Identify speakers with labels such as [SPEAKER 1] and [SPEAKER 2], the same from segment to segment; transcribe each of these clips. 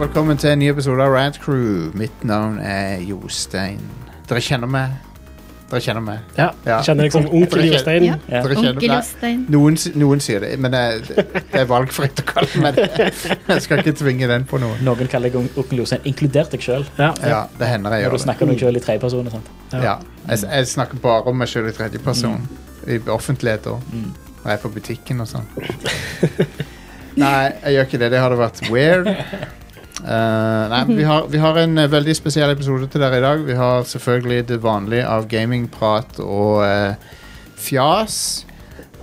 [SPEAKER 1] velkommen til en ny episode av Rad Crew. Mitt navn er Jostein. Dere kjenner meg. Dere kjenner meg.
[SPEAKER 2] Ja,
[SPEAKER 1] Ja.
[SPEAKER 2] jeg kjenner deg som onkel Jostein.
[SPEAKER 3] Ja.
[SPEAKER 4] Ja.
[SPEAKER 1] Dere kjenner
[SPEAKER 3] Onkel
[SPEAKER 1] meg.
[SPEAKER 3] Jostein.
[SPEAKER 1] Noen, s- noen sier det, men jeg, det er valgfritt å kalle meg det. Jeg skal ikke tvinge den på noen.
[SPEAKER 4] Noen kaller deg on- onkel Jostein, inkludert deg sjøl.
[SPEAKER 2] Ja.
[SPEAKER 1] Ja, det hender jeg
[SPEAKER 4] Når
[SPEAKER 1] gjør
[SPEAKER 4] du
[SPEAKER 1] det.
[SPEAKER 4] snakker om deg sjøl i tredjeperson. og sånt.
[SPEAKER 1] Ja. Jeg, s- jeg snakker bare om meg sjøl i tredjeperson. I offentlighet og
[SPEAKER 4] Mm.
[SPEAKER 1] når jeg er på butikken og sånn. Nei, jeg gjør ikke det. Det hadde vært weird. Eh, nei, vi har, vi har en eh, veldig spesiell episode til dere i dag. Vi har selvfølgelig det vanlige av gamingprat og eh, fjas.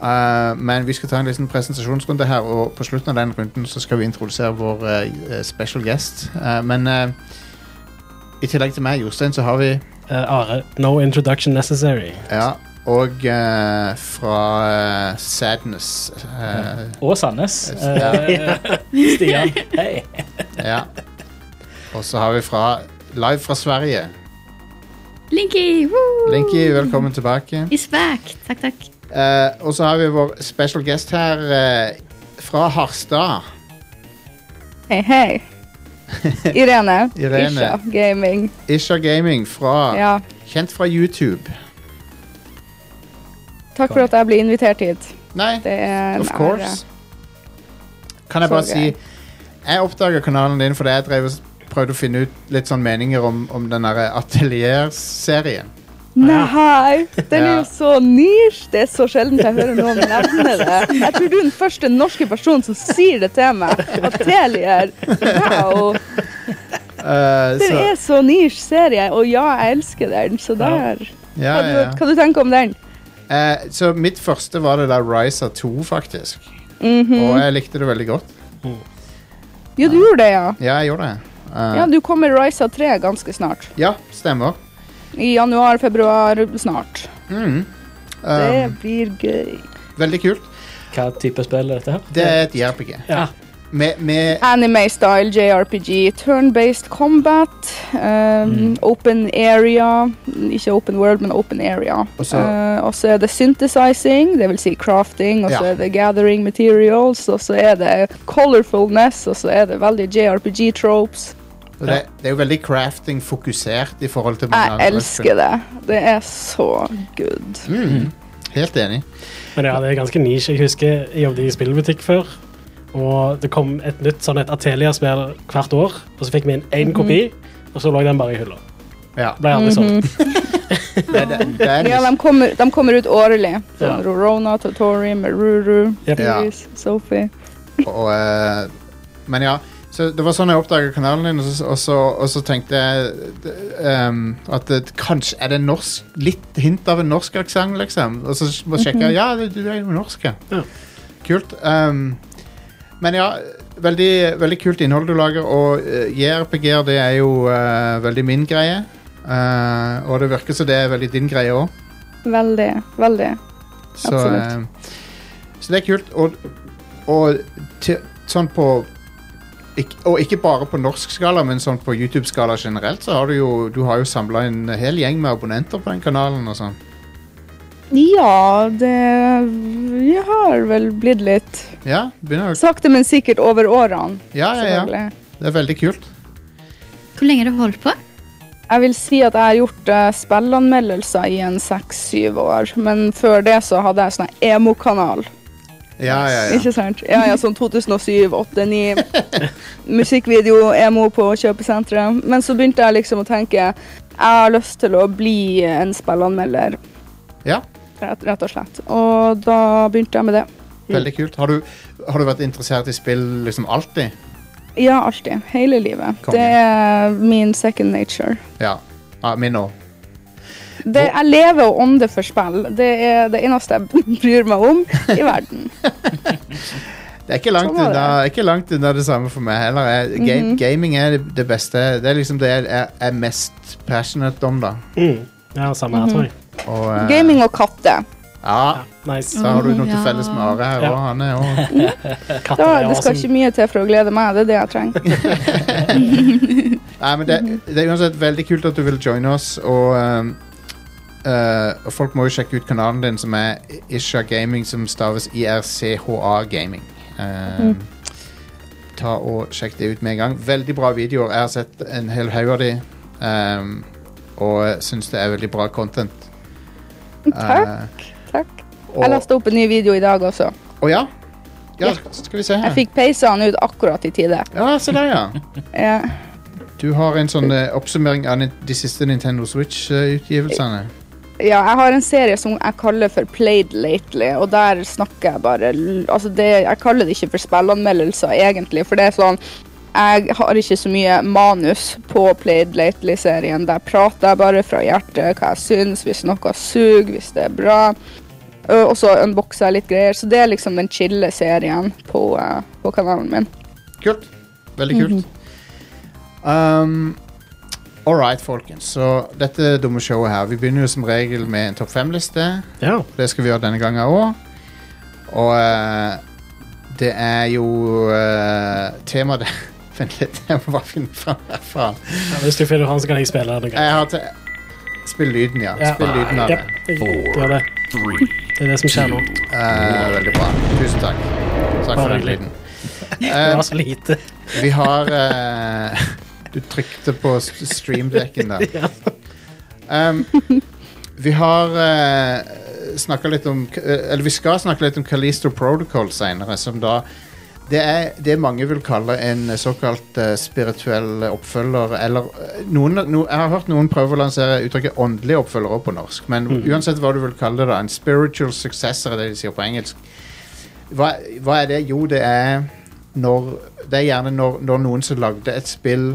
[SPEAKER 1] Eh, men vi skal ta en liten presentasjonsrunde her, og på slutten av den runden så skal vi introdusere vår eh, special guest. Eh, men eh, i tillegg til meg, Jostein, så har vi
[SPEAKER 2] Eh, Are, no introduction necessary.
[SPEAKER 1] Ja, og eh, fra eh, Sadness eh,
[SPEAKER 4] Og Sandnes.
[SPEAKER 1] Ja.
[SPEAKER 4] Eh, Stian. Hei.
[SPEAKER 1] Ja. Og så har vi fra live fra Sverige.
[SPEAKER 3] Linky! woo!
[SPEAKER 1] Linky, velkommen tilbake.
[SPEAKER 3] Is back. Takk, takk.
[SPEAKER 1] Eh, og så har vi vår special guest her eh, fra Harstad.
[SPEAKER 5] Hei, hei. Irene.
[SPEAKER 1] Irene.
[SPEAKER 5] Isha Gaming.
[SPEAKER 1] Isha Gaming, fra,
[SPEAKER 5] Ja.
[SPEAKER 1] kjent fra YouTube.
[SPEAKER 5] Takk for at jeg ble invitert hit.
[SPEAKER 1] Nei,
[SPEAKER 5] Det er en
[SPEAKER 1] of course. Kan jeg
[SPEAKER 5] Så
[SPEAKER 1] bare
[SPEAKER 5] gøy.
[SPEAKER 1] si Jeg oppdaga kanalen din fordi jeg drev, og s- prøvde å finne ut litt sånn meninger om, om den derre Atelier-serien.
[SPEAKER 5] Nei! Den er
[SPEAKER 1] Ja.
[SPEAKER 5] jo så nisj! Det er så sjelden jeg hører noen nevne det. Jeg tror du er den første norske personen som sier det til meg. Atelier. Wow!
[SPEAKER 1] Eh,
[SPEAKER 5] Den
[SPEAKER 1] så-
[SPEAKER 5] er så nisj serie, og ja, jeg elsker den. Så der.
[SPEAKER 1] ja,
[SPEAKER 5] Hva,
[SPEAKER 1] ja, ja.
[SPEAKER 5] hva du tenker om den?
[SPEAKER 1] Eh, så mitt første var det der Ryza 2, faktisk. Og jeg likte det veldig godt.
[SPEAKER 5] Jo, du gjorde det, Mhm. ja.
[SPEAKER 1] Ja, jeg gjorde det. Eh,
[SPEAKER 5] Ja, Du kommer Ryza 3 ganske snart.
[SPEAKER 1] Ja, stemmer.
[SPEAKER 5] I januar, februar, snart.
[SPEAKER 1] Mm.
[SPEAKER 5] Det
[SPEAKER 1] Um,
[SPEAKER 5] blir gøy.
[SPEAKER 1] veldig kult.
[SPEAKER 4] Hva type spill er dette her?
[SPEAKER 1] Det er et JRPG.
[SPEAKER 2] Ja.
[SPEAKER 1] Med, med
[SPEAKER 5] Anime-style JRPG, turn-based combat, um,
[SPEAKER 1] Mm.
[SPEAKER 5] open area Ikke open world, men open area.
[SPEAKER 1] Og så-
[SPEAKER 5] Eh, og så er det synthesizing, det vil si crafting, og så
[SPEAKER 1] Ja.
[SPEAKER 5] er det gathering materials, og så er det colorfulness, og så er det veldig JRPG-tropes.
[SPEAKER 1] det, det er jo veldig crafting fokusert i forhold til
[SPEAKER 5] Jeg
[SPEAKER 1] det.
[SPEAKER 5] elsker det. Det er så good.
[SPEAKER 1] Mm. Helt enig.
[SPEAKER 2] Men ja, det er ganske nisje. Jeg husker jeg jobbet i spillbutikk før, og det kom et nytt sånn et Atelia-spill hvert år, og så fikk vi inn én kopi,
[SPEAKER 5] Mhm.
[SPEAKER 2] og så lå den bare i hylla.
[SPEAKER 1] Ja. sånn.
[SPEAKER 2] Ble aldri solgt.
[SPEAKER 1] Det, det, det er
[SPEAKER 5] Ja,
[SPEAKER 1] en,
[SPEAKER 5] de kommer, de kommer ut årlig. Sånn
[SPEAKER 2] Ja.
[SPEAKER 5] Rorona, Totori, Meruru,
[SPEAKER 2] Yep.
[SPEAKER 1] Ja.
[SPEAKER 5] Iris, Sophie.
[SPEAKER 1] og, eh, men ja, så det var sånn jeg oppdaga kanalen din, og så, og så, og så tenkte jeg eh, um, at det, kanskje er det norsk, litt hint av en norsk aksent, liksom. Og så må jeg sjekke Ja, du, du er jo norsk, ja.
[SPEAKER 2] Ja.
[SPEAKER 1] Kult. Um, men ja, veldig, veldig kult innhold du lager, og eh, JRPG-er det er jo eh, veldig min greie. Eh, og det virker som det er veldig din greie òg.
[SPEAKER 5] Veldig, veldig.
[SPEAKER 1] Så,
[SPEAKER 5] Absolutt.
[SPEAKER 1] eh, så det er kult. Og, og til, sånn på ikk- og ikke bare på norsk skala, men sånn på YouTube-skala generelt, så har du jo, du har jo samla en hel gjeng med abonnenter på den kanalen. og sånn.
[SPEAKER 5] Ja, det jeg har vel blitt litt
[SPEAKER 1] Ja, begynner jo
[SPEAKER 5] Sakte, men sikkert over årene.
[SPEAKER 1] ja, ja, ja.
[SPEAKER 5] selvfølgelig.
[SPEAKER 1] Det er veldig kult.
[SPEAKER 3] Hvor lenge har du holdt på?
[SPEAKER 5] Jeg vil si at jeg har gjort eh, spillanmeldelser i en seks-syv år. Men før det så hadde jeg sånn her emo-kanal.
[SPEAKER 1] Ja, ja, ja.
[SPEAKER 5] Ikke sant? Ja, ja, sånn 2007, 8, 9. Musikkvideo, emo på kjøpesenteret. Men så begynte jeg liksom å tenke Jeg har lyst til å bli en spillanmelder,
[SPEAKER 1] ja
[SPEAKER 5] rett, rett og slett. Og da begynte jeg med det.
[SPEAKER 1] veldig kult. Har du, har du vært interessert i spill liksom alltid?
[SPEAKER 5] Ja, alltid. Hele livet.
[SPEAKER 1] Konge.
[SPEAKER 5] Det er min second nature.
[SPEAKER 1] Ja. ja min òg.
[SPEAKER 5] Det, jeg lever og ånder for spill. Det er det eneste jeg bryr meg om i verden.
[SPEAKER 1] Det er ikke langt,
[SPEAKER 5] Sånn var det. Mhm.
[SPEAKER 1] unna, ikke langt unna det samme for meg heller. Jeg, ga- Gaming er det- det beste. Det er liksom det jeg er, er mest passionate om, da.
[SPEAKER 5] Mhm.
[SPEAKER 2] Mm. Ja, samme her, tror jeg.
[SPEAKER 1] Og, eh,
[SPEAKER 5] Gaming og katter.
[SPEAKER 1] Ja,
[SPEAKER 2] Nice.
[SPEAKER 1] så har du noe
[SPEAKER 3] Ja.
[SPEAKER 1] til felles med Are her
[SPEAKER 2] Ja.
[SPEAKER 1] òg. Han er jo
[SPEAKER 2] Katter
[SPEAKER 5] Da,
[SPEAKER 2] er
[SPEAKER 5] det skal ikke
[SPEAKER 2] awesome.
[SPEAKER 5] mye til for å glede meg. Det er det jeg trenger.
[SPEAKER 1] Nei, men det, det er uansett veldig kult at du vil joine oss, og ehm, eh, og folk må jo sjekke ut kanalen din, som er
[SPEAKER 5] Mhm.
[SPEAKER 1] Isha Gaming, som staves IRCHA Gaming. Ehm, Eh, ta og sjekk det ut med en gang. Veldig bra videoer. Jeg har sett en hel haug av de ehm, og syns det er veldig bra content.
[SPEAKER 5] Takk. Takk.
[SPEAKER 1] Eh,
[SPEAKER 5] Jeg
[SPEAKER 1] og,
[SPEAKER 5] leste opp en ny video i dag også.
[SPEAKER 1] og ja. ja.
[SPEAKER 5] Ja.
[SPEAKER 1] Skal vi se
[SPEAKER 5] Jeg
[SPEAKER 1] her.
[SPEAKER 5] fikk peisa han ut akkurat i tide.
[SPEAKER 1] Ja, se der, ja.
[SPEAKER 5] Ja.
[SPEAKER 1] Du har en sånn eh, oppsummering av nin- de siste Nintendo Switch-utgivelsene.
[SPEAKER 5] Ja, jeg har en serie som jeg kaller for Played Lately, og der snakker jeg bare l- Altså, det, jeg kaller det ikke for spillanmeldelser, egentlig, for det er sånn Jeg har ikke så mye manus på Played Lately-serien. Der prater jeg bare fra hjertet hva jeg syns, hvis noe suger, hvis det er bra. Ø, Og så unboxer jeg litt greier. Så det er liksom den chille serien på, eh, på kanalen min.
[SPEAKER 1] Kult. Veldig kult. um, All right, folkens. Så dette dumme showet her Vi begynner jo som regel med en topp fem-liste.
[SPEAKER 2] Ja.
[SPEAKER 1] Det skal vi gjøre denne gangen òg. Og eh, det er jo uh, temaet der Vent litt, jeg må bare finne fram herfra.
[SPEAKER 2] Ja, Hvis du finner han, så kan jeg spille det.
[SPEAKER 1] Jeg har te Spill lyden, ja. Spill lyden av det.
[SPEAKER 2] Gjør det. Det er det som skjer nå.
[SPEAKER 1] Eh, veldig bra. Tusen takk. Takk for
[SPEAKER 2] Bare
[SPEAKER 1] den
[SPEAKER 2] hyggelig.
[SPEAKER 1] lyden.
[SPEAKER 2] Det
[SPEAKER 1] Eh,
[SPEAKER 2] var så lite.
[SPEAKER 1] Vi har eh, Du trykte på st- streamdekken der. Um, vi har uh, snakka litt om eh, Eller vi skal snakke litt om Kalisto Protocol seinere, som da det er det mange vil kalle en såkalt eh, spirituell oppfølger, eller eh, noen, no, Jeg har hørt noen prøve å lansere uttrykket 'åndelig oppfølger' også på norsk, men uansett hva du vil kalle det, da, en spiritual successor er det de sier på engelsk. Hva, hva er det? Jo, det er når Det er gjerne når, når noen som lagde et spill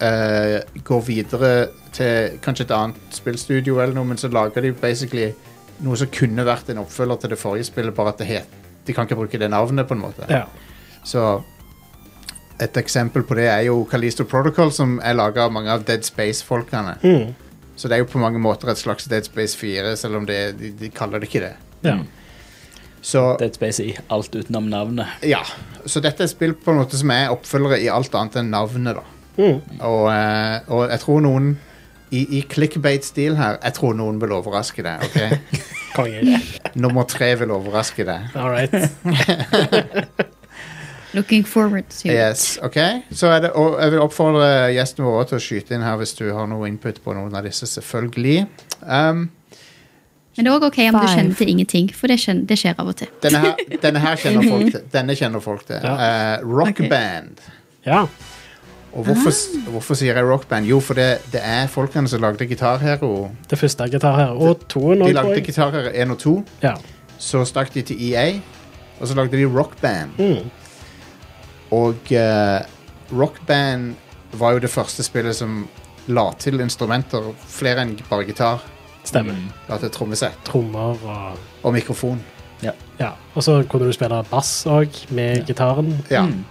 [SPEAKER 1] eh, går videre til kanskje et annet spillstudio eller noe, men så lager de basically noe som kunne vært en oppfølger til det forrige spillet, bare at det het De kan ikke bruke det navnet, på en måte.
[SPEAKER 2] Ja.
[SPEAKER 1] Så et eksempel på det er jo Kalisto Protocol, som er laga av mange av Dead Space-folkene.
[SPEAKER 2] Mm.
[SPEAKER 1] Så det er jo på mange måter et slags Dead Space 4, selv om det, de, de kaller det ikke det.
[SPEAKER 2] ja.
[SPEAKER 1] Så
[SPEAKER 4] Dead Space i alt utenom navnet.
[SPEAKER 1] Ja, så dette er spill på en måte som er oppfølgere i alt annet enn navnet, da.
[SPEAKER 2] Mm.
[SPEAKER 1] Og, eh, og jeg tror noen i, i clickbait-stil her Jeg tror noen vil overraske deg. ok?
[SPEAKER 2] Konge.
[SPEAKER 1] Nummer tre vil overraske deg.
[SPEAKER 2] All right.
[SPEAKER 3] Looking forward to it.
[SPEAKER 1] Yes, ok? Så er det, og jeg vil oppfordre gjesten vår også til å skyte inn her hvis du har noe input på noen av disse, selvfølgelig. Um,
[SPEAKER 3] Men det er òg ok om du
[SPEAKER 6] Five.
[SPEAKER 3] kjenner til ingenting, for det, skjen- det skjer av og til.
[SPEAKER 1] denne, her, denne her kjenner folk til. Denne kjenner folk til.
[SPEAKER 2] Ja.
[SPEAKER 1] Eh, rock
[SPEAKER 3] Ok.
[SPEAKER 1] band.
[SPEAKER 2] Ja.
[SPEAKER 1] Og hvorfor, s- hvorfor sier jeg rock band? Jo, for det, det er folkene som lagde Gitar Hero.
[SPEAKER 2] Det første er gitar her. Og toen
[SPEAKER 1] De
[SPEAKER 2] òg,
[SPEAKER 1] lagde Gitar Hero 1 og 2.
[SPEAKER 2] Ja.
[SPEAKER 1] så stakk de til EA, og så lagde de Rock Band. Og eh, Rock Band var jo det første spillet som la til instrumenter, flere enn bare gitar.
[SPEAKER 2] Stemmer.
[SPEAKER 1] La til trommesett
[SPEAKER 2] Trommer og
[SPEAKER 1] og mikrofon.
[SPEAKER 2] Ja. Og så kunne du spille bass òg, med gitaren.
[SPEAKER 1] Ja.
[SPEAKER 4] Mm.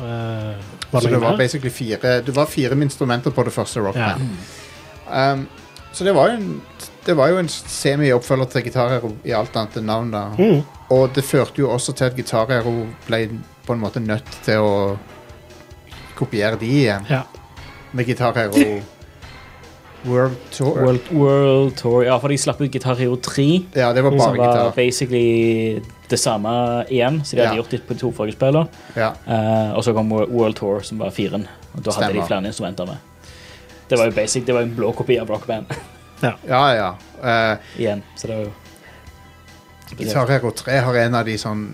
[SPEAKER 2] Eh,
[SPEAKER 1] Så det
[SPEAKER 2] noe
[SPEAKER 1] var
[SPEAKER 2] mer?
[SPEAKER 1] basically fire Det var fire instrumenter på det første Rock
[SPEAKER 2] Ja.
[SPEAKER 1] Band. Um, så det var jo en, det var jo en semi-oppfølger til Guitar Hero i alt annet enn navn. da.
[SPEAKER 4] Mm.
[SPEAKER 2] Mm,
[SPEAKER 1] Og det førte jo også til at Guitar Hero ble på en måte nødt til å kopiere de igjen.
[SPEAKER 2] ja.
[SPEAKER 1] med Guitar Hero World Tour.
[SPEAKER 4] World, World Tour. Ja, for de slapp ut Guitar Hero 3,
[SPEAKER 1] Ja, det var bare
[SPEAKER 4] som var
[SPEAKER 1] gitar.
[SPEAKER 4] basically det samme igjen. Så de hadde
[SPEAKER 1] Ja.
[SPEAKER 4] gjort det på de to forrige spillene.
[SPEAKER 1] Ja.
[SPEAKER 4] Eh, og så kom Wor- World Tour, som var firen. Og da hadde
[SPEAKER 1] Stemmer.
[SPEAKER 4] de flere instrumenter med. Det var jo basic, det var jo en blå kopi av Rock Band
[SPEAKER 1] ja, ja. Eh,
[SPEAKER 4] igjen. Så det var jo
[SPEAKER 1] Guitar Hero 3 har en av de sånn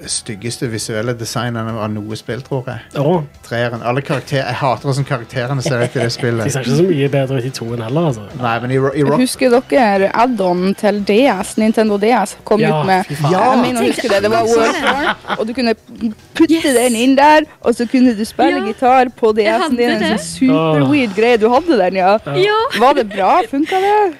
[SPEAKER 1] styggeste visuelle designene av noe spill, tror jeg.
[SPEAKER 2] Å,
[SPEAKER 1] Treeren. Alle karakter Jeg hater hvordan karakterene ser ut i det
[SPEAKER 2] de
[SPEAKER 1] spillet.
[SPEAKER 2] ser ikke så mye bedre ut i toen heller, altså.
[SPEAKER 1] Nei, men i, Ro- i Rock
[SPEAKER 5] Husker dere add-on til DS, Nintendo DS, kom
[SPEAKER 2] Ja,
[SPEAKER 5] ut med
[SPEAKER 2] fy faen.
[SPEAKER 1] Ja.
[SPEAKER 5] Jeg mener, husker det, det var
[SPEAKER 3] Jeg
[SPEAKER 5] World
[SPEAKER 3] tenkte
[SPEAKER 5] Tour, og du kunne putte
[SPEAKER 3] Yes.
[SPEAKER 5] den inn der, og så kunne du spille
[SPEAKER 3] Ja.
[SPEAKER 5] gitar på
[SPEAKER 3] Jeg
[SPEAKER 5] DS-en
[SPEAKER 3] hadde
[SPEAKER 5] din. En
[SPEAKER 3] det.
[SPEAKER 5] sånn
[SPEAKER 2] Ah.
[SPEAKER 5] super-weird greie. Du hadde den, ja.
[SPEAKER 3] Ja,
[SPEAKER 5] Var det bra? Funka det?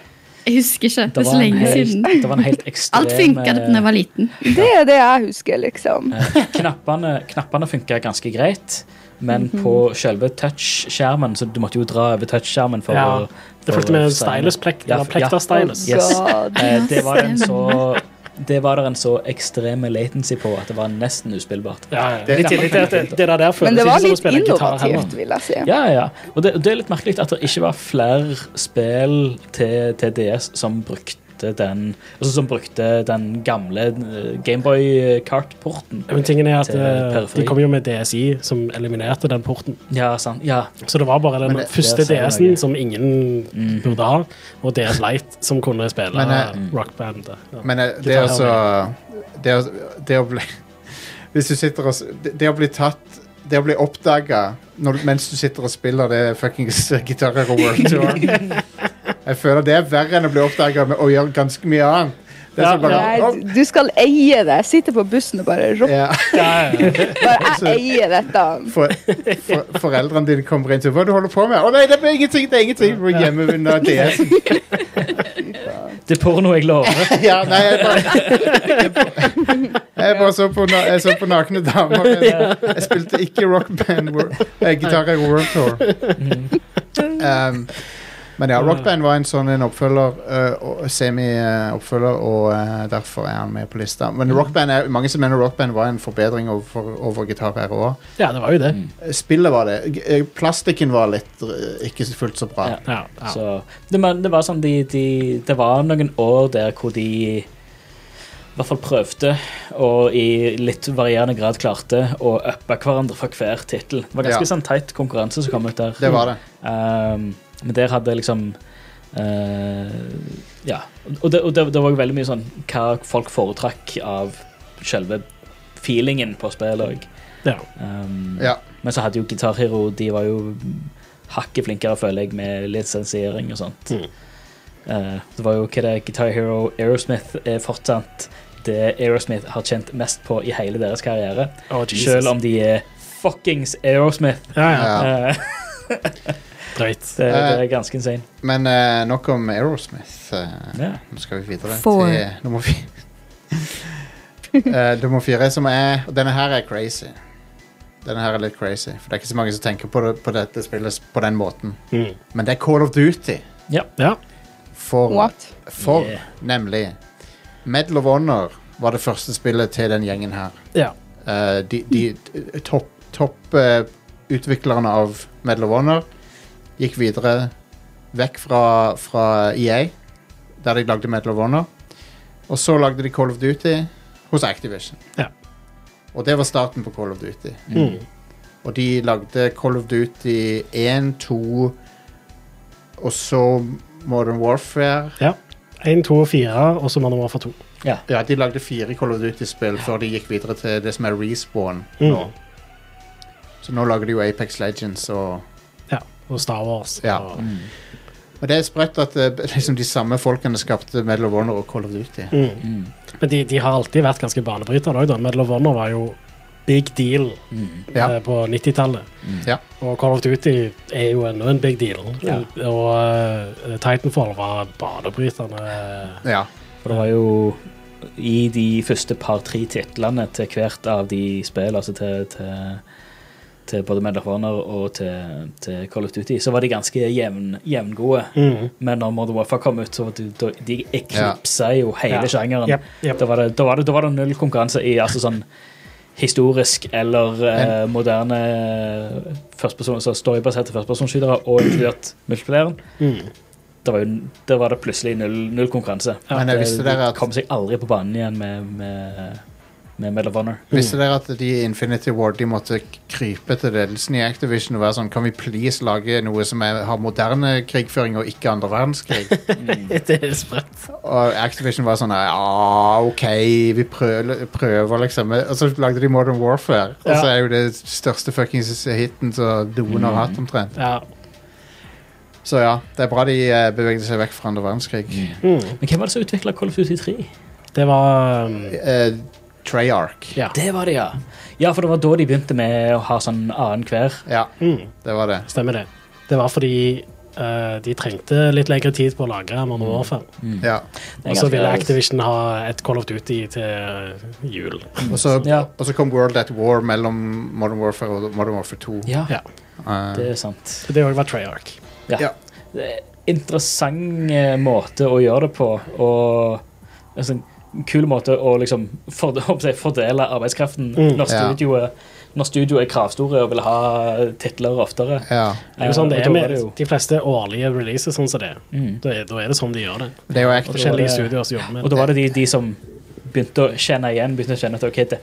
[SPEAKER 3] jeg husker ikke. Det
[SPEAKER 4] Det
[SPEAKER 3] er så
[SPEAKER 4] var, en
[SPEAKER 3] lenge
[SPEAKER 4] helt,
[SPEAKER 3] siden.
[SPEAKER 4] det var en helt ekstrem
[SPEAKER 3] Alt funka da jeg var liten.
[SPEAKER 5] Det er det jeg husker, liksom.
[SPEAKER 4] eh, Knappene, knappene funka ganske greit, men
[SPEAKER 3] Mhm.
[SPEAKER 4] på selve touchskjermen Så du måtte jo dra over touchskjermen for
[SPEAKER 2] Ja.
[SPEAKER 4] å
[SPEAKER 2] Det fulgte med en stylus plek,
[SPEAKER 4] Ja,
[SPEAKER 2] eller plekta
[SPEAKER 4] ja.
[SPEAKER 2] stylus.
[SPEAKER 4] Yes.
[SPEAKER 5] God.
[SPEAKER 4] Eh, Det var en
[SPEAKER 3] Ja,
[SPEAKER 4] så det var der en så ekstrem latency på at det var nesten uspillbart.
[SPEAKER 2] Ja, ja.
[SPEAKER 1] Det-
[SPEAKER 2] I tillegg til at det, det der der føles
[SPEAKER 5] Men det
[SPEAKER 2] ikke
[SPEAKER 5] var
[SPEAKER 2] som å
[SPEAKER 5] litt
[SPEAKER 2] spille gitar heller.
[SPEAKER 5] innovativt, vil jeg si.
[SPEAKER 4] Ja, ja. Og det, og det er litt merkelig at det ikke var flere spill til, til DS som brukte brukte den altså Som brukte den gamle Gameboy Kart-porten.
[SPEAKER 2] Men tingen er at
[SPEAKER 4] Til
[SPEAKER 2] eh,
[SPEAKER 4] periferi.
[SPEAKER 2] de kom jo med DSI, som eliminerte den porten.
[SPEAKER 4] Ja, sant. Ja.
[SPEAKER 2] Så det var bare den
[SPEAKER 1] Men det-
[SPEAKER 2] første
[SPEAKER 4] det sier
[SPEAKER 2] DS-en
[SPEAKER 4] noe.
[SPEAKER 2] som ingen
[SPEAKER 4] Mm.
[SPEAKER 2] burde ha, og DS Lite, som kunne spille
[SPEAKER 1] Men, eh,
[SPEAKER 2] rockband. Ja.
[SPEAKER 1] Men eh, det er altså det, å- det å bli Hvis du sitter og s- Det det å bli tatt Det å bli oppdaga mens du sitter og spiller det fuckings eh, Guitar Hero World Tour Jeg føler det er verre enn å bli oppdaga med å gjøre ganske mye annet. Det er
[SPEAKER 2] Ja,
[SPEAKER 1] sånn bare
[SPEAKER 5] Nei,
[SPEAKER 1] «Å,
[SPEAKER 5] du skal eie det. Sitte på bussen og bare rope.
[SPEAKER 1] ja,
[SPEAKER 5] Bare, jeg eier dette.
[SPEAKER 1] for, for, Foreldrene dine kommer inn til Hva er det du holder på med? Å nei, det er ingenting! Det er ingenting! Du må gjemme unna DS-en.
[SPEAKER 4] Det er porno, jeg lover.
[SPEAKER 1] Ja, nei, jeg bare Jeg, jeg bare så på, na- jeg så på nakne damer. Jeg, jeg spilte ikke Rock Band World, eh, Guitar Hero World Tour.
[SPEAKER 4] Mm.
[SPEAKER 1] Um, men ja, Rock Band var en sånn en oppfølger, eh, og- semi-oppfølger, og eh, derfor er han med på lista. Men Rock Band er, mange som mener Rock Band var en forbedring overfor, over Guitar Hero òg.
[SPEAKER 2] ja, det var jo det.
[SPEAKER 1] Spillet var det. G- eh, Plastikken var litt eh, ikke fullt så bra.
[SPEAKER 4] Ja.
[SPEAKER 2] Ja, ja.
[SPEAKER 4] Mm. Så, det, men det var sånn de, de, Det var noen år der hvor de i hvert fall prøvde, og i litt varierende grad klarte, å uppe hverandre fra hver tittel. Det var ganske
[SPEAKER 1] Ja.
[SPEAKER 4] sånn teit konkurranse som kom ut der.
[SPEAKER 1] Det var det.
[SPEAKER 4] Um, men der hadde liksom eh, Ja. Og, det, og det, det var jo veldig mye sånn hva folk foretrakk av selve feelingen på spillet òg.
[SPEAKER 2] Ja.
[SPEAKER 4] Um,
[SPEAKER 1] Ja.
[SPEAKER 4] Men så hadde jo Guitar Hero De var jo hakket flinkere, føler jeg, med lisensiering og sånt.
[SPEAKER 2] Mm.
[SPEAKER 4] Eh, det var jo hva det Guitar Hero Aerosmith er fortsatt det Aerosmith har tjent mest på i hele deres karriere.
[SPEAKER 2] Å, Jesus.
[SPEAKER 4] Selv om de er fuckings Aerosmith.
[SPEAKER 2] Ja, ja.
[SPEAKER 1] Ja.
[SPEAKER 4] Eh,
[SPEAKER 2] Drøyt.
[SPEAKER 4] det, det
[SPEAKER 1] Eh.
[SPEAKER 4] er ganske insane.
[SPEAKER 1] Men eh, nok om Aerosmith. eh.
[SPEAKER 4] Ja.
[SPEAKER 1] Nå skal vi videre
[SPEAKER 6] Four.
[SPEAKER 1] til nummer fire. Eh, nummer fire, som er og Denne her er crazy. Denne her er litt crazy, for det er ikke så mange som tenker på, det, på dette spillet på den måten.
[SPEAKER 2] Mm.
[SPEAKER 1] Men det er Call of Duty.
[SPEAKER 2] Ja.
[SPEAKER 1] For,
[SPEAKER 5] What?
[SPEAKER 1] for
[SPEAKER 4] Yeah.
[SPEAKER 1] nemlig Medal of Honor var det første spillet til den gjengen her.
[SPEAKER 2] ja.
[SPEAKER 1] Eh, de de t- topp topp, eh, utviklerne av Medal of Honor gikk videre vekk fra, fra EA, der de lagde Medal of Honor. Og så lagde de Call of Duty hos Activision.
[SPEAKER 2] Ja.
[SPEAKER 1] Og det var starten på Call of Duty.
[SPEAKER 2] Mm.
[SPEAKER 1] Og de lagde Call of Duty 1, 2 og så Modern Warfare.
[SPEAKER 2] ja. Én, to og fire, og så manøver for to.
[SPEAKER 1] Ja, de lagde fire Call of Duty-spill før de gikk videre til det som er Respawn.
[SPEAKER 2] Mm.
[SPEAKER 1] Så nå lager de jo Apex Legends og
[SPEAKER 2] Ja. Og Star Wars.
[SPEAKER 1] Ja.
[SPEAKER 2] Og,
[SPEAKER 1] Og det er sprøtt at eh, liksom, de samme folkene skapte Medal of Honor og Call of Duty.
[SPEAKER 2] mm.
[SPEAKER 4] Mm.
[SPEAKER 2] Men de, de har alltid vært ganske banebrytere òg, da. Medal of Honor var jo big deal
[SPEAKER 4] Mm.
[SPEAKER 1] Ja.
[SPEAKER 2] eh, på 90-tallet.
[SPEAKER 1] Ja.
[SPEAKER 2] Og Call of Duty er jo ennå en big deal.
[SPEAKER 4] Ja.
[SPEAKER 2] Og eh, Titanfall var banebrytende.
[SPEAKER 1] Ja.
[SPEAKER 4] For det var jo i de første par-tre titlene til hvert av de spillene, altså til, til, til både Medal of Honor og til, til Call of Duty, så var de ganske jevn, jevngode.
[SPEAKER 2] Mm.
[SPEAKER 4] Men når Modern Warfare kom ut, så var det, da- de eklipsa jo hele
[SPEAKER 2] Ja.
[SPEAKER 4] sjangeren.
[SPEAKER 2] Jep, jep.
[SPEAKER 4] Da, var det, da, var det, da var det null konkurranse i altså sånn historisk eller eh, moderne førsteperson, så storybaserte førstepersonskytere og inkludert multiplayeren.
[SPEAKER 2] Mm.
[SPEAKER 4] Da var, jo, da var det plutselig null, null konkurranse.
[SPEAKER 1] Ja. Men jeg
[SPEAKER 4] Det-
[SPEAKER 1] visste dere at-
[SPEAKER 4] de kom seg aldri på banen igjen med, med, med Medal of Honor.
[SPEAKER 1] Visste dere at de i Infinity Ward de måtte k- krype til ledelsen i Activision og være sånn Kan vi please lage noe som er, har moderne krigføring og ikke andre verdenskrig?
[SPEAKER 4] Mm.
[SPEAKER 2] Det er sprøtt.
[SPEAKER 1] og Activision var sånn Ja, OK, vi prøver, prøver liksom. Og så lagde de Modern Warfare, og så
[SPEAKER 2] Ja.
[SPEAKER 1] er jo det største fuckings hiten som noen har hatt, omtrent.
[SPEAKER 2] Ja.
[SPEAKER 1] Så ja, det er bra de eh, bevegde seg vekk fra andre verdenskrig.
[SPEAKER 2] Mm.
[SPEAKER 4] Men hvem var det som utvikla Call of Duty 3?
[SPEAKER 2] Det var um,
[SPEAKER 1] Eh, Treyarch.
[SPEAKER 2] Ja.
[SPEAKER 4] Det var det, ja. Ja, for det var da de begynte med å ha sånn annenhver.
[SPEAKER 1] Ja,
[SPEAKER 2] Mm.
[SPEAKER 1] det var det.
[SPEAKER 2] Stemmer det. Det var fordi eh, de trengte litt lengre tid på å lagre
[SPEAKER 4] Mm.
[SPEAKER 2] Modern Warfare.
[SPEAKER 1] Ja.
[SPEAKER 2] Og så ville Activision ha et Call of Duty til eh, jul.
[SPEAKER 1] Og så,
[SPEAKER 4] Ja.
[SPEAKER 1] og så kom World at War mellom Modern Warfare og Modern Warfare 2.
[SPEAKER 4] Ja,
[SPEAKER 2] Ja.
[SPEAKER 1] Eh,
[SPEAKER 4] det er sant.
[SPEAKER 2] Det òg var Treyarch.
[SPEAKER 4] Ja.
[SPEAKER 1] Ja.
[SPEAKER 4] Det er en interessant eh, måte å gjøre det på. Og altså, kul måte å liksom for- om jeg sier, fordele arbeidskraften
[SPEAKER 2] Mm.
[SPEAKER 4] når,
[SPEAKER 1] Ja.
[SPEAKER 4] studioet, når studioet er kravstore og vil ha titler oftere.
[SPEAKER 1] Ja.
[SPEAKER 2] Det er jo sånn det
[SPEAKER 4] Eh,
[SPEAKER 2] er
[SPEAKER 4] og da
[SPEAKER 2] med
[SPEAKER 4] det jo-
[SPEAKER 2] de fleste årlige releaser. sånn som det er.
[SPEAKER 4] Mm.
[SPEAKER 2] Da er, da er det sånn de gjør det.
[SPEAKER 1] Det er jo ekte.
[SPEAKER 4] det var
[SPEAKER 2] Forskjellige
[SPEAKER 4] det-
[SPEAKER 2] studier som jobber med
[SPEAKER 4] Og
[SPEAKER 2] det.
[SPEAKER 4] da var det de, de som begynte å kjenne igjen, begynte å kjenne at ok, det,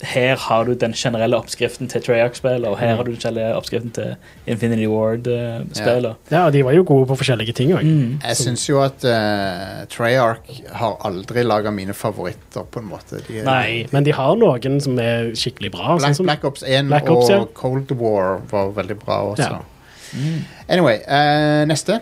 [SPEAKER 4] her har du den generelle oppskriften til Treyarch-spillet, og her har du den generelle oppskriften til Infinity Ward-spillet.
[SPEAKER 2] Ja, de var jo gode på forskjellige ting òg.
[SPEAKER 4] Mm.
[SPEAKER 1] Jeg syns jo at eh, Treyarch har aldri laga mine favoritter, på en måte. De, er-
[SPEAKER 2] Nei, men de har noen som er skikkelig bra.
[SPEAKER 1] Black,
[SPEAKER 2] Sånn som,
[SPEAKER 1] Black Ops 1
[SPEAKER 2] Black
[SPEAKER 1] og
[SPEAKER 2] Ops, ja.
[SPEAKER 1] Cold War var veldig bra også.
[SPEAKER 2] Ja.
[SPEAKER 1] Anyway, eh, neste.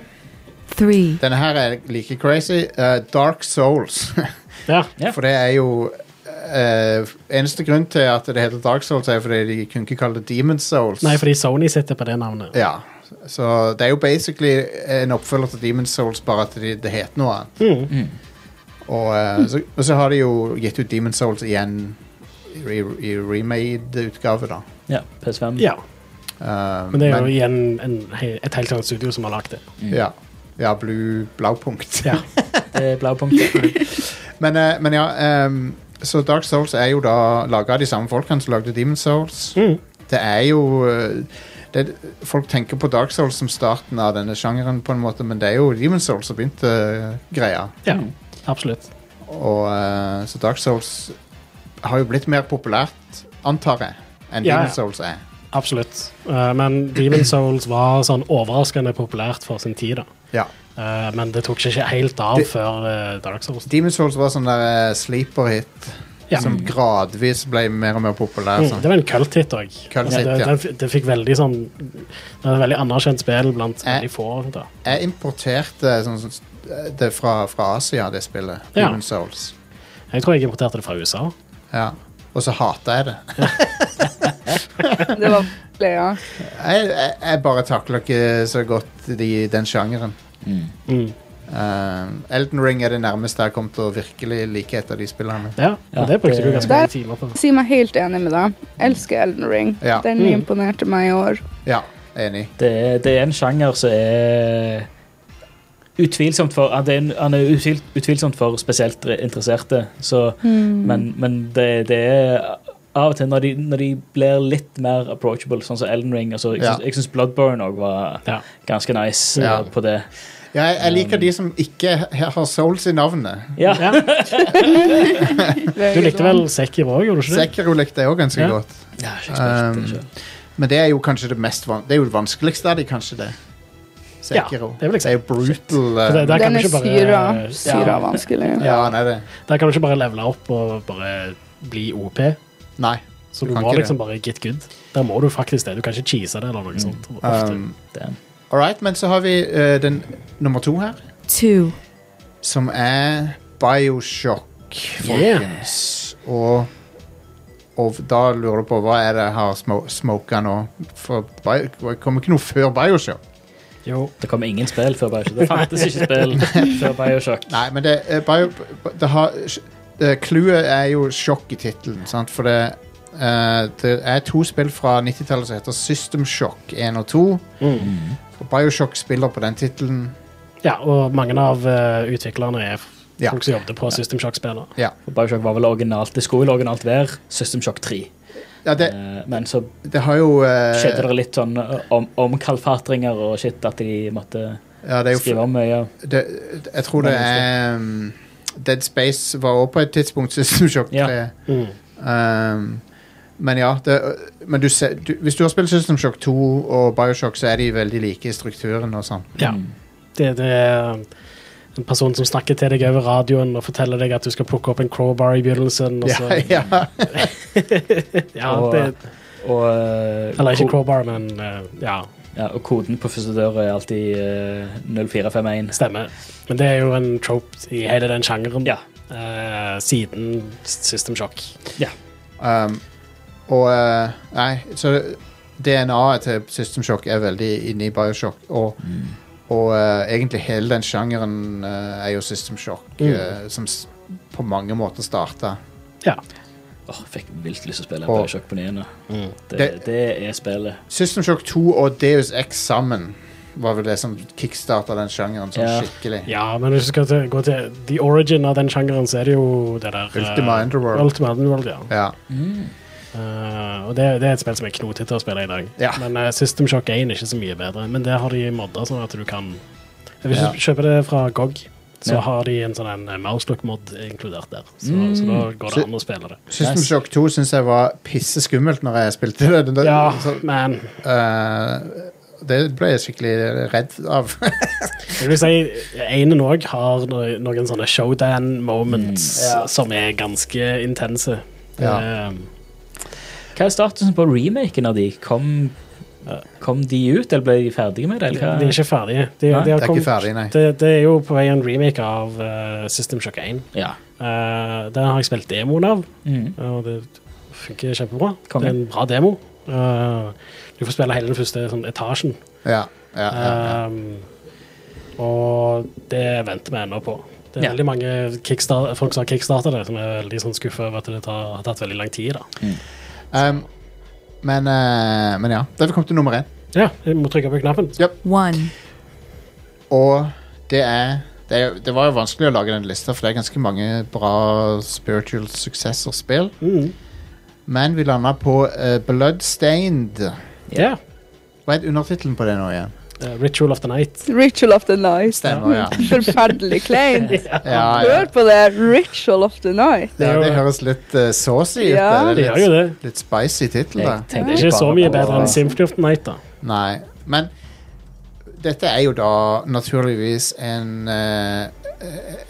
[SPEAKER 6] three,
[SPEAKER 1] Denne her er like crazy. Eh, Dark Souls.
[SPEAKER 2] ja.
[SPEAKER 4] Ja.
[SPEAKER 1] For det er jo eh, Eneste grunn til at det heter Dark Souls, er fordi de kunne ikke kalle det Demon Souls.
[SPEAKER 2] Nei, fordi Sony sitter på det navnet.
[SPEAKER 1] Ja, så det er jo basically en oppfølger til Demon's Souls, bare at det, det heter noe annet.
[SPEAKER 2] Mm.
[SPEAKER 1] Og, eh, så, og så har de jo gitt ut Demon's Souls igjen i, re- i remade-utgave, da.
[SPEAKER 4] Ja, PS5.
[SPEAKER 2] Ja,
[SPEAKER 1] Eh,
[SPEAKER 2] Men det er jo igjen en, he- et helt annet studio som har lagd det.
[SPEAKER 1] ja, ja, blu, blaupunkt.
[SPEAKER 2] Ja.
[SPEAKER 4] Det er blaupunktet.
[SPEAKER 1] Men, eh, men ja, ehm, så Dark Souls er jo da laga av de samme folkene som lagde Demon's Souls.
[SPEAKER 2] Mm.
[SPEAKER 1] Det er jo eh, det, Folk tenker på Dark Souls som starten av denne sjangeren, på en måte, men det er jo Demon's Souls som begynte eh, greia.
[SPEAKER 2] ja,
[SPEAKER 4] Mm.
[SPEAKER 2] absolutt.
[SPEAKER 1] Og eh, så Dark Souls har jo blitt mer populært, antar jeg, enn
[SPEAKER 2] Ja, ja.
[SPEAKER 1] Demon Souls er.
[SPEAKER 2] Absolutt. Eh, men Demon Souls var sånn overraskende populært for sin tid, da.
[SPEAKER 1] Ja.
[SPEAKER 2] Eh, men det tok seg ikke helt av
[SPEAKER 1] Det-
[SPEAKER 2] før eh, Dark Souls.
[SPEAKER 1] Demon Souls var sånn der eh, sleeper hit
[SPEAKER 2] Ja.
[SPEAKER 1] som gradvis ble mer og mer populær.
[SPEAKER 2] Mm,
[SPEAKER 1] Sånn.
[SPEAKER 2] det var en kult-hit òg.
[SPEAKER 1] Cult hit, ja.
[SPEAKER 2] Det fikk veldig sånn Det var et veldig anerkjent spill blant
[SPEAKER 1] Eh.
[SPEAKER 2] veldig få. da.
[SPEAKER 1] Jeg importerte sånn, sånn, det fra, fra Asia, det spillet.
[SPEAKER 2] Ja.
[SPEAKER 1] Demon Souls.
[SPEAKER 2] Jeg tror jeg importerte det fra USA.
[SPEAKER 1] Ja. Og så hata jeg det.
[SPEAKER 5] Det var ja.
[SPEAKER 1] Jeg, jeg, jeg bare takler ikke så godt de, den sjangeren.
[SPEAKER 2] Mm.
[SPEAKER 1] Eh, Elden Ring er det nærmeste jeg har kommet til å virkelig like et av de spillene.
[SPEAKER 2] Ja, og
[SPEAKER 4] Ja,
[SPEAKER 2] det brukte
[SPEAKER 4] det-
[SPEAKER 2] du ganske
[SPEAKER 5] Der-
[SPEAKER 2] mange timer på.
[SPEAKER 5] Si meg helt enig med deg. Elsker Elden Ring.
[SPEAKER 1] Ja.
[SPEAKER 5] Den
[SPEAKER 2] Mm.
[SPEAKER 5] imponerte meg i år.
[SPEAKER 1] Ja, enig.
[SPEAKER 4] Det er, det er en sjanger som er utvilsomt for Han er, en- han er utvil, utvilsomt for spesielt interesserte, så
[SPEAKER 1] Mm.
[SPEAKER 4] Men, men det, det er av og til når de, når de blir litt mer approachable, sånn som Elden Ring altså, Jeg
[SPEAKER 1] Ja.
[SPEAKER 4] syns- jeg syns Bloodburn òg var
[SPEAKER 2] Ja.
[SPEAKER 4] ganske nice
[SPEAKER 1] Ja.
[SPEAKER 4] eh, på det.
[SPEAKER 1] Ja, jeg, jeg
[SPEAKER 2] Um,
[SPEAKER 1] liker de som ikke he- har souls i navnet.
[SPEAKER 4] Ja.
[SPEAKER 2] Ja. Du likte vel Sekiro òg, gjorde du ikke det?
[SPEAKER 1] Sekiro likte jeg òg ganske
[SPEAKER 2] Ja.
[SPEAKER 1] godt. Um,
[SPEAKER 4] Ja, ikke spilt det selv.
[SPEAKER 1] Men det er jo kanskje det mest van Det er jo det vanskeligste av de, kanskje det. Sekiro.
[SPEAKER 2] Ja, det er vel ikke
[SPEAKER 1] jo brutal eh,
[SPEAKER 2] For det- der kan
[SPEAKER 5] Den
[SPEAKER 2] du
[SPEAKER 5] er
[SPEAKER 2] ikke bare-
[SPEAKER 5] syra.
[SPEAKER 2] Ja.
[SPEAKER 5] Syra vanskelig.
[SPEAKER 1] um, Ja, nei, det.
[SPEAKER 2] Der kan du ikke bare levele opp og bare bli OP.
[SPEAKER 1] Nei.
[SPEAKER 2] Så
[SPEAKER 1] Du
[SPEAKER 2] du,
[SPEAKER 1] kan
[SPEAKER 2] må
[SPEAKER 1] ikke
[SPEAKER 2] liksom bare get good. Der må du faktisk det. Du kan ikke cheese det eller noe sånt. Ofte.
[SPEAKER 1] Um,
[SPEAKER 4] Damn.
[SPEAKER 1] All right, men så har vi eh, den nummer to her,
[SPEAKER 6] two,
[SPEAKER 1] som er Bioshock, folkens. Og og da lurer du på hva er det jeg har smo smoka nå? For Bio- det kommer ikke noe før Bioshock.
[SPEAKER 2] jo.
[SPEAKER 4] Det kom ingen spill før Bioshock. Det fantes ikke spill før Bioshock.
[SPEAKER 1] Nei, men det, eh, bio, det har det- Clouet er jo sjokk i tittelen, sant? for det, eh, det er to spill fra 90-tallet som heter System Shock 1 og 2. Og Bioshock spiller på den tittelen.
[SPEAKER 2] Ja, og mange av eh, utviklerne er f-
[SPEAKER 1] Ja.
[SPEAKER 2] folk som jobbet på System Shock-spillere.
[SPEAKER 1] Ja.
[SPEAKER 4] For Bioshock var vel originalt Det skulle vel originalt være System Shock 3,
[SPEAKER 1] ja det,
[SPEAKER 4] eh, men så
[SPEAKER 1] det har jo eh,
[SPEAKER 4] skjedde det litt sånn eh, om, omkalfatringer og shit at de måtte
[SPEAKER 1] ja, det er jo,
[SPEAKER 4] skrive om mye.
[SPEAKER 1] det, det- Jeg tror det er um, Dead Space var også på et tidspunkt System Shock 3.
[SPEAKER 4] Ja.
[SPEAKER 2] Mm.
[SPEAKER 1] Um, men ja, det, men du ser, du, hvis du har spilt System Shock 2 og Bioshock, så er de veldig like i strukturen og sånn.
[SPEAKER 2] Ja.
[SPEAKER 4] Mm.
[SPEAKER 2] Det, det er um, en person som snakker til deg over radioen og forteller deg at du skal plukke opp en crowbar i begynnelsen. Og så,
[SPEAKER 1] Ja, ja.
[SPEAKER 2] ja,
[SPEAKER 4] Og-
[SPEAKER 2] det,
[SPEAKER 4] Og, eh,
[SPEAKER 2] eller ikke
[SPEAKER 4] ko-
[SPEAKER 2] crowbar, men eh, ja,
[SPEAKER 4] ja, og koden på første dør er alltid eh, 0451.
[SPEAKER 2] stemmer. Men det er jo en trope i hele den sjangeren
[SPEAKER 4] Ja.
[SPEAKER 2] eh, siden System Shock.
[SPEAKER 1] Um, og eh, Nei, så DNA-et til altså System Shock er veldig inne i Bioshock. Og,
[SPEAKER 4] Mm.
[SPEAKER 1] og eh, egentlig hele den sjangeren eh, er jo System Shock,
[SPEAKER 4] Mm.
[SPEAKER 1] eh, som s på mange måter starta.
[SPEAKER 2] Ja.
[SPEAKER 4] Åh, jeg fikk vilt lyst til å spille
[SPEAKER 1] Åh.
[SPEAKER 4] Bioshock
[SPEAKER 1] Mm.
[SPEAKER 4] på ny igjen. nå. Det,
[SPEAKER 1] Det-
[SPEAKER 4] det er spillet.
[SPEAKER 1] System Shock 2 og Deus X sammen var vel det som kickstarta den sjangeren sånn
[SPEAKER 4] Ja.
[SPEAKER 1] skikkelig.
[SPEAKER 2] Ja, men hvis du skal til, gå til the origin av den sjangeren, så er det jo det der eh,
[SPEAKER 1] Ultima Underworld.
[SPEAKER 2] Ultima Underworld, ja.
[SPEAKER 1] Ja.
[SPEAKER 2] Mm. Eh, og det, det er et spill som er knotete å spille i dag.
[SPEAKER 1] Ja.
[SPEAKER 2] Men eh, System Shock 1 er ikke så mye bedre. Men det har de modda sånn at du kan Hvis
[SPEAKER 1] Ja.
[SPEAKER 2] du kjøper det fra GOG, så
[SPEAKER 4] Ja.
[SPEAKER 2] har de en sånn en eh, Mouselock-mod inkludert der. Så, så da går
[SPEAKER 1] Mm. Så-
[SPEAKER 2] det an å spille det.
[SPEAKER 1] System
[SPEAKER 4] Nice.
[SPEAKER 1] Shock 2 syns jeg var pisseskummelt når jeg spilte det. Den der-
[SPEAKER 2] Ja,
[SPEAKER 1] så,
[SPEAKER 2] men
[SPEAKER 1] eh, det ble jeg skikkelig redd av.
[SPEAKER 2] jeg vil si Einen òg har no- noen sånne showdown moments
[SPEAKER 4] Mm. Ja.
[SPEAKER 2] som er ganske intense. Eh, Det
[SPEAKER 1] Ja.
[SPEAKER 2] er-
[SPEAKER 4] Hva er statusen på remaken av de? Kom, kom de ut, eller ble de ferdige med det?
[SPEAKER 2] De
[SPEAKER 4] Eller hva?
[SPEAKER 2] de er ikke ferdige.
[SPEAKER 4] Nei,
[SPEAKER 2] De, de har
[SPEAKER 1] Det er
[SPEAKER 2] kommet-
[SPEAKER 1] ikke ferdig, nei.
[SPEAKER 2] Det, det er jo på vei en remake av eh, System Shock 1.
[SPEAKER 4] Ja.
[SPEAKER 2] Eh, den har jeg spilt demoen av,
[SPEAKER 4] Mm.
[SPEAKER 2] og det funker kjempebra.
[SPEAKER 4] Konge.
[SPEAKER 2] Det er en bra demo. Eh, du får spille hele den første sånn, etasjen.
[SPEAKER 1] Ja, ja, ja, ja.
[SPEAKER 2] Um, og det venter vi ennå på. Det er
[SPEAKER 4] Ja.
[SPEAKER 2] veldig mange kickstar- folk som har kickstarta det, som er veldig sånn skuffa over at det tar, har tatt veldig lang tid. da.
[SPEAKER 1] Um, men, eh, men ja. Da har vi kommet til nummer én.
[SPEAKER 2] Ja, jeg må trykke på knappen.
[SPEAKER 1] Ja.
[SPEAKER 6] One.
[SPEAKER 1] Og det er det, er- det var jo vanskelig å lage den lista, for det er ganske mange bra spiritual successor-spill.
[SPEAKER 2] Mm.
[SPEAKER 1] Men vi landa på eh, Bloodstained.
[SPEAKER 2] Ja.
[SPEAKER 1] Hva er undertittelen på det nå igjen?
[SPEAKER 2] Eh, Ritual of the Night.
[SPEAKER 5] Ritual of the night.
[SPEAKER 1] Stemmer, ja.
[SPEAKER 5] Forferdelig kleint.
[SPEAKER 1] ja, ja.
[SPEAKER 5] Hør på det. Ritual of the night.
[SPEAKER 1] Det, det høres litt eh, saucy ut.
[SPEAKER 5] Ja.
[SPEAKER 1] det.
[SPEAKER 2] Det
[SPEAKER 1] Det
[SPEAKER 2] gjør
[SPEAKER 1] er
[SPEAKER 2] jo
[SPEAKER 1] litt,
[SPEAKER 2] det.
[SPEAKER 1] litt spicy tittel, da.
[SPEAKER 4] Jeg tenkte
[SPEAKER 2] Det er ikke så
[SPEAKER 4] bare
[SPEAKER 2] mye
[SPEAKER 4] på-
[SPEAKER 2] bedre enn Symphony of the Night, da.
[SPEAKER 1] Nei, men dette er jo da naturligvis en eh,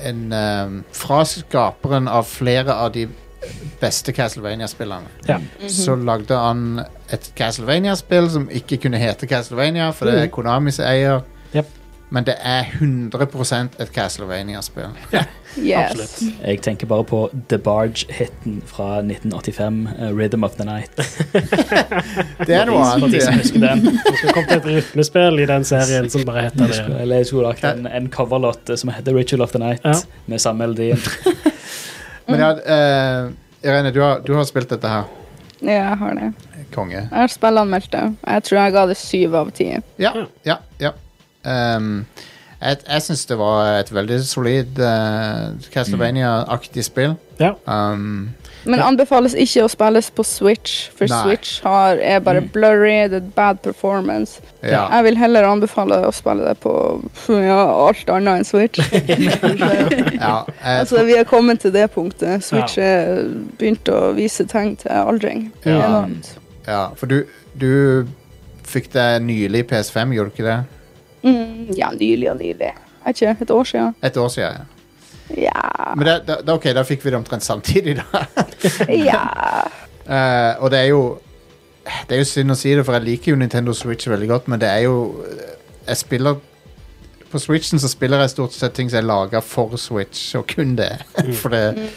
[SPEAKER 1] en eh, fra skaperen av flere av de beste Castlevania-spillene.
[SPEAKER 2] Ja.
[SPEAKER 1] Så lagde han et Castlevania-spill som ikke kunne hete Castlevania, for det er
[SPEAKER 2] Mhm.
[SPEAKER 1] Konamis eier.
[SPEAKER 2] Jep.
[SPEAKER 1] Men det er 100 et Castlevania-spill.
[SPEAKER 5] Yes.
[SPEAKER 2] Absolutt.
[SPEAKER 4] Jeg tenker bare på The Barge-hiten fra 1985, eh, Rhythm of the Night.
[SPEAKER 1] Det er noe
[SPEAKER 4] For de som
[SPEAKER 1] annet.
[SPEAKER 4] husker den.
[SPEAKER 2] Det skulle kommet et rytmespill i den serien som bare heter det.
[SPEAKER 4] Eller jeg skulle lagt en, en coverlåt eh, som heter Ritual of the Night,
[SPEAKER 2] Ja.
[SPEAKER 4] med samme melodien.
[SPEAKER 1] Men ja, eh, Irene, du har, du har spilt dette her.
[SPEAKER 5] Ja, jeg har det.
[SPEAKER 1] Konge.
[SPEAKER 5] Jeg har spillanmeldt det. Jeg tror jeg ga det syv av ti.
[SPEAKER 1] Ja, ja, ja. Ehm, jeg jeg syns det var et veldig solid eh, Castlevania-aktig spill.
[SPEAKER 2] Ja.
[SPEAKER 1] Um,
[SPEAKER 5] Men anbefales ikke å spilles på Switch, for
[SPEAKER 1] Nei. Mm.
[SPEAKER 5] Switch har, er bare blurry, det er bad performance.
[SPEAKER 1] ja.
[SPEAKER 5] Jeg vil heller anbefale å spille det på ja, alt annet enn Switch.
[SPEAKER 1] ja jeg,
[SPEAKER 5] altså,
[SPEAKER 1] tror,
[SPEAKER 5] vi har kommet til det punktet. Switch er begynt å vise tegn til aldring.
[SPEAKER 1] Ja.
[SPEAKER 5] Enormt.
[SPEAKER 1] ja for du, du fikk deg nylig PS5, gjorde du ikke det?
[SPEAKER 5] Mm, ja, nylig og nylig. Jeg vet ikke, et år siden.
[SPEAKER 1] Et år siden. ja.
[SPEAKER 5] Ja,
[SPEAKER 1] Men det, det, det- ok, da fikk vi det omtrent samtidig, da.
[SPEAKER 5] ja.
[SPEAKER 1] Eh, og det er jo Det er jo synd å si det, for jeg liker jo Nintendo Switch veldig godt, men det er jo Jeg spiller På Switchen så spiller jeg stort sett ting som er laga for Switch, og kun det. For det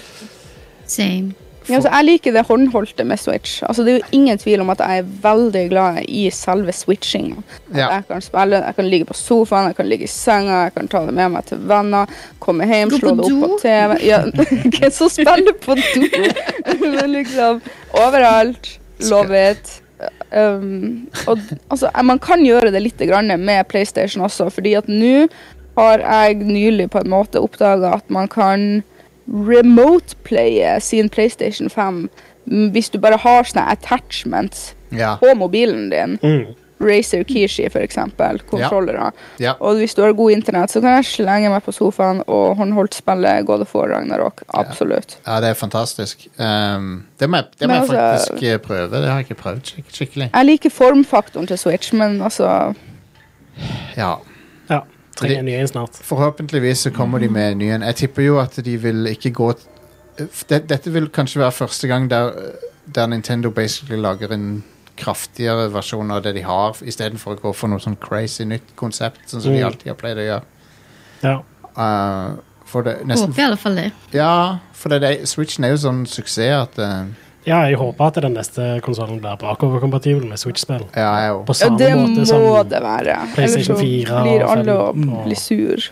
[SPEAKER 3] Same.
[SPEAKER 5] Ja, altså, jeg liker det håndholdte med Switch. Altså, det er jo ingen tvil om at jeg er veldig glad i selve switchinga.
[SPEAKER 1] Ja.
[SPEAKER 5] Jeg kan spille, jeg kan ligge på sofaen, jeg kan ligge i senga, jeg kan ta det med meg til venner, komme hjem,
[SPEAKER 3] Gå
[SPEAKER 5] slå
[SPEAKER 3] på
[SPEAKER 5] det opp på
[SPEAKER 3] do.
[SPEAKER 5] TV. Ja, hvem som spiller på do? Men liksom overalt. Love it. Um, og altså, eh, man kan gjøre det litt grann med PlayStation også, fordi at nå har jeg nylig på en måte oppdaga at man kan remote-playe sin PlayStation 5 mm, hvis du bare har sånne attachments
[SPEAKER 1] Ja.
[SPEAKER 5] på mobilen din.
[SPEAKER 2] Mm.
[SPEAKER 5] Razer Kishi, for eksempel. Kontrollere.
[SPEAKER 1] ja.
[SPEAKER 5] Og hvis du har god internett, så kan jeg slenge meg på sofaen og håndholdt spille God of War Ragnarok. Absolutt.
[SPEAKER 1] Ja, det er fantastisk. Um, det må jeg, det må
[SPEAKER 5] Men
[SPEAKER 1] jeg
[SPEAKER 5] altså-
[SPEAKER 1] faktisk eh, prøve. Det har jeg ikke prøvd skik skikkelig.
[SPEAKER 5] Jeg liker formfaktoren til Switch, men altså
[SPEAKER 1] Ja.
[SPEAKER 2] Ja. Trenger en ny en snart.
[SPEAKER 1] Forhåpentligvis så kommer de med en ny en. Jeg tipper jo at de vil ikke gå t- f- det- Dette vil kanskje være første gang der, der Nintendo basically lager en kraftigere versjon av det de har, istedenfor å gå for noe sånn crazy nytt konsept, sånn som de
[SPEAKER 2] Mm.
[SPEAKER 1] alltid har pleid å gjøre.
[SPEAKER 2] Ja.
[SPEAKER 1] Uh, for det, nesten
[SPEAKER 3] Håper i alle fall det.
[SPEAKER 1] Ja, for det, det, Switchen er jo sånn suksess at eh,
[SPEAKER 2] Ja, jeg håper at den neste konsollen blir bakoverkompatibel med Switch-spill.
[SPEAKER 1] Ja, jeg òg.
[SPEAKER 2] På
[SPEAKER 5] Ja,
[SPEAKER 2] samme
[SPEAKER 5] det
[SPEAKER 2] måte som
[SPEAKER 5] må det være. Ellers så
[SPEAKER 2] PlayStation 4 og Mm.
[SPEAKER 5] blir alle å
[SPEAKER 2] 5.
[SPEAKER 5] bli sur.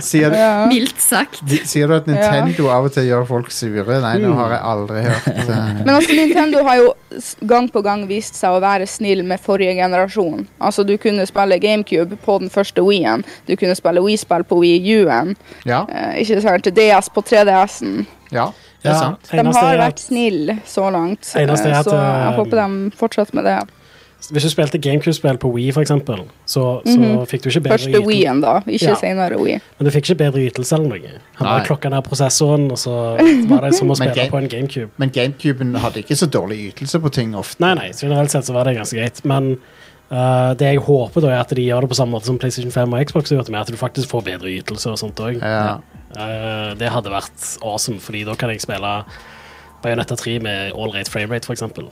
[SPEAKER 1] Sier, du-
[SPEAKER 5] Ja.
[SPEAKER 3] Mildt sagt.
[SPEAKER 1] de- sier du at Nintendo av og til gjør folk sure? Nei, nå har jeg aldri hørt eh,
[SPEAKER 5] Men altså, Nintendo har jo s- gang på gang vist seg å være snill med forrige generasjon. Altså, Du kunne spille GameCube på den første Wii-en. Du kunne spille Wii-spill på Wii U-en.
[SPEAKER 1] Ja,
[SPEAKER 5] Eh, ikke sant? DS på 3DS-en.
[SPEAKER 1] ja, det
[SPEAKER 2] Ja,
[SPEAKER 1] er sant.
[SPEAKER 5] De
[SPEAKER 2] eneste
[SPEAKER 5] har
[SPEAKER 2] er at
[SPEAKER 5] vært snille så langt. Eh,
[SPEAKER 2] Eneste er at,
[SPEAKER 5] så jeg
[SPEAKER 2] eh,
[SPEAKER 5] håper de fortsetter med det.
[SPEAKER 2] Hvis du spilte GameCube-spill på Wii, for eksempel, så, så
[SPEAKER 5] Mhm.
[SPEAKER 2] fikk du ikke bedre
[SPEAKER 5] Første
[SPEAKER 2] ytelse.
[SPEAKER 5] Wii-en, da. Ikke
[SPEAKER 2] Ja.
[SPEAKER 5] senere Wii.
[SPEAKER 2] Men du fikk ikke bedre ytelse eller noe. Han bare
[SPEAKER 1] Nei.
[SPEAKER 2] klokka ned prosessoren, og så var det som å
[SPEAKER 1] Men
[SPEAKER 2] spille
[SPEAKER 1] game-
[SPEAKER 2] på en GameCube.
[SPEAKER 1] Men GameCuben hadde ikke så dårlig ytelse på ting ofte.
[SPEAKER 2] Nei, nei, generelt sett så var det ganske greit, men eh, det jeg håper da er at de gjør det på samme måte som PlayStation 5 og Xbox, gjør det med at du faktisk får bedre ytelse og sånt òg.
[SPEAKER 1] Ja.
[SPEAKER 2] det hadde vært awesome, fordi da kan jeg spille Bayonetta 3 med all rate frame rate, for eksempel.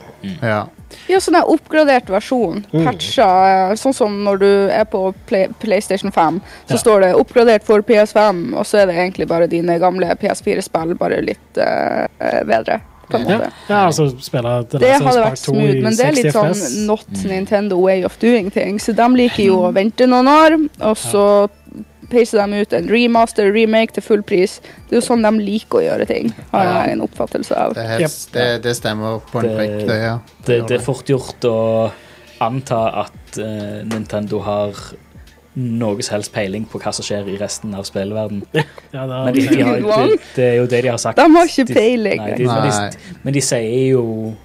[SPEAKER 1] Ja.
[SPEAKER 5] Ja, sånn der oppgradert versjon.
[SPEAKER 2] Mm.
[SPEAKER 5] Patcha, eh, sånn som når du er på Play PlayStation 5, så
[SPEAKER 2] Ja.
[SPEAKER 5] står det 'oppgradert for PS5', og så er det egentlig bare dine gamle PS4-spill, bare litt eh, eh, bedre. På en
[SPEAKER 2] Ja,
[SPEAKER 5] måte.
[SPEAKER 2] ja altså spille The
[SPEAKER 5] Det
[SPEAKER 1] sånn
[SPEAKER 2] Last of Us
[SPEAKER 5] hadde
[SPEAKER 2] Part
[SPEAKER 5] vært
[SPEAKER 2] 2 i
[SPEAKER 5] smooth, men det er
[SPEAKER 2] 60
[SPEAKER 5] litt sånn
[SPEAKER 2] FPS.
[SPEAKER 5] not
[SPEAKER 1] Mm.
[SPEAKER 5] Nintendo way of doing things. Så de liker jo å vente noen år, og så peiser de ut en remaster, remake til full pris. Det er jo sånn de liker å gjøre ting, har
[SPEAKER 1] Ja.
[SPEAKER 5] jeg en oppfattelse av.
[SPEAKER 1] Det, er helt, det, det stemmer på en
[SPEAKER 4] Det-
[SPEAKER 1] prikk, det. Ja.
[SPEAKER 4] Det, det er fort gjort å anta at eh, Nintendo har noe som helst peiling på hva som skjer i resten av spillverden.
[SPEAKER 2] Ja, det
[SPEAKER 4] Men de,
[SPEAKER 2] er,
[SPEAKER 4] de har, det, det er jo det de har sagt.
[SPEAKER 5] De har ikke
[SPEAKER 4] De-
[SPEAKER 5] peiling.
[SPEAKER 4] Nei, de, men,
[SPEAKER 1] Nei.
[SPEAKER 4] de, men de sier jo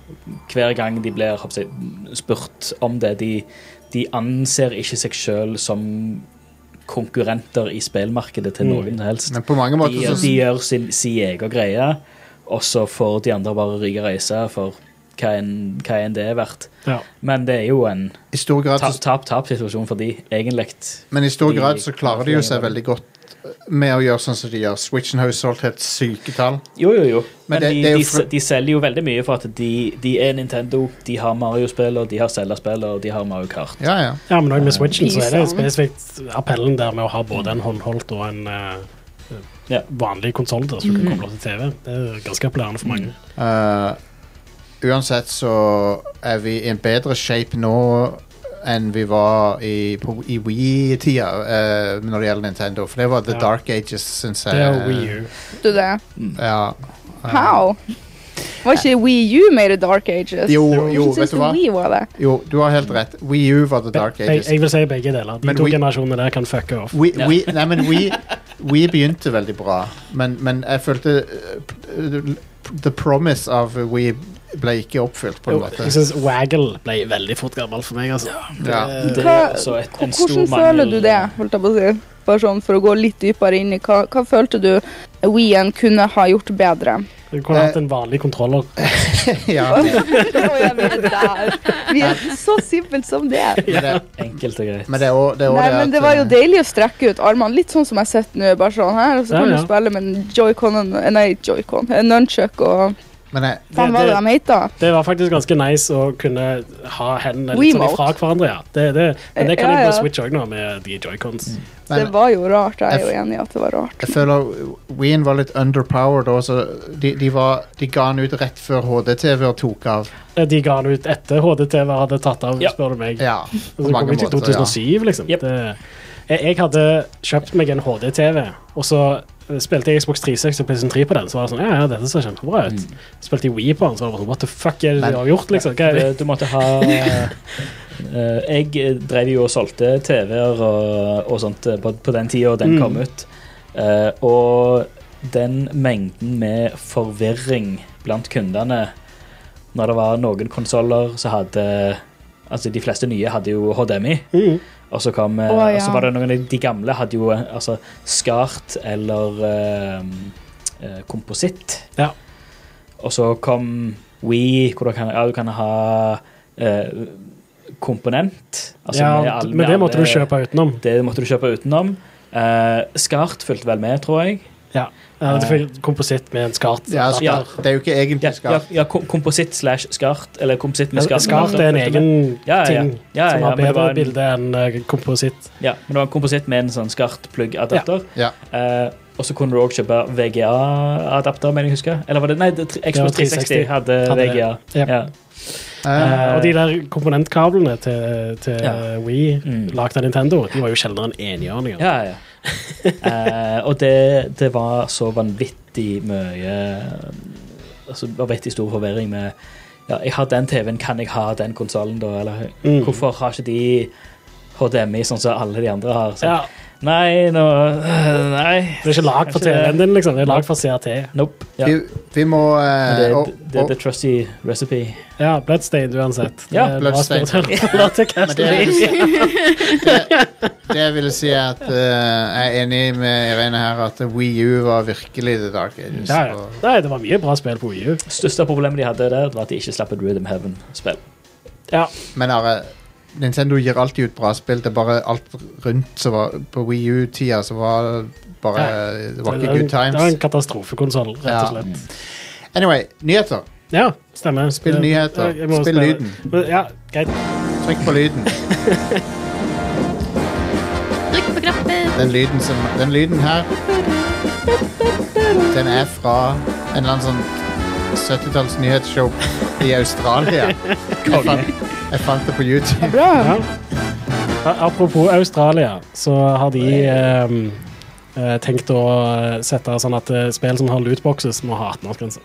[SPEAKER 4] hver gang de blir hva skal jeg si, spurt om det De, de anser ikke seg sjøl som konkurrenter i spillmarkedet til
[SPEAKER 2] Mm.
[SPEAKER 4] noen som helst.
[SPEAKER 1] Men på mange måter
[SPEAKER 4] De,
[SPEAKER 1] så
[SPEAKER 4] de gjør sin, sin egen greie, og så får de andre bare ryke reise for hva enn hva enn det er verdt.
[SPEAKER 2] ja.
[SPEAKER 4] Men det er jo en
[SPEAKER 1] I stor grad så
[SPEAKER 4] tap-tap-tap-situasjon for de, egentlig.
[SPEAKER 1] Men i stor
[SPEAKER 4] De-
[SPEAKER 1] grad så klarer de jo seg veldig godt med å gjøre sånn som de gjør. Switchen har jo solgt helt syke tall.
[SPEAKER 4] Jo, jo, jo.
[SPEAKER 1] Men
[SPEAKER 4] Men,
[SPEAKER 1] det-
[SPEAKER 4] de,
[SPEAKER 1] det er jo
[SPEAKER 4] de,
[SPEAKER 1] fr-
[SPEAKER 4] de selger jo veldig mye for at de, de er Nintendo, de har Mario-spill, og de har Zelda-spill, og de har Mario Kart.
[SPEAKER 1] Ja, ja.
[SPEAKER 2] ja, men òg med Switchen så er det
[SPEAKER 5] Island.
[SPEAKER 2] spesifikt appellen der med å ha både en håndholdt og en eh,
[SPEAKER 4] Ja.
[SPEAKER 2] vanlig konsoll som du kan
[SPEAKER 5] Mhm.
[SPEAKER 2] koble til TV. Det er ganske appellerende for mange.
[SPEAKER 1] Eh, uansett så er vi i en bedre shape nå enn vi var i, på- i Wii-tida eh, når det gjelder Nintendo. For det var The
[SPEAKER 2] Ja.
[SPEAKER 1] Dark Ages, syns jeg.
[SPEAKER 2] Det er Wii U.
[SPEAKER 5] Vet du det?
[SPEAKER 1] Ja.
[SPEAKER 5] How? Var ikke Wii U mer Dark Ages?
[SPEAKER 1] Jo,
[SPEAKER 5] Jeg
[SPEAKER 1] jo,
[SPEAKER 5] synes
[SPEAKER 1] vet du hva?
[SPEAKER 5] Wii var det.
[SPEAKER 1] Jo, du har helt rett. Wii U var The Dark
[SPEAKER 2] Jeg,
[SPEAKER 1] Ages.
[SPEAKER 2] jeg vil si begge deler. De
[SPEAKER 1] Men
[SPEAKER 2] to
[SPEAKER 1] Wii-
[SPEAKER 2] generasjonene der kan fucke off.
[SPEAKER 1] We, we, nei, men we, we begynte veldig bra, men, men jeg følte eh, p- The promise av We ble ikke oppfylt, på en
[SPEAKER 2] Jo,
[SPEAKER 1] måte.
[SPEAKER 2] Jeg syns Waggle ble veldig fort gammel for meg. altså.
[SPEAKER 1] Ja.
[SPEAKER 4] Det
[SPEAKER 5] Hva-
[SPEAKER 4] er også et, en stor
[SPEAKER 5] Hvordan føler du det? Holdt jeg på å si. Bare sånn for å gå litt dypere inn i hva, hva følte du Wii-en kunne ha gjort bedre?
[SPEAKER 2] Du kunne hatt en vanlig kontroller.
[SPEAKER 1] ja.
[SPEAKER 5] Å, ja, vi er der. Vi er så simpelt som det. er.
[SPEAKER 1] Men det,
[SPEAKER 4] Enkelt og greit.
[SPEAKER 1] men det er òg det, er også
[SPEAKER 5] Nei,
[SPEAKER 1] det
[SPEAKER 5] men
[SPEAKER 1] at,
[SPEAKER 5] det var jo
[SPEAKER 1] eh,
[SPEAKER 5] deilig å strekke ut armene, litt sånn som jeg sitter nå. Bare sånn her, og så
[SPEAKER 2] Ja,
[SPEAKER 5] kan
[SPEAKER 2] ja.
[SPEAKER 5] du spille med en joycon og en- eh, Nei, joycon. En nunchuck og
[SPEAKER 1] Men jeg,
[SPEAKER 5] Hva
[SPEAKER 2] Det-
[SPEAKER 5] var det
[SPEAKER 2] det-
[SPEAKER 5] de heter?
[SPEAKER 2] Det var faktisk ganske nice å kunne ha hendene litt sånn
[SPEAKER 5] Wiimote.
[SPEAKER 2] ifra hverandre. ja. Det, det, men det kan
[SPEAKER 5] Ja,
[SPEAKER 2] jeg på
[SPEAKER 5] ja.
[SPEAKER 2] Switch òg nå, med de joycons.
[SPEAKER 1] nei,
[SPEAKER 5] Det var jo rart. Jeg er
[SPEAKER 1] Jeg
[SPEAKER 5] jo enig i at det var rart.
[SPEAKER 1] jeg føler Wien var litt underpowered òg, så de, de, var, de ga den ut rett før HDTV-er tok av.
[SPEAKER 2] Eh, De ga den ut etter HDTV hadde tatt av,
[SPEAKER 4] Ja.
[SPEAKER 2] spør du meg.
[SPEAKER 1] Ja,
[SPEAKER 2] Og
[SPEAKER 1] på
[SPEAKER 2] så kom
[SPEAKER 1] mange
[SPEAKER 2] vi til
[SPEAKER 1] måter. Ja.
[SPEAKER 2] 2007, liksom.
[SPEAKER 4] Yep.
[SPEAKER 2] Det, jeg, jeg hadde kjøpt meg en HD-TV, og så eh, spilte jeg Xbox 360 og PlayStation 3 på den, så var det sånn, ja, ja, dette ser kjempebra ut. Spilte jeg Wii på den, så var det bare sånn, what the fuck er det
[SPEAKER 1] Men-
[SPEAKER 2] du har gjort, liksom? Hva er det?
[SPEAKER 4] Du- Du måtte ha eh, Jeg drev jo og solgte TV-er og, og sånt eh, på, på den tida den
[SPEAKER 2] Mm.
[SPEAKER 4] kom ut. Eh, og den mengden med forvirring blant kundene når det var noen konsoller som hadde Altså, de fleste nye hadde jo HDMI.
[SPEAKER 2] Mm.
[SPEAKER 4] Og så kom eh,
[SPEAKER 5] Å, ja.
[SPEAKER 4] og så var det noen av de gamle hadde jo eh, altså, skart eller eh, eh, kompositt.
[SPEAKER 2] Ja.
[SPEAKER 4] Og så kom We, hvor du kan, ja, du kan ha eh, komponent. altså
[SPEAKER 2] ja,
[SPEAKER 4] med alle-
[SPEAKER 2] men
[SPEAKER 4] med
[SPEAKER 2] det måtte du
[SPEAKER 4] alle-
[SPEAKER 2] kjøpe utenom.
[SPEAKER 4] Det måtte du kjøpe utenom. Eh, skart fulgte vel med, tror jeg.
[SPEAKER 2] Ja. ja det er kompositt med en skart.
[SPEAKER 1] Ja, altså,
[SPEAKER 4] Ja.
[SPEAKER 1] Det er jo ikke
[SPEAKER 4] Ja,
[SPEAKER 1] egentlig
[SPEAKER 4] ja,
[SPEAKER 1] skart.
[SPEAKER 4] ja kom- kompositt slash skart, eller kompositt med
[SPEAKER 2] Men
[SPEAKER 4] skart.
[SPEAKER 2] Skart er en egen
[SPEAKER 4] Ja, ja, ja.
[SPEAKER 2] ting
[SPEAKER 4] Ja,
[SPEAKER 2] som
[SPEAKER 4] ja, men
[SPEAKER 2] har
[SPEAKER 4] det
[SPEAKER 2] bedre
[SPEAKER 4] var en-
[SPEAKER 2] bilde enn eh, kompositt.
[SPEAKER 4] Ja, men det var en kompositt med en sånn skart-plugg-adapter.
[SPEAKER 1] Ja.
[SPEAKER 4] Eh, og så kunne du òg kjøpe VGA-adapter, mener jeg husker. Eller var det Nei, det,
[SPEAKER 2] var
[SPEAKER 4] Xbox 360 hadde,
[SPEAKER 2] Hadde det.
[SPEAKER 4] VGA.
[SPEAKER 2] Ja.
[SPEAKER 4] Ja.
[SPEAKER 1] Eh,
[SPEAKER 2] Eh, og de der komponentkablene til, til
[SPEAKER 4] Ja.
[SPEAKER 2] Wii,
[SPEAKER 4] Mm.
[SPEAKER 2] lagd av Nintendo, de var jo sjeldnere enn enhjørninger.
[SPEAKER 4] Ja, ja. Eh, og det, det var så vanvittig mye altså, Vanvittig stor forvirring med ja, Jeg har den TV-en, kan jeg ha den konsollen da? Eller
[SPEAKER 2] Mm.
[SPEAKER 4] hvorfor har ikke de HDMI sånn som alle de andre har? Så,
[SPEAKER 2] Ja,
[SPEAKER 4] Nei, nå øh, Nei.
[SPEAKER 2] det er ikke lag for
[SPEAKER 4] Kanskje det-
[SPEAKER 2] TV-en din, liksom. Det er lag for CRT.
[SPEAKER 4] Nope. Ja.
[SPEAKER 1] vi, vi må
[SPEAKER 4] Men
[SPEAKER 1] eh,
[SPEAKER 4] Det,
[SPEAKER 1] og,
[SPEAKER 4] det, det,
[SPEAKER 1] og,
[SPEAKER 4] det trusty recipe.
[SPEAKER 2] Ja, Bloodstained uansett.
[SPEAKER 4] Ja,
[SPEAKER 2] Det er bra
[SPEAKER 1] Bloodstained.
[SPEAKER 2] spillere til
[SPEAKER 1] Men det,
[SPEAKER 2] Castlevania.
[SPEAKER 1] jeg vil si, det, det jeg vil si er at eh, jeg er enig med Irene her at Wii U var virkelig The Dark Ages.
[SPEAKER 2] Ja, ja.
[SPEAKER 1] Og,
[SPEAKER 2] Nei, det var mye bra spill på EU.
[SPEAKER 4] Største problemet de hadde der, var at de ikke slapp et Rhythm Heaven-spill.
[SPEAKER 2] Ja,
[SPEAKER 1] men Are, Nintendo gir alltid ut bra spill. Det er bare alt rundt som var på Wii U-tida, så var det bare Det var
[SPEAKER 2] det,
[SPEAKER 1] ikke
[SPEAKER 2] var en-
[SPEAKER 1] good
[SPEAKER 2] det var en
[SPEAKER 1] times.
[SPEAKER 2] katastrofekonsoll, rett og
[SPEAKER 1] Ja.
[SPEAKER 2] slett.
[SPEAKER 1] Anyway, nyheter.
[SPEAKER 2] Ja, stemmer. Eh,
[SPEAKER 1] Spill nyheter.
[SPEAKER 2] Jeg- jeg må
[SPEAKER 1] Spill
[SPEAKER 2] spille-
[SPEAKER 1] lyden.
[SPEAKER 2] Men, Ja, greit.
[SPEAKER 1] Trykk på lyden.
[SPEAKER 3] Trykk på knappen.
[SPEAKER 1] Den lyden, som, den lyden her Den er fra en eller annen sånn 70-talls nyhetsshow i Australia. Jeg fant, jeg fant det på YouTube.
[SPEAKER 5] Bra.
[SPEAKER 2] Ja. A- Apropos Australia, så har de ehm, eh, tenkt å sette sånn at eh, spill som har lootboxes, må ha 18-årsgrense.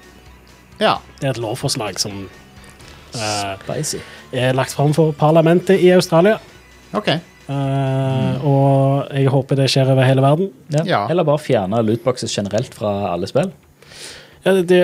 [SPEAKER 1] Ja.
[SPEAKER 2] Det er et lovforslag som eh,
[SPEAKER 4] Spicy.
[SPEAKER 2] er lagt fram for parlamentet i Australia.
[SPEAKER 1] OK.
[SPEAKER 2] Eh, Og jeg håper det skjer over hele verden.
[SPEAKER 4] Ja.
[SPEAKER 1] Ja.
[SPEAKER 4] Eller bare fjerne lootboxes generelt fra alle spill.
[SPEAKER 2] Ja, det, det,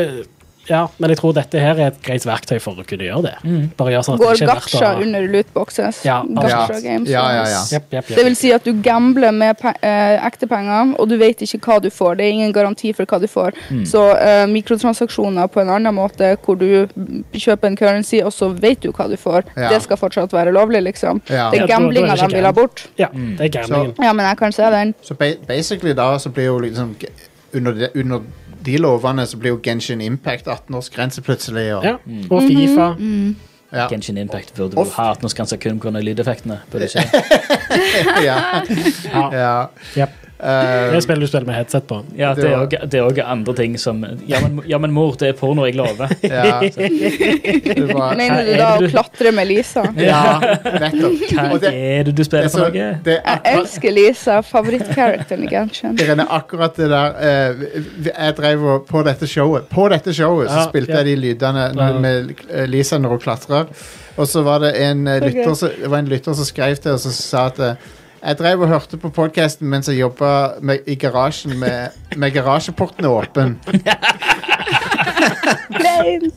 [SPEAKER 2] ja, men jeg tror dette her er et greit verktøy for å kunne gjøre det. Bare gjør sånn at det
[SPEAKER 5] Går
[SPEAKER 2] ikke er verdt
[SPEAKER 5] gacha
[SPEAKER 2] å
[SPEAKER 5] under lootboxes.
[SPEAKER 2] Ja,
[SPEAKER 1] Ja.
[SPEAKER 5] gacha games.
[SPEAKER 1] Ja, ja, ja.
[SPEAKER 2] Jepp, jepp,
[SPEAKER 5] Det
[SPEAKER 2] jepp.
[SPEAKER 5] vil si at du gambler med pe eh, ekte penger, og du vet ikke hva du får. Det er ingen garanti for hva du får.
[SPEAKER 1] Mm.
[SPEAKER 5] Så eh, mikrotransaksjoner på en annen måte, hvor du mm, kjøper en currency, og så vet du hva du får,
[SPEAKER 1] Ja.
[SPEAKER 5] det skal fortsatt være lovlig, liksom.
[SPEAKER 1] Ja.
[SPEAKER 2] Ja, da-
[SPEAKER 5] Det er
[SPEAKER 2] da er det
[SPEAKER 5] gamblinga
[SPEAKER 2] ikke
[SPEAKER 5] de vil ha
[SPEAKER 2] gam-
[SPEAKER 5] bort.
[SPEAKER 2] Ja, det er gamblingen.
[SPEAKER 5] Ja, men jeg kan se den.
[SPEAKER 1] Så ba basically da så blir jo liksom g- under de, under de lovene så blir jo Genshin Impact 18-årsgrense plutselig. Og,
[SPEAKER 2] Ja. Og Fifa.
[SPEAKER 5] Mm.
[SPEAKER 1] ja.
[SPEAKER 4] Genshin Impact burde du ha 18-årsgrense kun pga. lydeffektene. Burde ikke.
[SPEAKER 1] ja.
[SPEAKER 2] Ja.
[SPEAKER 1] ja.
[SPEAKER 2] Jepp.
[SPEAKER 1] Eh,
[SPEAKER 2] Det spiller du spiller med headset på.
[SPEAKER 4] Ja,
[SPEAKER 1] Det
[SPEAKER 4] det er
[SPEAKER 1] var-
[SPEAKER 4] også- det er òg andre ting som ja men, ja, men mor, det er porno, jeg lover.
[SPEAKER 1] ja. Det var,
[SPEAKER 5] Mener du
[SPEAKER 4] er
[SPEAKER 5] da å
[SPEAKER 4] det du-
[SPEAKER 5] klatre med Lisa?
[SPEAKER 1] ja, nettopp.
[SPEAKER 4] Hva
[SPEAKER 1] Og det,
[SPEAKER 4] er det du
[SPEAKER 1] det, er
[SPEAKER 4] spiller for
[SPEAKER 1] så,
[SPEAKER 4] noe?
[SPEAKER 1] det er
[SPEAKER 5] Jeg
[SPEAKER 1] akkurat,
[SPEAKER 5] elsker Lisa, favorittcharacteren i Genshin.
[SPEAKER 1] Irene, akkurat det der eh, vi- Jeg drev og På dette showet På dette showet så
[SPEAKER 2] Ja,
[SPEAKER 1] spilte
[SPEAKER 2] ja.
[SPEAKER 1] jeg de lydene når-
[SPEAKER 2] Ja.
[SPEAKER 1] med eh, Lisa når hun klatrer. Og så var det en eh, lytter,
[SPEAKER 5] Ok.
[SPEAKER 1] som- det var en lytter som skrev til oss og sa at eh, jeg drev og hørte på podkasten mens jeg jobba med- i garasjen med, med garasjeportene åpen.
[SPEAKER 5] Kleint!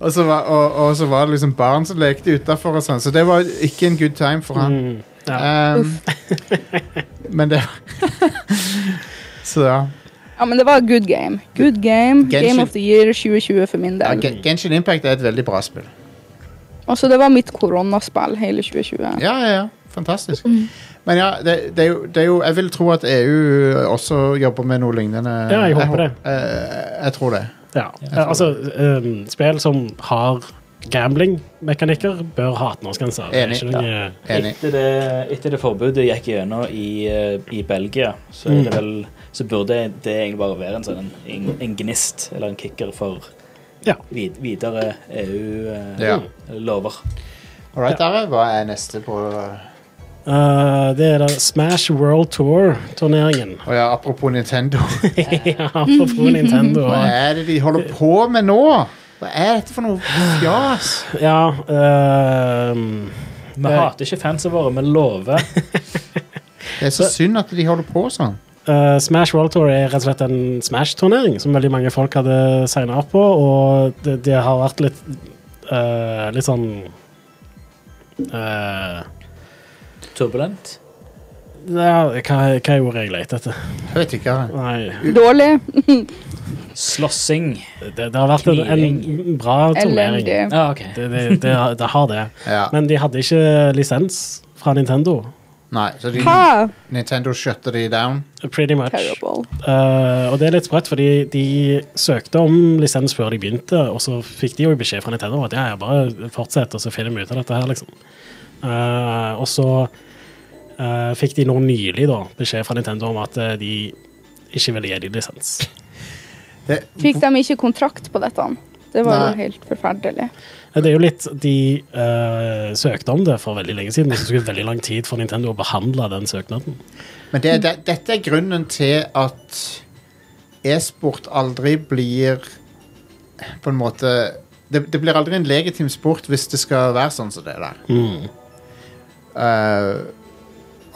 [SPEAKER 1] Og så, var, og, og så var det liksom barn som lekte utafor og sånn, så det var ikke en good time for han.
[SPEAKER 2] Mm. Ja.
[SPEAKER 1] Um, men det Så ja.
[SPEAKER 5] Ja, men det var good game. Good game.
[SPEAKER 1] Genshin-
[SPEAKER 5] Game of the year 2020 for min
[SPEAKER 1] ja.
[SPEAKER 5] del.
[SPEAKER 1] Gen- Genshin Impact er et veldig bra spill.
[SPEAKER 5] Altså, det var mitt koronaspill hele 2020.
[SPEAKER 1] Ja, ja, ja. Fantastisk. Men ja, det, det, er jo, det er jo Jeg vil tro at EU også jobber med noe lignende.
[SPEAKER 2] Ja, jeg håper det.
[SPEAKER 1] hå- eh, jeg tror det.
[SPEAKER 2] ja. Eh, Altså, ehm, spill som har gamblingmekanikker, bør ha 18-årsgrense. Det er
[SPEAKER 1] Enig.
[SPEAKER 2] ikke noe
[SPEAKER 1] Enig.
[SPEAKER 4] Etter det, etter det forbudet gikk gjennom i, eh, i Belgia, så, er
[SPEAKER 1] Mm.
[SPEAKER 4] det vel, så burde det egentlig bare være en, sånn, en, en gnist eller en kicker for
[SPEAKER 2] Ja.
[SPEAKER 4] vid, videre E eh,
[SPEAKER 1] Ja.
[SPEAKER 4] EU-lover.
[SPEAKER 1] All right, Are. Hva er neste på Å
[SPEAKER 2] Eh, det er da Smash World Tour-turneringen.
[SPEAKER 1] ja, apropos Nintendo.
[SPEAKER 2] ja, apropos Nintendo.
[SPEAKER 1] Hva er det de holder på med nå? Hva er dette for noe fjas?
[SPEAKER 2] Ja, ehm,
[SPEAKER 4] Vi hater ikke fansa våre, vi lover.
[SPEAKER 1] Det er så synd at de holder på sånn.
[SPEAKER 2] Eh, Smash World Tour er rett og slett en Smash-turnering som veldig mange folk hadde signa opp på, og det, det har vært litt eh, Litt sånn eh,
[SPEAKER 4] Turbulent.
[SPEAKER 2] ja, hva, hva er ordet jeg leter etter?
[SPEAKER 1] Jeg vet ikke. Are.
[SPEAKER 2] Nei,
[SPEAKER 5] Dårlig.
[SPEAKER 4] Slåssing.
[SPEAKER 2] det, det har vært en, en bra turnering.
[SPEAKER 5] Elendig.
[SPEAKER 4] Ja, ok.
[SPEAKER 2] Det, det, det, har- det har det.
[SPEAKER 1] Ja.
[SPEAKER 2] Men de hadde ikke lisens fra Nintendo
[SPEAKER 1] Nei, så de,
[SPEAKER 5] Ha!
[SPEAKER 1] Nintendo shutter de down.
[SPEAKER 2] Pretty much.
[SPEAKER 5] Terrible.
[SPEAKER 2] Eh, og det er litt sprøtt, fordi de søkte om lisens før de begynte, og så fikk de jo beskjed fra Nintendo om at ja, ja, bare fortsett, og så finner vi ut av dette her, liksom. Eh, og så eh, fikk de nå nylig da, beskjed fra Nintendo om at eh, de ikke ville gi dem lisens.
[SPEAKER 1] Det,
[SPEAKER 5] Fikk de ikke kontrakt på dette? Det var jo
[SPEAKER 1] Nei.
[SPEAKER 5] helt forferdelig.
[SPEAKER 2] Men Det er jo litt, De eh, søkte om det for veldig lenge siden, og så tok det veldig lang tid for Nintendo å behandle den søknaden.
[SPEAKER 1] men det, det, dette er grunnen til at e-sport aldri blir På en måte det, det blir aldri en legitim sport hvis det skal være sånn som det der.
[SPEAKER 2] Mm.
[SPEAKER 1] eh,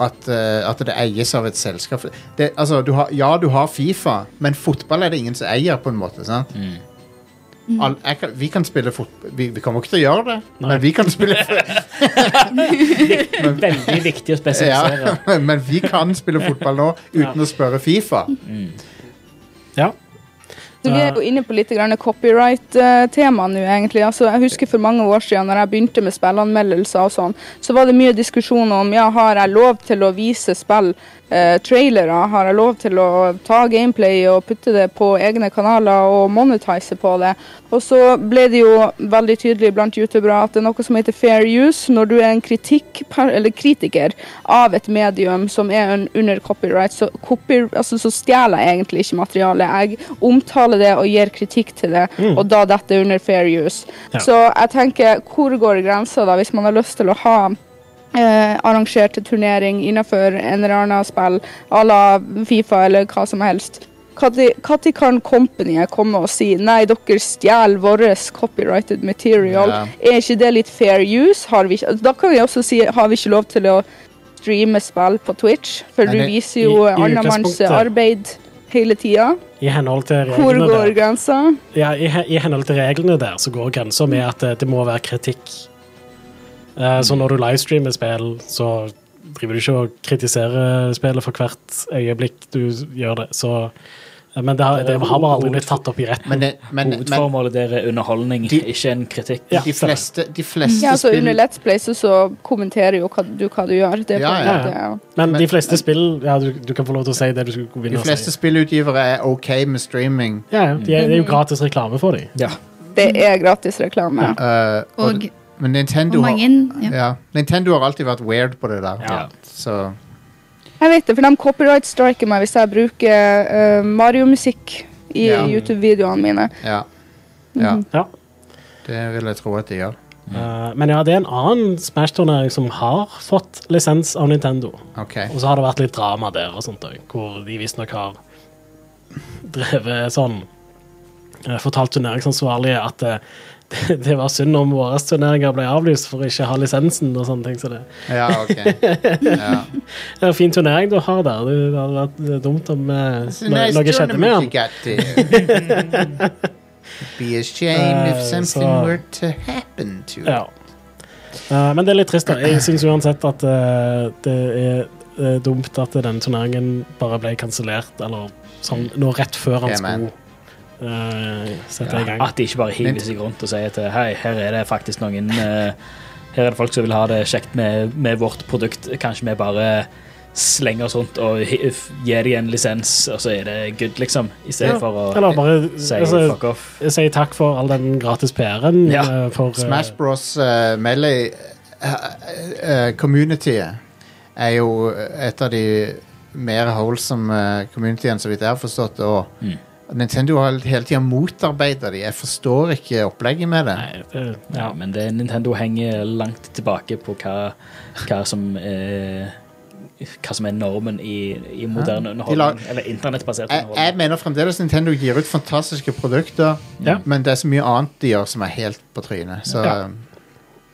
[SPEAKER 1] at, eh, at det eies av et selskap. Det, altså, du har, ja, du har Fifa, men fotball er det ingen som eier, på en måte. Sant? Al- jeg kan, vi kan spille fotball vi, vi kommer ikke til å gjøre det, men vi kan spille
[SPEAKER 4] Veldig viktig å spesifisere.
[SPEAKER 1] ja, Men vi kan spille fotball nå uten å spørre Fifa.
[SPEAKER 2] Ja.
[SPEAKER 5] Så Vi er jo inne på litt grann copyright-tema nå, egentlig. Altså, jeg husker for mange år siden når jeg begynte med spillanmeldelser og sånn, så var det mye diskusjon om ja, har jeg lov til å vise spill, eh, trailere, har jeg lov til å ta gameplay og putte det på egne kanaler og monetise på det. Og så ble det jo veldig tydelig blant youtubere at det er noe som heter fair use når du er en kritikk, eller kritiker av et medium som er en- under copyright, så, copy, altså, så stjeler jeg egentlig ikke materialet. Jeg omtaler det og gir kritikk til det, og da dette er under fair use.
[SPEAKER 2] Ja.
[SPEAKER 5] Så jeg tenker, hvor går grensa da, hvis man har lyst til å ha eh, arrangerte turnering innenfor en eller annen spill, à la Fifa eller hva som helst. Når kan companyet komme og si nei, dere stjeler vårt copyrighted material?
[SPEAKER 1] Ja.
[SPEAKER 5] Er ikke det litt fair use? Har vi ikke, da kan vi også si har vi ikke lov til å streame spill på Twitch? For
[SPEAKER 1] Nei,
[SPEAKER 5] du
[SPEAKER 1] det-
[SPEAKER 5] viser jo
[SPEAKER 2] i- i
[SPEAKER 5] annen manns
[SPEAKER 2] utgangspunktet-
[SPEAKER 5] arbeid hele tida.
[SPEAKER 2] I henhold til
[SPEAKER 5] Hvor
[SPEAKER 2] reglene
[SPEAKER 5] går
[SPEAKER 2] der,
[SPEAKER 5] grensa?
[SPEAKER 2] ja, i, he- I henhold til reglene der så går grensa med at eh, det må være kritikk. Eh, så når du livestreamer spill, så driver du ikke og kritiserer spillet for hvert øyeblikk du s- gjør det. Så, eh, men det har, det har bare aldri blitt tatt opp i retten.
[SPEAKER 1] Men, det, men, men
[SPEAKER 4] Hovedformålet der er underholdning,
[SPEAKER 1] De-
[SPEAKER 4] ikke en kritikk.
[SPEAKER 2] Ja.
[SPEAKER 1] de fleste, de fleste
[SPEAKER 5] Ja, altså,
[SPEAKER 1] spill
[SPEAKER 5] under Let's Play så, så kommenterer jo hva du hva du gjør. Det er på
[SPEAKER 1] Ja,
[SPEAKER 5] en
[SPEAKER 1] ja.
[SPEAKER 5] måte-
[SPEAKER 2] Men,
[SPEAKER 1] men-
[SPEAKER 2] de fleste spill ja, du, du kan få lov til å si det du skulle
[SPEAKER 1] De
[SPEAKER 2] vinne å
[SPEAKER 1] fleste Mm.
[SPEAKER 2] si.
[SPEAKER 1] spillutgivere er OK med streaming.
[SPEAKER 2] Ja, ja, de er, det er jo gratis reklame for dem.
[SPEAKER 4] Ja.
[SPEAKER 5] Det er gratis reklame.
[SPEAKER 1] eh, og,
[SPEAKER 6] Og,
[SPEAKER 1] men Nintendo
[SPEAKER 6] og mange
[SPEAKER 1] har,
[SPEAKER 6] ja.
[SPEAKER 1] ja, Nintendo har alltid vært weird på det der.
[SPEAKER 4] Ja.
[SPEAKER 1] Så
[SPEAKER 5] Jeg vet det, for de copyright striker meg hvis jeg bruker eh, Mario-musikk i
[SPEAKER 1] Ja.
[SPEAKER 5] YouTube-videoene mine.
[SPEAKER 1] ja. ja.
[SPEAKER 2] Ja.
[SPEAKER 1] Det vil jeg tro at de gjør.
[SPEAKER 2] Eh, men ja, det er en annen Smash-turnering som har fått lisens av Nintendo.
[SPEAKER 1] OK.
[SPEAKER 2] Og så har det vært litt drama der og sånt òg, hvor de visstnok har drevet sånn eh, Fortalt turneringsansvarlige at eh, det, det var synd om våre turneringer ble avlyst for å ikke ha lisensen og sånne ting. Så det
[SPEAKER 1] Ja, ok. Ja.
[SPEAKER 2] det er en fin turnering du har der. Det, det hadde vært eh, dumt om eh, noe, noe skjedde med han.
[SPEAKER 1] den. Be a shame
[SPEAKER 2] Eh,
[SPEAKER 1] if something
[SPEAKER 2] så-
[SPEAKER 1] were to happen to you.
[SPEAKER 2] Ja. Eh, men det er litt trist, da. Jeg syns uansett at eh, det er eh, dumt at denne turneringen bare ble kansellert, eller sånn nå rett før han
[SPEAKER 1] Yeah, man.
[SPEAKER 2] skulle eh, sette i gang.
[SPEAKER 4] At de ikke bare hiver seg rundt og sier at eh, hei, her er det faktisk noen eh, Her er det folk som vil ha det kjekt med, med vårt produkt. Kanskje vi bare slenger oss rundt og hi- f- gir dem en lisens, og så er det good, liksom. I stedet
[SPEAKER 2] Ja.
[SPEAKER 4] for å
[SPEAKER 2] Eller bare
[SPEAKER 4] si
[SPEAKER 2] altså,
[SPEAKER 4] fuck off.
[SPEAKER 2] si takk for all den gratis PR-en.
[SPEAKER 4] Ja.
[SPEAKER 2] eh, for, eh,
[SPEAKER 1] Smash Bros. Uh, Melee eh, eh, Communityet er jo et av de mer wholesome eh, communityene, så vidt jeg har forstått. Og
[SPEAKER 4] Mm.
[SPEAKER 1] Nintendo har hele tida motarbeida de. Jeg forstår ikke opplegget med det.
[SPEAKER 2] Nei, det,
[SPEAKER 4] Ja,
[SPEAKER 2] eh, ja.
[SPEAKER 4] men det, Nintendo henger langt tilbake på hva, hva som er hva som er normen i, i moderne
[SPEAKER 1] De lar-
[SPEAKER 4] underholdning. Eller internettbasert
[SPEAKER 1] Jeg, jeg
[SPEAKER 4] underholdning.
[SPEAKER 1] mener fremdeles Nintendo gir ut fantastiske produkter,
[SPEAKER 2] Ja.
[SPEAKER 1] men det er så mye annet de gjør som er helt på trynet. Så eh,
[SPEAKER 2] Ja.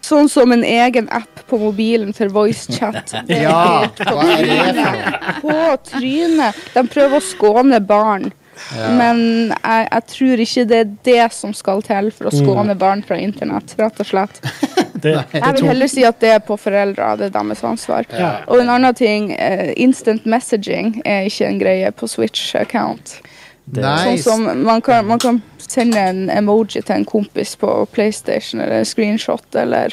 [SPEAKER 5] Sånn som en egen app på mobilen for voicechat. Det er
[SPEAKER 1] Ja,
[SPEAKER 5] helt på
[SPEAKER 1] hva er det for
[SPEAKER 5] trynet. På trynet! De prøver å skåne barn. Men jeg, jeg tror ikke det er det som skal til for å
[SPEAKER 1] Mm.
[SPEAKER 5] skåne barn fra internett. rett og slett.
[SPEAKER 2] det, det
[SPEAKER 5] Jeg vil
[SPEAKER 2] tok,
[SPEAKER 5] heller si at det er på foreldre. Det er deres ansvar.
[SPEAKER 2] ja.
[SPEAKER 5] Og en annen ting, eh, instant messaging er ikke en greie på Switch-account.
[SPEAKER 4] Det-
[SPEAKER 1] Nei,
[SPEAKER 5] Sånn som man kan, man kan sende en emoji til en kompis på PlayStation, eller screenshot, eller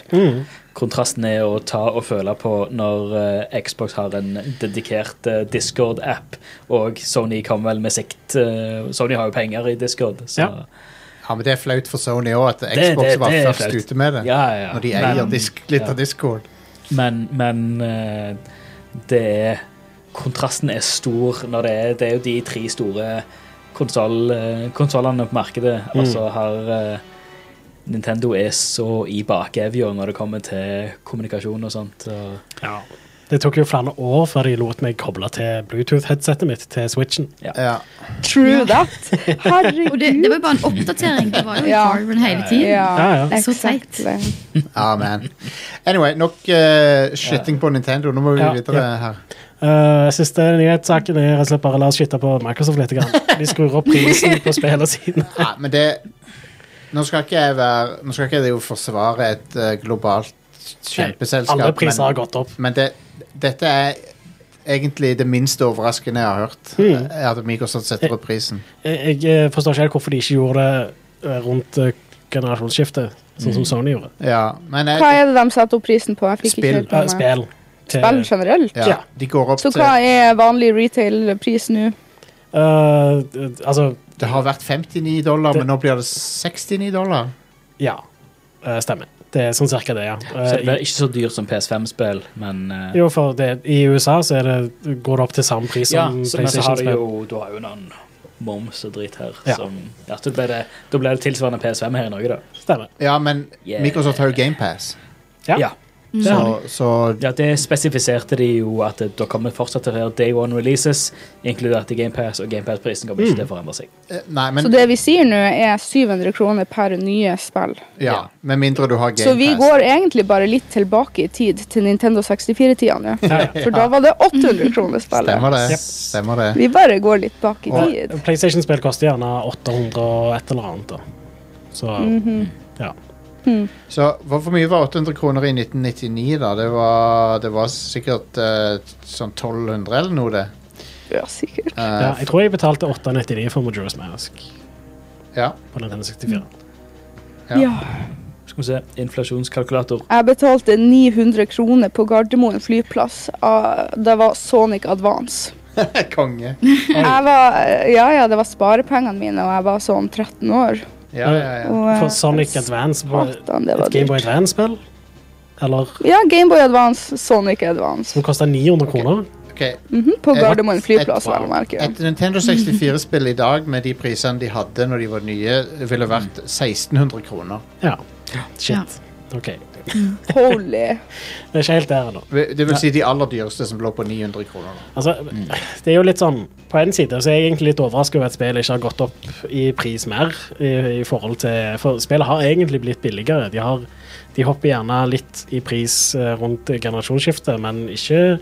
[SPEAKER 4] kontrasten er å ta og føle på når eh, Xbox har en dedikert eh, Discord-app, og Sony kom vel med sikt eh, Sony har jo penger i Discord, så
[SPEAKER 2] Ja.
[SPEAKER 1] Ja, men det er flaut for Sony òg, at
[SPEAKER 4] det-
[SPEAKER 1] Xbox var
[SPEAKER 4] det er
[SPEAKER 1] først
[SPEAKER 4] flaut.
[SPEAKER 1] ute med det.
[SPEAKER 4] Ja, ja, ja.
[SPEAKER 1] Når de eier
[SPEAKER 4] Men-
[SPEAKER 1] disk, litt
[SPEAKER 4] ja.
[SPEAKER 1] av Discord.
[SPEAKER 4] Men, men eh, det er Kontrasten er stor når det er Det er jo de tre store konsollene på markedet.
[SPEAKER 2] Mm.
[SPEAKER 4] Altså har eh, Nintendo er så i bakevja når det kommer til kommunikasjon og sånt. Og,
[SPEAKER 2] Ja. Det tok jo flere år før de lot meg koble til Bluetooth-headsetet mitt til Switchen.
[SPEAKER 1] Ja.
[SPEAKER 5] True that. Herregud.
[SPEAKER 3] Og det, det var jo bare en oppdatering. Det var jo
[SPEAKER 5] Ja.
[SPEAKER 3] Carbon hele tiden.
[SPEAKER 2] Ja, ja.
[SPEAKER 3] Så
[SPEAKER 5] exactly.
[SPEAKER 1] ja, man. Anyway, nok eh, shitting på Nintendo. Nå må vi
[SPEAKER 2] Ja,
[SPEAKER 1] videre
[SPEAKER 2] ja.
[SPEAKER 1] her.
[SPEAKER 2] Eh, siste nyhetssaken er rett og slett bare la oss skitte på Microsoft litt. Grann. De skrur opp prisen på spillene sine.
[SPEAKER 1] Ja, men det Nå skal ikke jeg være Nå skal ikke jeg jo forsvare et eh, globalt kjempeselskap,
[SPEAKER 2] Alle priser har
[SPEAKER 1] men,
[SPEAKER 2] gått opp.
[SPEAKER 1] men det, dette er egentlig det minst overraskende jeg har hørt.
[SPEAKER 2] Mm.
[SPEAKER 1] Er At Microsoft setter opp prisen.
[SPEAKER 2] Jeg, jeg eh, forstår ikke helt hvorfor de ikke gjorde det eh, rundt eh, generasjonsskiftet, sånn som Sony gjorde.
[SPEAKER 1] Ja, men
[SPEAKER 5] Hva
[SPEAKER 1] jeg,
[SPEAKER 5] er det de setter opp prisen på? Jeg fikk
[SPEAKER 1] Spill.
[SPEAKER 5] ikke
[SPEAKER 2] Eh,
[SPEAKER 5] helt med meg.
[SPEAKER 2] spill. til-
[SPEAKER 5] Spill generelt?
[SPEAKER 1] ja,
[SPEAKER 2] Ja.
[SPEAKER 1] de går opp
[SPEAKER 5] Så
[SPEAKER 1] til
[SPEAKER 5] hva er vanlig retail-pris nå?
[SPEAKER 2] Eh, d- altså,
[SPEAKER 1] Det har vært 59 dollar,
[SPEAKER 2] Det-
[SPEAKER 1] men nå blir det 69 dollar.
[SPEAKER 2] ja. Eh, stemmer. Det er sånn cirka det, ja. Eh,
[SPEAKER 4] så det
[SPEAKER 2] i-
[SPEAKER 4] blir ikke så dyrt som PS5-spill, men eh,
[SPEAKER 2] jo, for det, I USA så er det, går det opp til samme pris
[SPEAKER 4] ja,
[SPEAKER 2] som
[SPEAKER 4] så, men så har du
[SPEAKER 2] PlayStation-spill.
[SPEAKER 4] jo Du har jo noen moms og dritt her.
[SPEAKER 2] Ja.
[SPEAKER 4] Som, ja, så ble det, da ble det tilsvarende PS5 her i Norge, da.
[SPEAKER 2] Stemmer.
[SPEAKER 1] Ja, men
[SPEAKER 4] Yeah.
[SPEAKER 1] Microsoft har jo GamePass,
[SPEAKER 2] Ja.
[SPEAKER 4] Ja.
[SPEAKER 3] Mm.
[SPEAKER 2] Det har
[SPEAKER 1] så, så
[SPEAKER 4] Ja, det spesifiserte de jo at det- da kommer fortsatt til å være day one releases, inkludert i GamePass, og GamePass-prisen kommer ikke
[SPEAKER 2] Mm.
[SPEAKER 4] til å forandre seg.
[SPEAKER 1] eh, Nei, men
[SPEAKER 5] Så det vi sier nå, er 700 kroner per nye spill.
[SPEAKER 1] Ja, med mindre du har GamePass.
[SPEAKER 5] Så vi går egentlig bare litt tilbake i tid, til Nintendo 64-tida nå.
[SPEAKER 2] Ja, ja.
[SPEAKER 5] For da var det 800 kroner
[SPEAKER 1] Stemmer
[SPEAKER 5] spillet.
[SPEAKER 1] det.
[SPEAKER 2] Yep.
[SPEAKER 1] Stemmer det.
[SPEAKER 5] Vi bare går litt bak i
[SPEAKER 1] Og-
[SPEAKER 5] tid.
[SPEAKER 2] PlayStation-spill koster gjerne 800 og et eller annet. Da. Så
[SPEAKER 5] Mhm.
[SPEAKER 2] ja.
[SPEAKER 1] Så hvorfor mye var 800 kroner i 1999, da? Det var, det var sikkert eh, sånn 1200 eller noe, det.
[SPEAKER 5] Ja, sikkert.
[SPEAKER 1] Eh,
[SPEAKER 2] ja. Jeg tror jeg betalte 899 for Majora's Mask
[SPEAKER 1] ja.
[SPEAKER 2] på Nintendo 64.
[SPEAKER 1] Ja.
[SPEAKER 5] Ja.
[SPEAKER 4] Skal vi se, inflasjonskalkulator.
[SPEAKER 5] Jeg betalte 900 kroner på Gardermoen flyplass. av- Det var Sonic Advance.
[SPEAKER 1] Konge.
[SPEAKER 5] Jeg var, ja, ja, det var sparepengene mine, og jeg var sånn 13 år.
[SPEAKER 1] Ja, ja, ja.
[SPEAKER 5] Og,
[SPEAKER 2] For
[SPEAKER 5] eh,
[SPEAKER 2] Sonic Advance var
[SPEAKER 5] Satan, det var
[SPEAKER 2] et Gameboy
[SPEAKER 5] dyrt.
[SPEAKER 2] Advance-spill. Eller
[SPEAKER 5] Ja, Gameboy Advance, Sonic Advance.
[SPEAKER 2] som kosta 900 kroner.
[SPEAKER 1] Ok,
[SPEAKER 5] Mhm, På
[SPEAKER 1] Et-
[SPEAKER 5] Gardermoen flyplass,
[SPEAKER 1] et-
[SPEAKER 5] vel å merke.
[SPEAKER 1] Et Nintendo 64-spill i dag med de prisene de hadde når de var nye, ville vært 1600 kroner.
[SPEAKER 2] Ja. Shit. OK.
[SPEAKER 5] Holy.
[SPEAKER 2] Det er ikke helt der ennå.
[SPEAKER 1] Det vil si de aller dyreste som lå på 900 kroner. da.
[SPEAKER 2] Altså, det er jo litt sånn På en side så er jeg egentlig litt overraska over at spillet ikke har gått opp i pris mer. I, i forhold til, For spillet har egentlig blitt billigere. De, har, de hopper gjerne litt i pris eh, rundt generasjonsskiftet, men ikke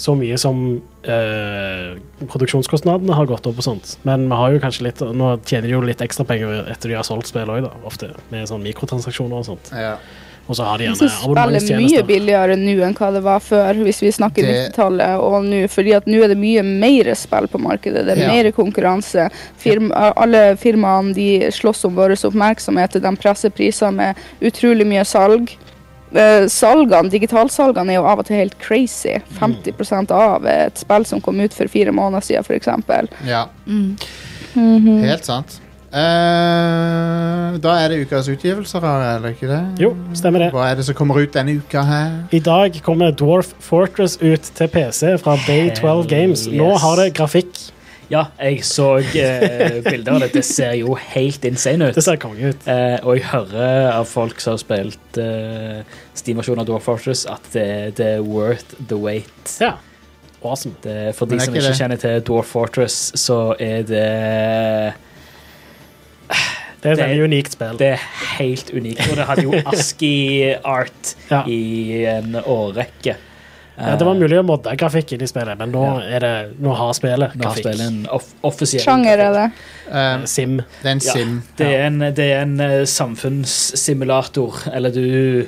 [SPEAKER 2] så mye som eh, produksjonskostnadene har gått opp og sånt. Men vi har jo kanskje litt nå tjener de jo litt ekstra penger etter de har solgt spillet òg, da. Ofte med sånn mikrotransaksjoner og sånt.
[SPEAKER 1] Ja.
[SPEAKER 2] Og så har de
[SPEAKER 5] Jeg synes
[SPEAKER 2] gjerne
[SPEAKER 5] spillet er mye
[SPEAKER 2] abonnementstjenester.
[SPEAKER 5] billigere nå enn hva det var før, hvis vi snakker
[SPEAKER 1] Det-
[SPEAKER 5] 90-tallet og nå, fordi at nå er det mye mer spill på markedet. Det er
[SPEAKER 1] Ja.
[SPEAKER 5] mer konkurranse. Firm, alle firmaene de slåss om vår oppmerksomhet, de presser priser med utrolig mye salg. Eh, Salgene, Digitalsalgene er jo av og til helt crazy.
[SPEAKER 1] Mm.
[SPEAKER 5] 50 av et spill som kom ut for fire måneder siden, f.eks.
[SPEAKER 1] ja.
[SPEAKER 3] Mm.
[SPEAKER 4] Mm.
[SPEAKER 1] Helt sant. Eh, da er det ukas utgivelser, her, eller ikke det?
[SPEAKER 2] Jo, stemmer det.
[SPEAKER 1] Hva er det som kommer ut denne uka her?
[SPEAKER 2] I dag kommer Dwarf Fortress ut til PC fra Bay12 Games. Nå
[SPEAKER 4] yes.
[SPEAKER 2] har det grafikk.
[SPEAKER 4] Ja, jeg så eh, bilder av det. Det ser jo helt insane ut.
[SPEAKER 2] Det ser konge ut.
[SPEAKER 4] Eh, og jeg hører av folk som har spilt eh, Steam-versjonen av Dwarf Fortress, at det, det er worth the wait.
[SPEAKER 2] Ja. Awesome.
[SPEAKER 4] Det, for
[SPEAKER 1] Men
[SPEAKER 4] de
[SPEAKER 1] er
[SPEAKER 4] som
[SPEAKER 1] ikke
[SPEAKER 4] ikke
[SPEAKER 1] det-
[SPEAKER 4] kjenner til Dwarf Fortress, så er det
[SPEAKER 2] Det er et
[SPEAKER 4] Det-
[SPEAKER 2] veldig unikt spill.
[SPEAKER 4] Det er helt unikt. Og det hadde jo ASCII-art
[SPEAKER 2] Ja.
[SPEAKER 4] i en årrekke. Eh,
[SPEAKER 2] ja, det var mulig å modde grafikk inn i spillet, men nå, er det, nå har spillet
[SPEAKER 4] Nå
[SPEAKER 2] grafikk. Eh,
[SPEAKER 4] spiller en off offisiell
[SPEAKER 5] Sjanger er det.
[SPEAKER 1] Um,
[SPEAKER 2] Sim.
[SPEAKER 1] det er en
[SPEAKER 4] Ja.
[SPEAKER 1] sim.
[SPEAKER 4] Det er en, det er en eh, samfunnssimulator. Eller du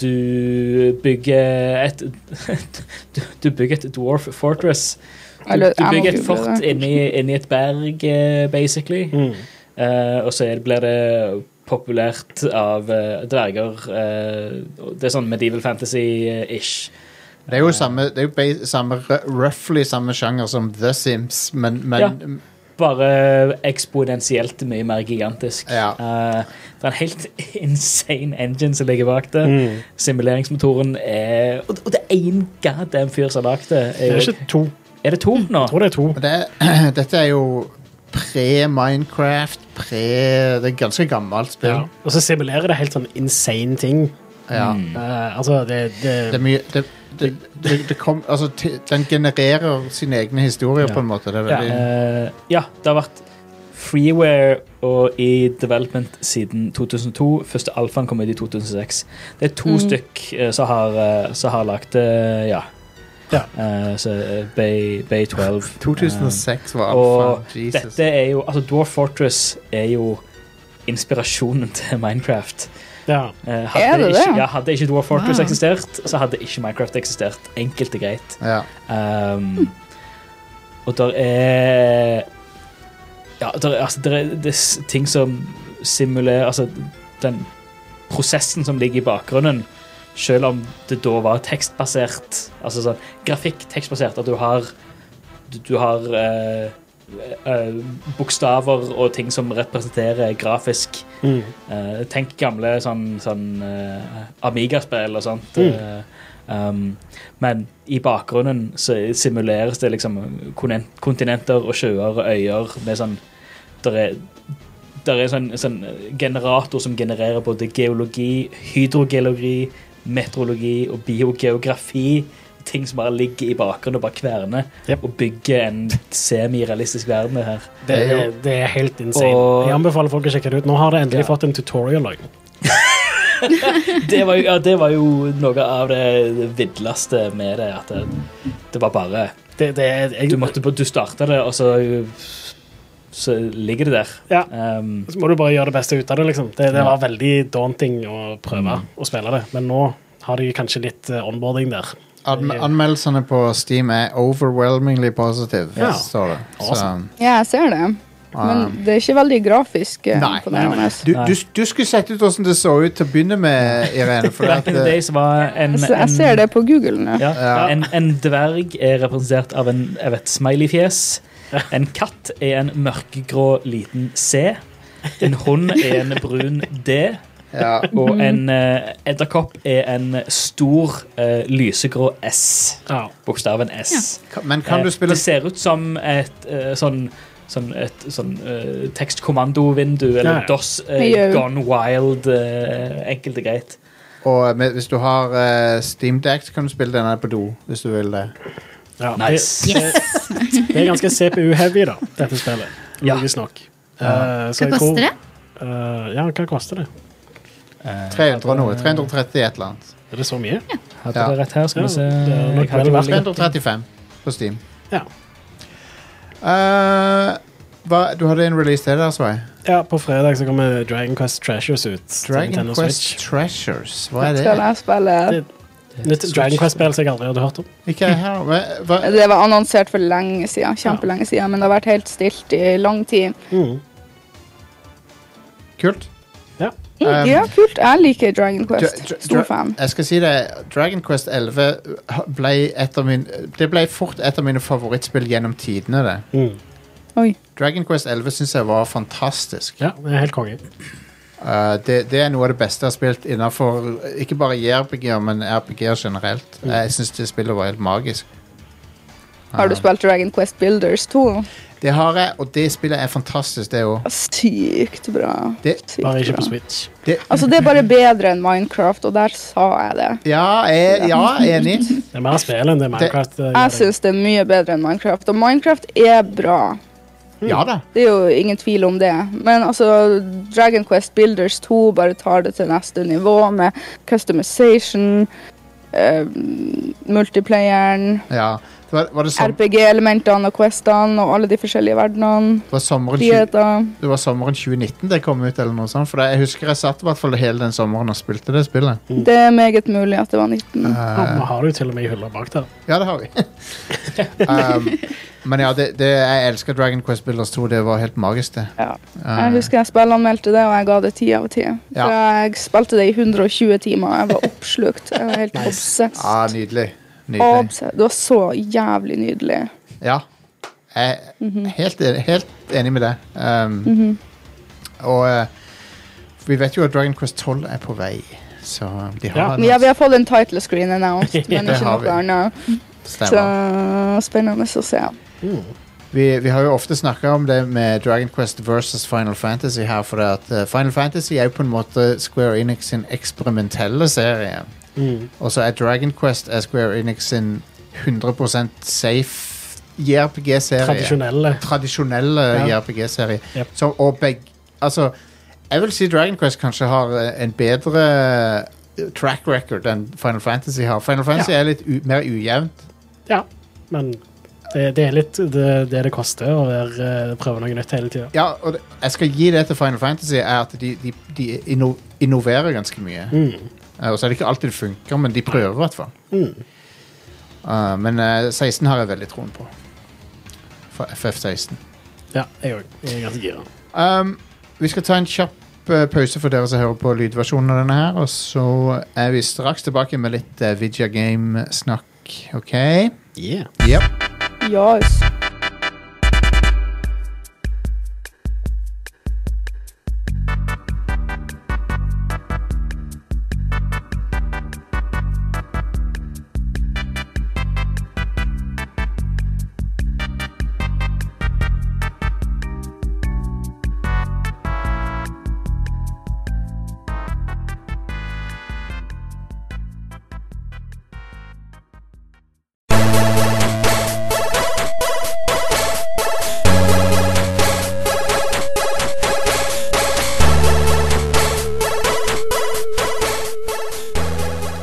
[SPEAKER 4] Du bygger et Du, du bygger et dwarf fortress. Du,
[SPEAKER 5] Eller,
[SPEAKER 4] du
[SPEAKER 5] jeg må
[SPEAKER 4] bygger et
[SPEAKER 5] google
[SPEAKER 4] fort
[SPEAKER 5] det.
[SPEAKER 4] inni, inni et berg, eh, basically.
[SPEAKER 2] Mm.
[SPEAKER 4] Eh, og så er det, blir det populært av eh, dverger. eh, og det er sånn medieval fantasy-ish.
[SPEAKER 1] Det er jo samme, det er jo ba- samme r- roughly samme sjanger som The Sims, men, men
[SPEAKER 4] Bare eksponentielt mye mer gigantisk.
[SPEAKER 1] Ja.
[SPEAKER 4] Eh, det er en helt insane engine som ligger bak det.
[SPEAKER 2] Mm.
[SPEAKER 4] Simuleringsmotoren er Og og det er én goddamn fyr som har lagd det.
[SPEAKER 2] Det
[SPEAKER 4] Er,
[SPEAKER 2] er ikke to.
[SPEAKER 4] er det to nå?
[SPEAKER 2] Jeg tror det er to.
[SPEAKER 1] men det, er- Dette er jo pre-Minecraft, pre Det er ganske gammelt
[SPEAKER 2] Ja.
[SPEAKER 1] spill.
[SPEAKER 2] Og så simulerer det helt sånn insane ting.
[SPEAKER 1] Ja.
[SPEAKER 4] Mm.
[SPEAKER 2] Eh, altså, det, det,
[SPEAKER 1] Det er mye det, det, det, det kom, altså, t- Den genererer sine egne historier,
[SPEAKER 2] Ja.
[SPEAKER 1] på en måte. Det er
[SPEAKER 4] Ja,
[SPEAKER 1] veldig,
[SPEAKER 4] eh, ja, det har vært freeware og i development siden 2002. Første alfaen kom ut i 2006. Det er to
[SPEAKER 5] Mm.
[SPEAKER 4] stykk eh, som har, eh, som har lagt det, ja.
[SPEAKER 2] Ja.
[SPEAKER 4] Eh, så eh, Bay, Bay 12. eh,
[SPEAKER 1] 2006 var
[SPEAKER 4] og
[SPEAKER 1] alfa. Jesus.
[SPEAKER 4] Dette er jo, altså Dwarf Fortress er jo inspirasjonen til Minecraft.
[SPEAKER 2] ja.
[SPEAKER 4] Eh,
[SPEAKER 5] Er det
[SPEAKER 4] ikke,
[SPEAKER 5] det? Ah.
[SPEAKER 4] Ja, hadde ikke Dwarf Fortress
[SPEAKER 3] Wow.
[SPEAKER 4] eksistert, så hadde ikke Minecraft eksistert. Enkelt og greit.
[SPEAKER 1] Ja.
[SPEAKER 4] Um, og der er Ja, der, er- altså, der er, det er s- ting som simulerer Altså, den prosessen som ligger i bakgrunnen, selv om det da var tekstbasert Altså sånn grafikk tekstbasert, at du har Du, du har eh, eh, bokstaver og ting som representerer grafisk
[SPEAKER 2] Mm.
[SPEAKER 4] Eh, tenk gamle sånn, sånn eh, Amiga-spill og sånt.
[SPEAKER 2] Mm.
[SPEAKER 4] Eh, um, men i bakgrunnen så simuleres det liksom konen- kontinenter og sjøer og øyer med sånn Der er der er sånn, sånn generator som genererer både geologi, hydrogeologi, meteorologi og biogeografi. Ting som bare ligger i bakgrunnen og bare kverner
[SPEAKER 2] Yep.
[SPEAKER 4] og bygger en semirealistisk verden her.
[SPEAKER 2] Det,
[SPEAKER 1] Det er
[SPEAKER 2] er,
[SPEAKER 1] jo-
[SPEAKER 2] det er helt insane.
[SPEAKER 4] Og-
[SPEAKER 2] Jeg anbefaler folk å sjekke det ut. Nå har det endelig
[SPEAKER 4] Ja.
[SPEAKER 2] fått en tutorial. også.
[SPEAKER 4] det, var jo, ja, det var jo noe av det vidleste med det. At det, det var bare
[SPEAKER 2] Det, det er, jeg,
[SPEAKER 4] Du, måtte, du starta det, og så, så ligger det der.
[SPEAKER 2] Ja.
[SPEAKER 4] Um,
[SPEAKER 2] Så må du bare gjøre det beste ut av det. liksom. Det, det
[SPEAKER 4] Ja.
[SPEAKER 2] var veldig daunting å prøve å spille det, men nå har de kanskje litt eh, onboarding der.
[SPEAKER 1] Anm anmeldelsene på Steam er overwhelmingly positive,
[SPEAKER 2] Ja.
[SPEAKER 1] står det.
[SPEAKER 2] Awesome.
[SPEAKER 5] Ja, jeg ser det.
[SPEAKER 1] Så,
[SPEAKER 5] Men
[SPEAKER 1] um,
[SPEAKER 5] det er ikke veldig grafisk eh,
[SPEAKER 1] Nei,
[SPEAKER 5] imponerende.
[SPEAKER 1] du, du, du skulle sett ut hvordan det så ut til å begynne med, Irene. For
[SPEAKER 4] Back
[SPEAKER 1] at,
[SPEAKER 4] in the
[SPEAKER 1] eh,
[SPEAKER 4] days var en,
[SPEAKER 5] Jeg ser- jeg ser
[SPEAKER 4] en,
[SPEAKER 5] det på Google nå.
[SPEAKER 4] ja,
[SPEAKER 1] Ja.
[SPEAKER 4] en, en dverg er representert av en jeg vet, smiley-fjes. En katt er en mørkegrå liten C. En hund er en brun D.
[SPEAKER 1] ja,
[SPEAKER 5] Mhm.
[SPEAKER 4] Og en eh, edderkopp er en stor eh, lysegrå S.
[SPEAKER 2] Ja.
[SPEAKER 4] Bokstaven S.
[SPEAKER 1] ka- men kan du
[SPEAKER 4] Eh,
[SPEAKER 1] spille
[SPEAKER 4] Det ser ut som et eh, sånn Sånn et sånn eh, tekstkommandovindu eller
[SPEAKER 2] Ja, ja.
[SPEAKER 4] DOS eh,
[SPEAKER 5] Ja, ja.
[SPEAKER 4] Gone Wild. eh, enkelt og greit.
[SPEAKER 1] Og med, hvis du har eh, Steam Deck, så kan du spille denne på do. Hvis du vil det.
[SPEAKER 2] Ja,
[SPEAKER 4] Nice.
[SPEAKER 2] det, det, det er ganske CPU-heavy, da, dette spillet.
[SPEAKER 4] Ja.
[SPEAKER 2] Logisk nok. Eh, så
[SPEAKER 3] Hva
[SPEAKER 2] jeg tror-
[SPEAKER 3] koster det?
[SPEAKER 2] Eh, ja, hva koster det?
[SPEAKER 4] Eh,
[SPEAKER 1] 300 og noe.
[SPEAKER 4] hadde-
[SPEAKER 1] 330 et eller annet.
[SPEAKER 2] Er det så mye?
[SPEAKER 4] Hadde
[SPEAKER 1] Ja.
[SPEAKER 4] det rett her, skal vi
[SPEAKER 2] Ja,
[SPEAKER 4] se.
[SPEAKER 2] det er nok
[SPEAKER 4] Jeg hadde
[SPEAKER 2] vel
[SPEAKER 4] vel
[SPEAKER 2] verdt
[SPEAKER 4] litt-
[SPEAKER 1] 335 på Steam.
[SPEAKER 2] Ja.
[SPEAKER 1] Eh, hva, du hadde en release til der, Svei.
[SPEAKER 2] ja, på fredag så kommer Dragon Quest Treasures ut. til
[SPEAKER 1] Dragon
[SPEAKER 2] Nintendo
[SPEAKER 1] Quest
[SPEAKER 2] Switch.
[SPEAKER 1] Treasures. Hva er
[SPEAKER 5] Skal
[SPEAKER 1] det?
[SPEAKER 5] jeg spille
[SPEAKER 2] Det- Nytt Dragon Quest-spill som jeg aldri hadde hørt om.
[SPEAKER 1] Ikke jeg her. Hva- hva-
[SPEAKER 5] Det var annonsert for lenge siden, kjempelenge siden, men det har vært helt stilt i lang tid.
[SPEAKER 2] Mm.
[SPEAKER 1] Kult.
[SPEAKER 2] Ja.
[SPEAKER 1] Um,
[SPEAKER 5] Mm, ja, kult. Jeg liker Dragon
[SPEAKER 1] Dra-
[SPEAKER 5] Quest.
[SPEAKER 1] dra-
[SPEAKER 5] Stor
[SPEAKER 1] dra-
[SPEAKER 5] fan.
[SPEAKER 1] Jeg skal si det, Dragon Quest 11 ble et av min, det ble fort et av mine favorittspill gjennom tidene. det.
[SPEAKER 2] Mm.
[SPEAKER 5] Oi.
[SPEAKER 1] Dragon Quest 11 syns jeg var fantastisk.
[SPEAKER 2] Ja, det er helt konge.
[SPEAKER 1] Uh, det, det er noe av det beste jeg har spilt innafor ikke bare JRPG-er, men RPG-er generelt. Jeg syns det spillet var helt magisk.
[SPEAKER 5] Har du
[SPEAKER 1] Uh,
[SPEAKER 5] spilt Dragon Quest Builders 2?
[SPEAKER 1] Det har jeg, og det spillet er fantastisk, det òg.
[SPEAKER 5] Sykt bra.
[SPEAKER 1] Det-
[SPEAKER 5] Sykt
[SPEAKER 2] Bare ikke
[SPEAKER 5] bra.
[SPEAKER 2] på Switch.
[SPEAKER 5] Altså, det er bare bedre enn Minecraft, og der sa jeg det.
[SPEAKER 1] Ja, jeg- ja, enig.
[SPEAKER 2] Det er mer spill enn det Minecraft eh,
[SPEAKER 5] Jeg
[SPEAKER 2] gjør.
[SPEAKER 5] syns det er mye bedre enn Minecraft, og Minecraft er bra.
[SPEAKER 1] Ja da.
[SPEAKER 5] Det er jo ingen tvil om det. Men altså, Dragon Quest Builders 2 bare tar det til neste nivå med customization, eh, multiplayeren
[SPEAKER 1] Ja. Det var, var det, som,
[SPEAKER 5] RPG-elementene og questene og alle de forskjellige verdenene.
[SPEAKER 1] det var sommeren,
[SPEAKER 5] De
[SPEAKER 1] tjue-
[SPEAKER 5] er da
[SPEAKER 1] det var sommeren 2019 det kom ut, eller noe sånt. For det, jeg husker jeg satt i hvert fall hele den sommeren og spilte det spillet.
[SPEAKER 5] Det er meget mulig at det var 19.
[SPEAKER 2] Ja, Vi har det jo til og med i hylla bak der.
[SPEAKER 1] Ja, det har vi. um, men ja, det, det, jeg elsker Dragon Quest Builders 2. Det var helt magisk, det.
[SPEAKER 5] Ja.
[SPEAKER 1] Uh,
[SPEAKER 5] Jeg husker jeg spillanmeldte det, og jeg ga det 10 av 10.
[SPEAKER 1] Ja.
[SPEAKER 5] Så jeg spilte det i 120 timer. og Jeg var oppslukt. Jeg var helt obsess.
[SPEAKER 1] Ja, nydelig. Nydelig.
[SPEAKER 5] Obsess. Det var så jævlig nydelig. Mhm.
[SPEAKER 1] Ja. Jeg er helt, en- helt enig med det. Um, Og eh, vi vet jo at Dragon Quest 12 er på vei, så de har
[SPEAKER 2] Ja.
[SPEAKER 1] annons-
[SPEAKER 5] Men ja, vi har fått en title screen announced, men
[SPEAKER 1] Det
[SPEAKER 5] ikke
[SPEAKER 1] har vi.
[SPEAKER 5] noe annet. Så
[SPEAKER 1] Stemmer.
[SPEAKER 5] spennende å se.
[SPEAKER 2] Mm.
[SPEAKER 1] Vi, vi har jo ofte snakka om det med Dragon Quest versus Final Fantasy her, for det at eh, Final Fantasy er jo på en måte Square Enix sin eksperimentelle serie.
[SPEAKER 2] Mm.
[SPEAKER 1] Og så er Dragon Quest er Square Enix sin 100 safe JRPG-serie.
[SPEAKER 2] Tradisjonelle.
[SPEAKER 1] Tradisjonelle
[SPEAKER 2] Ja.
[SPEAKER 1] JRPG-serie.
[SPEAKER 2] Yep.
[SPEAKER 1] Så- Og begge Altså, jeg vil si Dragon Quest kanskje har eh, en bedre eh, track record enn Final Fantasy har. Final Fantasy er litt u mer ujevnt.
[SPEAKER 2] Ja, men det, det er litt det det, det koster å være, eh, prøve noe nytt hele tida.
[SPEAKER 1] Ja, og det, jeg skal gi det til Final Fantasy, er at de, de, de inno, innoverer ganske mye.
[SPEAKER 2] Mm.
[SPEAKER 1] Eh, Og så er det ikke alltid det funker, men de prøver i hvert fall.
[SPEAKER 2] Mm.
[SPEAKER 1] Eh, men eh, 16 har jeg veldig troen på. For FF16.
[SPEAKER 2] Ja, jeg òg. Jeg er ganske gira.
[SPEAKER 1] Um, vi skal ta en kjapp eh, pause for dere som hører på lydversjonen av denne her, og så er vi straks tilbake med litt uh, Vidja Game-snakk, OK?
[SPEAKER 2] Yeah.
[SPEAKER 1] Yep.
[SPEAKER 5] Yes.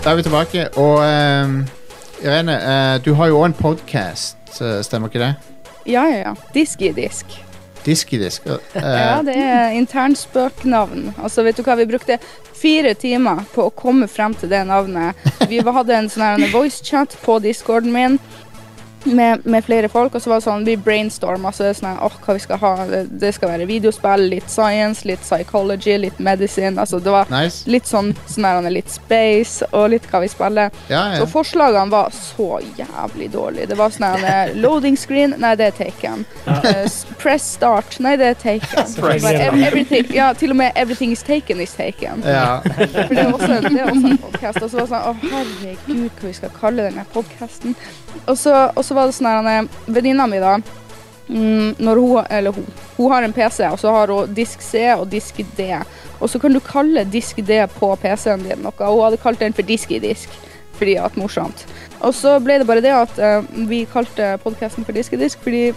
[SPEAKER 1] Da er vi tilbake, og ehm, Irene, eh, du har jo òg en podkast, stemmer ikke det?
[SPEAKER 5] Ja, ja, ja. Disk i disk.
[SPEAKER 1] Disk i disk. eh,
[SPEAKER 5] Ja, det er internspøknavn. Altså, vet du hva, vi brukte fire timer på å komme frem til det navnet. Vi var- hadde en sånn her voicechat på discorden min med, med flere folk, og så var det sånn, vi brainstorma, så det er sånn her, åh, hva vi skal ha, det, det skal være videospill, litt science, litt psychology, litt medicine, altså det var
[SPEAKER 1] Nice.
[SPEAKER 5] litt sånn, sånn her, litt space, og litt hva vi spiller.
[SPEAKER 1] Ja, ja.
[SPEAKER 5] Så forslagene var så jævlig dårlige. Det var sånn her eh, Loading screen, nei, det er taken. Eh, s- press start, nei, det er taken.
[SPEAKER 2] Press
[SPEAKER 5] Bare
[SPEAKER 2] start.
[SPEAKER 5] ev- everything, ja, til og med everything is taken is taken.
[SPEAKER 1] ja.
[SPEAKER 5] For det er også, det er også en podcast. Og så var det sånn, å herregud, hva vi skal kalle denne podcasten. Og så, og så var det sånn her, han, eh, venninna mi da, mm, når hun, eller hun, hun har en PC, og så har hun disk C og disk D. Og så kan du kalle disk D på PC-en din noe. Hun hadde kalt den for disk i disk, fordi at morsomt. Og så ble det bare det at eh, vi kalte podcasten for disk i disk, fordi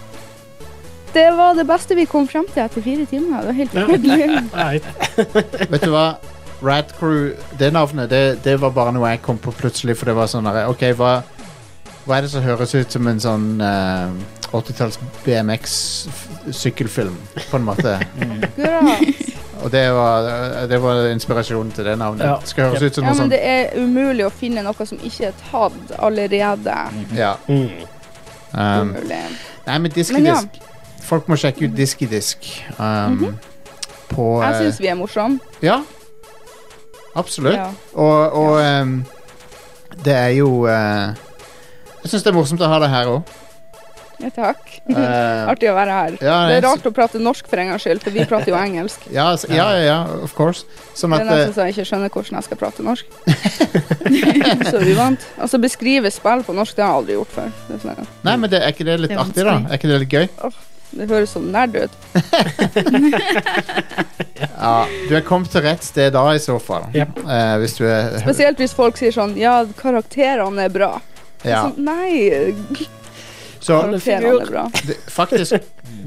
[SPEAKER 5] det var det beste vi kom frem til etter fire timer. Det var helt
[SPEAKER 2] Ja.
[SPEAKER 5] utrolig.
[SPEAKER 2] Nei,
[SPEAKER 1] Vet du hva? Rad Crew, det navnet, det, det var bare noe jeg kom på plutselig, for det var sånn der, OK, hva, hva er det som høres ut som en sånn eh, 80-talls BMX-sykkelfilm, på en måte?
[SPEAKER 5] Akkurat.
[SPEAKER 1] Og det var, det var inspirasjonen til det navnet.
[SPEAKER 2] Ja.
[SPEAKER 1] Det skal høres ut som
[SPEAKER 5] Ja,
[SPEAKER 1] noe sånn-
[SPEAKER 5] men
[SPEAKER 1] sånt.
[SPEAKER 5] det er umulig å finne noe som ikke er tatt allerede.
[SPEAKER 1] Ja.
[SPEAKER 2] Mm.
[SPEAKER 1] Um,
[SPEAKER 5] Umulig.
[SPEAKER 1] nei, men disk i
[SPEAKER 5] Mm. Men ja. Mhm.
[SPEAKER 1] disk. Folk må sjekke ut disk i disk. Um, På
[SPEAKER 5] Jeg
[SPEAKER 1] eh,
[SPEAKER 5] syns vi er morsomme.
[SPEAKER 1] Ja. Absolutt.
[SPEAKER 5] Ja.
[SPEAKER 1] Og, og ehm, det er jo eh, Jeg syns det er morsomt å ha det her òg.
[SPEAKER 5] Ja, takk. Artig å være her.
[SPEAKER 1] ja,
[SPEAKER 5] Mhm. Det er
[SPEAKER 1] så-
[SPEAKER 5] rart å prate norsk for en gangs skyld, for vi prater jo engelsk.
[SPEAKER 1] Ja, s- ja, ja, ja, of course. Sånn
[SPEAKER 5] Det
[SPEAKER 1] at
[SPEAKER 5] er nesten så jeg ikke skjønner hvordan jeg skal prate norsk. så uvant. Altså, beskrive spill på norsk, det har jeg aldri gjort før. Det, er sånn her.
[SPEAKER 1] eh, Nei, men det, er ikke det litt
[SPEAKER 3] Det er
[SPEAKER 1] artig, da?
[SPEAKER 3] vanskelig.
[SPEAKER 1] Er ikke det litt gøy?
[SPEAKER 5] det høres så nerd ut.
[SPEAKER 1] Ja, du er kommet til rett sted da, i så fall.
[SPEAKER 2] Yep.
[SPEAKER 1] Eh, hvis du er
[SPEAKER 5] Spesielt hvis folk sier sånn Ja, karakterene er bra.
[SPEAKER 1] ja.
[SPEAKER 5] Sånn, nei,
[SPEAKER 1] Så
[SPEAKER 5] karakterene er bra.
[SPEAKER 1] det, faktisk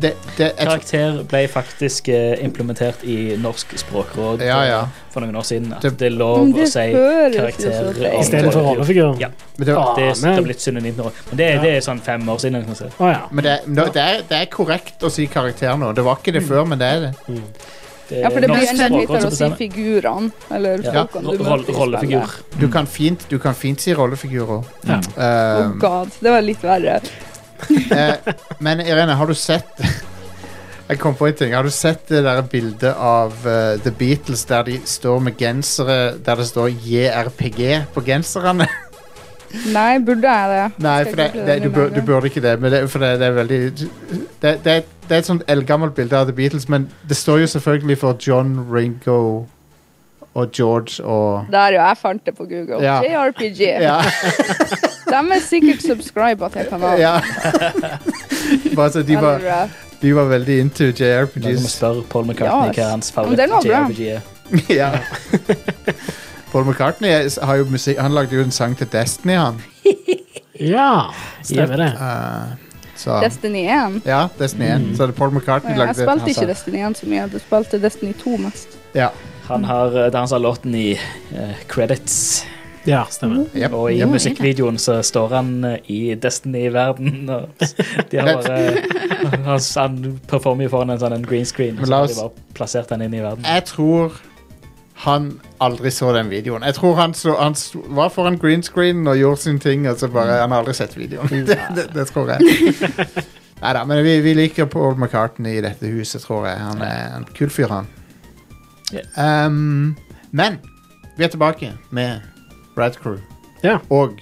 [SPEAKER 1] det, det, jeg, tror-
[SPEAKER 4] Karakter ble faktisk eh, implementert i Norsk språkråd
[SPEAKER 1] Ja, ja.
[SPEAKER 4] eh, for noen år siden. At
[SPEAKER 1] Det-
[SPEAKER 4] det er lov
[SPEAKER 5] Men
[SPEAKER 4] å
[SPEAKER 5] det
[SPEAKER 4] si
[SPEAKER 5] høres jo så
[SPEAKER 4] karakter
[SPEAKER 5] feil.
[SPEAKER 4] om-
[SPEAKER 2] I stedet for rollefigur.
[SPEAKER 4] Ja.
[SPEAKER 1] men det,
[SPEAKER 2] Ah.
[SPEAKER 4] Det er, det
[SPEAKER 2] Amen.
[SPEAKER 4] er blitt synonymt nå. Men det,
[SPEAKER 2] Ja.
[SPEAKER 4] det er sånn fem år siden. Kan jeg si.
[SPEAKER 2] Å ja.
[SPEAKER 1] men det, nå- det, er, det er korrekt å si karakter nå. Det var ikke det før, men det er det.
[SPEAKER 2] Mm.
[SPEAKER 4] Det
[SPEAKER 5] Ja, for det
[SPEAKER 1] Eh,
[SPEAKER 4] er
[SPEAKER 5] blir
[SPEAKER 4] norsk
[SPEAKER 5] enda
[SPEAKER 4] språkråd
[SPEAKER 5] lettere å
[SPEAKER 4] som
[SPEAKER 5] si
[SPEAKER 4] bestemmer.
[SPEAKER 5] figurene. Eller
[SPEAKER 4] Ja.
[SPEAKER 5] folkene du
[SPEAKER 4] Roll-
[SPEAKER 5] møter i
[SPEAKER 4] Rollefigur.
[SPEAKER 5] spillet.
[SPEAKER 1] Du kan fint, du kan fint si rollefigurer.
[SPEAKER 2] Ja.
[SPEAKER 5] Oh
[SPEAKER 1] Um,
[SPEAKER 5] god, det var litt verre.
[SPEAKER 1] eh, men Irene, har du sett Jeg kom på en ting. Har du sett det der bildet av eh, The Beatles der de står med gensere der det står JRPG på genserne?
[SPEAKER 5] Nei, burde jeg det?
[SPEAKER 1] Nei,
[SPEAKER 5] Skal
[SPEAKER 1] for det, det,
[SPEAKER 5] google den
[SPEAKER 1] du,
[SPEAKER 5] i
[SPEAKER 1] bør,
[SPEAKER 5] morgen.
[SPEAKER 1] du burde ikke det. Men det for det, det er veldig det, det, det er et sånt eldgammelt bilde av The Beatles, men det står jo selvfølgelig for John Ringo og George og
[SPEAKER 5] Der, ja. Jeg fant det på Google.
[SPEAKER 1] Ja.
[SPEAKER 5] JRPG.
[SPEAKER 1] Ja.
[SPEAKER 5] De er sikkert subscriba til kanalen.
[SPEAKER 1] ja. Bare så de, var,
[SPEAKER 5] Eller, eh,
[SPEAKER 1] de var veldig into
[SPEAKER 4] Da kan vi
[SPEAKER 1] JRPGs.
[SPEAKER 4] spørre Paul McCartney
[SPEAKER 5] Ja,
[SPEAKER 4] hva hans
[SPEAKER 5] men den var bra.
[SPEAKER 4] favoritt-JRPG er.
[SPEAKER 1] ja. Paul McCartney er- har jo musikk Han lagde jo en sang til Destiny, han.
[SPEAKER 2] ja. Stemmer det.
[SPEAKER 1] Eh, så
[SPEAKER 5] Destiny 1.
[SPEAKER 1] Ja, Destiny 1. Så det er Paul McCartney
[SPEAKER 5] Mm. Jeg
[SPEAKER 1] lagde altså.
[SPEAKER 5] spilte
[SPEAKER 1] han sa-
[SPEAKER 5] ikke Destiny 1 så mye, jeg spilte Destiny 2 mest.
[SPEAKER 1] Ja.
[SPEAKER 4] Han har eh, dansa låten i eh, credits.
[SPEAKER 2] Ja, stemmer.
[SPEAKER 1] Jep,
[SPEAKER 4] Og i
[SPEAKER 1] jep.
[SPEAKER 4] musikkvideoen så står han eh, i Destiny-verden. og De har bare Han han performer jo foran en sånn en green screen.
[SPEAKER 1] Men
[SPEAKER 4] Så
[SPEAKER 1] la
[SPEAKER 4] har
[SPEAKER 1] oss-
[SPEAKER 4] de bare plassert han inn i verden.
[SPEAKER 1] Jeg tror han aldri så den videoen. Jeg tror han, så, han s- var foran green screen og gjorde sine ting, og så bare Han har aldri sett videoen. Det, det, det tror jeg. Nei da, men vi, vi liker Paul McCartney i dette huset, tror jeg. Han er en kul fyr, han.
[SPEAKER 4] Ja.
[SPEAKER 1] Um, men vi er tilbake med Rad Crew.
[SPEAKER 2] Ja.
[SPEAKER 1] Og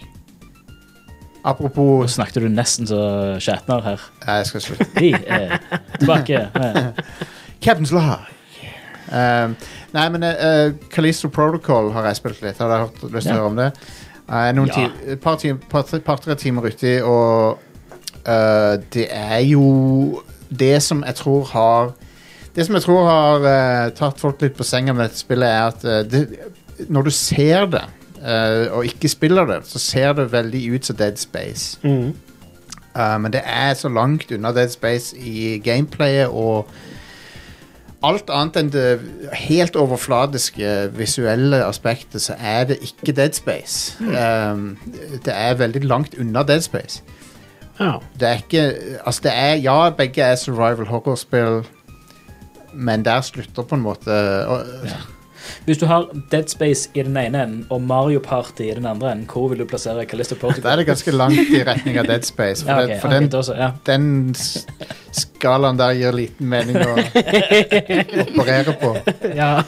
[SPEAKER 4] Nå
[SPEAKER 1] apropos
[SPEAKER 4] snakket du nesten så skjetner her.
[SPEAKER 1] Nei, jeg skal slutte.
[SPEAKER 4] Vi er tilbake. med-
[SPEAKER 1] Captain's Log. Um, nei, men eh, Callisto Protocol har jeg spilt litt. Har dere hørt lyst til å
[SPEAKER 4] Ja.
[SPEAKER 1] høre om det? Jeg er noen
[SPEAKER 4] Ja.
[SPEAKER 1] ti, et par, tim, par, tre- par tre timer uti, og eh, det er jo det som jeg tror har Det som jeg tror har eh, tatt folk litt på senga med dette spillet, er at eh, det, når du ser det, eh, og ikke spiller det, så ser det veldig ut som Dead Space.
[SPEAKER 2] Mm.
[SPEAKER 1] Uh, men det er så langt unna Dead Space i gameplayet og alt annet enn det helt overfladiske visuelle aspektet, så er det ikke Dead Space.
[SPEAKER 4] Mm.
[SPEAKER 1] Um, det er veldig langt unna Dead Space.
[SPEAKER 2] Ja.
[SPEAKER 1] Det er ikke Altså, det er Ja, begge er survival horror-spill, men der slutter på en måte og,
[SPEAKER 4] Hvis du har Dead Space i den ene enden og Mario Party i den andre enden, hvor vil du plassere Callisto
[SPEAKER 1] Da er
[SPEAKER 4] Protocol?
[SPEAKER 1] det ganske langt i retning av Dead Space, for,
[SPEAKER 4] Ja, ok,
[SPEAKER 1] den, for
[SPEAKER 4] ok,
[SPEAKER 1] den,
[SPEAKER 4] da så, ja.
[SPEAKER 1] den s- skalaen der gir liten mening å operere på.
[SPEAKER 2] ja.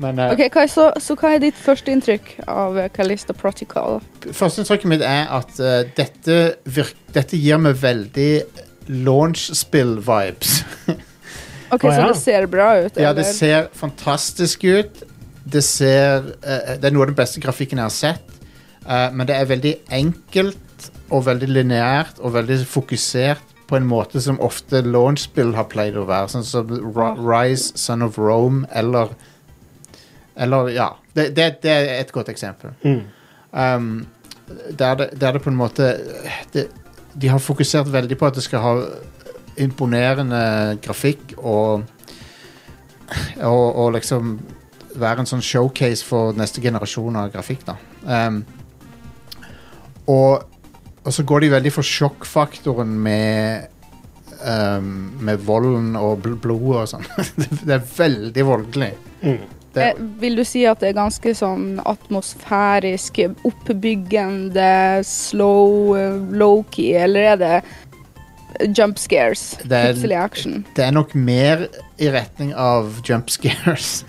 [SPEAKER 1] Men,
[SPEAKER 4] eh,
[SPEAKER 1] uh,
[SPEAKER 5] Ok, hva er, så, så hva er ditt førsteinntrykk av eh, Callisto Protocol?
[SPEAKER 1] Førsteinntrykket mitt er at eh, dette, virk, dette gir meg veldig launch-spill-vibes.
[SPEAKER 5] Ok,
[SPEAKER 2] Å, ja.
[SPEAKER 5] Så det ser bra ut?
[SPEAKER 1] ja, det
[SPEAKER 5] eller?
[SPEAKER 1] ser fantastisk ut. Det ser eh, Det er noe av den beste grafikken jeg har sett. Eh, men det er veldig enkelt og veldig lineært og veldig fokusert på en måte som ofte launch-spill har pleid å være. Sånn som Ri- Rise, Son of Rome eller Eller, ja. Det, det, det er et godt eksempel.
[SPEAKER 2] Mm.
[SPEAKER 1] um, der, det, der det på en måte det, De har fokusert veldig på at det skal ha imponerende grafikk og og, og liksom være en sånn showcase for neste generasjon av grafikk. da um, og, og så går de veldig for sjokkfaktoren med um, med volden og bl blodet og sånn. Det- det er veldig voldelig.
[SPEAKER 2] Mm.
[SPEAKER 1] Det,
[SPEAKER 5] Eh, Vil du si at det er ganske sånn atmosfærisk, oppbyggende, slow, eh, low-key, eller er det jump scares?
[SPEAKER 1] Det er-
[SPEAKER 5] Plutselig action.
[SPEAKER 1] det er nok mer i retning av jump scares.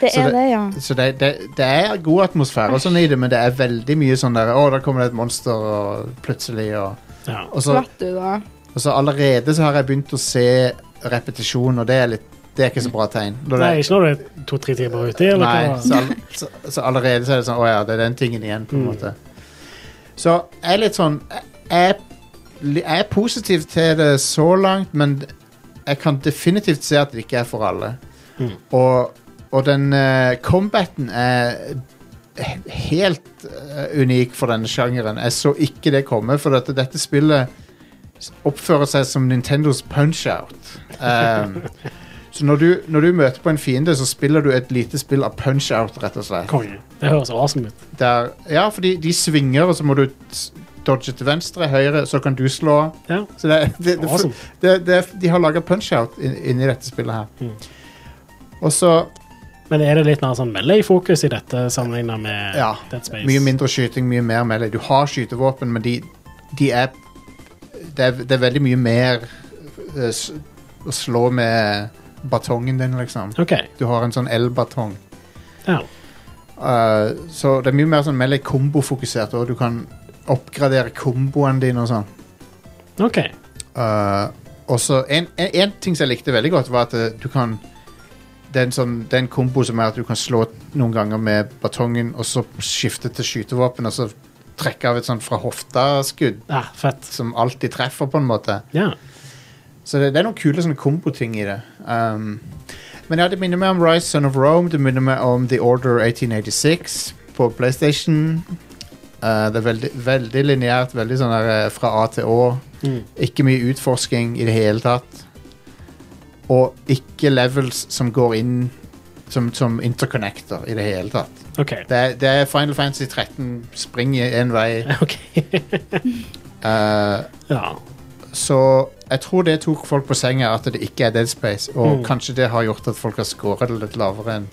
[SPEAKER 5] Det
[SPEAKER 1] så
[SPEAKER 5] er
[SPEAKER 1] det-
[SPEAKER 5] det, ja.
[SPEAKER 1] Så det, det, det er god atmosfære og sånn i det, men det er veldig mye sånn der Å, der kommer det et monster og plutselig og,
[SPEAKER 2] ja.
[SPEAKER 1] og, så,
[SPEAKER 5] Svett du, da?
[SPEAKER 1] og så allerede så har jeg begynt å se repetisjon, og det er, litt, det er ikke så bra tegn. Når
[SPEAKER 2] Nei,
[SPEAKER 1] det-
[SPEAKER 2] ikke når du er to-tre timer ute. Eller
[SPEAKER 1] Nei,
[SPEAKER 2] hva?
[SPEAKER 1] så, all, så, så allerede så er det sånn Å ja, det er den tingen igjen, på en
[SPEAKER 2] Mm.
[SPEAKER 1] måte. Så jeg er litt sånn Jeg, jeg er positiv til det så langt, men jeg kan definitivt se at det ikke er for alle.
[SPEAKER 2] Mm.
[SPEAKER 1] Og, og den eh, combaten er he- helt eh, unik for denne sjangeren. Jeg så ikke det komme, for dette, dette spillet oppfører seg som Nintendos punch-out. Um, så når du, når du møter på en fiende, så spiller du et lite spill av punch-out, rett og slett.
[SPEAKER 2] Konge. Det høres awesome ut.
[SPEAKER 1] Der, ja, fordi de svinger, og så må du s- dodge til venstre, høyre, så kan du slå.
[SPEAKER 2] Ja.
[SPEAKER 1] Så det, det, det,
[SPEAKER 2] Awesome.
[SPEAKER 1] det, det, de har laga punch-out inn- inni dette spillet her.
[SPEAKER 2] Mm.
[SPEAKER 1] Og så
[SPEAKER 2] Men er det litt mer sånn melee-fokus i dette sammenlignet med
[SPEAKER 1] Ja,
[SPEAKER 2] Dead Space?
[SPEAKER 1] mye mindre skyting, mye mer melee. Du har skytevåpen, men de, de er det, er det er veldig mye mer eh, s- å slå med batongen din, liksom.
[SPEAKER 2] OK.
[SPEAKER 1] Du har en sånn elbatong.
[SPEAKER 2] Ja.
[SPEAKER 1] Eh, så det er mye mer sånn melee kombofokusert, og du kan oppgradere komboene dine og sånn.
[SPEAKER 2] OK.
[SPEAKER 1] Uh, og så en, en, en ting som jeg likte veldig godt, var at eh, du kan Det er en sånn, det er en kombo som er at du kan slå noen ganger med batongen, og så skifte til skytevåpen, og så trekke av et sånt fra hofta-skudd
[SPEAKER 2] Ah, fett.
[SPEAKER 1] som alltid treffer, på en måte.
[SPEAKER 2] Ja.
[SPEAKER 1] Så det, det er noen kule sånne komboting i det. Um, men ja, det minner meg om Rise Son of Rome, det minner meg om The Order 1886 på PlayStation. Uh, det er veldig, veldig lineært, veldig sånn der eh, fra A til Å.
[SPEAKER 2] Mm.
[SPEAKER 1] Ikke mye utforsking i det hele tatt. Og ikke levels som går inn som, som interconnector i det hele tatt.
[SPEAKER 2] OK.
[SPEAKER 1] Det, er- det er Final Fantasy 13 springer én vei.
[SPEAKER 2] OK.
[SPEAKER 1] eh,
[SPEAKER 2] ja.
[SPEAKER 1] så jeg tror det tok folk på senga at det ikke er Dead Space, og
[SPEAKER 2] Mm.
[SPEAKER 1] kanskje det har gjort at folk har scoret det litt lavere enn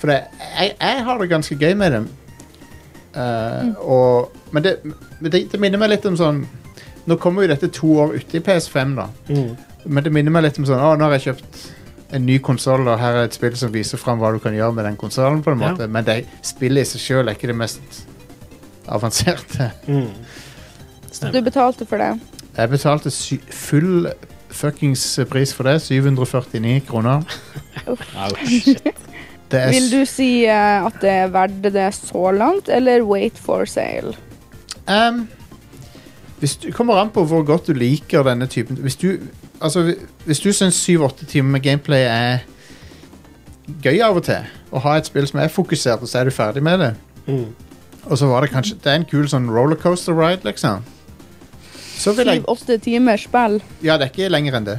[SPEAKER 1] For det, jeg, jeg har det ganske gøy med dem. Eh, og, men det, men det, det minner meg litt om sånn Nå kommer jo dette to år ute i PS5, da.
[SPEAKER 2] Mm.
[SPEAKER 1] Men det minner meg litt om sånn Å, nå har jeg kjøpt en ny konsoll, og her er et spill som viser fram hva du kan gjøre med den konsollen, på en
[SPEAKER 2] Ja.
[SPEAKER 1] måte. Men det, spillet i seg sjøl er ikke det mest avanserte.
[SPEAKER 2] Mm.
[SPEAKER 5] Du
[SPEAKER 2] Stemmer.
[SPEAKER 5] betalte for det.
[SPEAKER 1] Jeg betalte sy full fuckings pris for det. 749 kroner. Det er,
[SPEAKER 5] Vil du si eh, at det er verdt det så langt, eller wait for sale?
[SPEAKER 1] s- um, hvis du kommer an på hvor godt du liker denne typen Hvis du, altså, hvi- hvis du syns 7-8 timer med gameplay er gøy av og til, å ha et spill som er fokusert, og så er du ferdig med det
[SPEAKER 2] Mm.
[SPEAKER 1] Og så var det kanskje Det er en kul sånn rollercoaster ride, liksom. Så vil jeg
[SPEAKER 5] Syv-åtte timers spill.
[SPEAKER 1] Ja, det er ikke lenger enn det.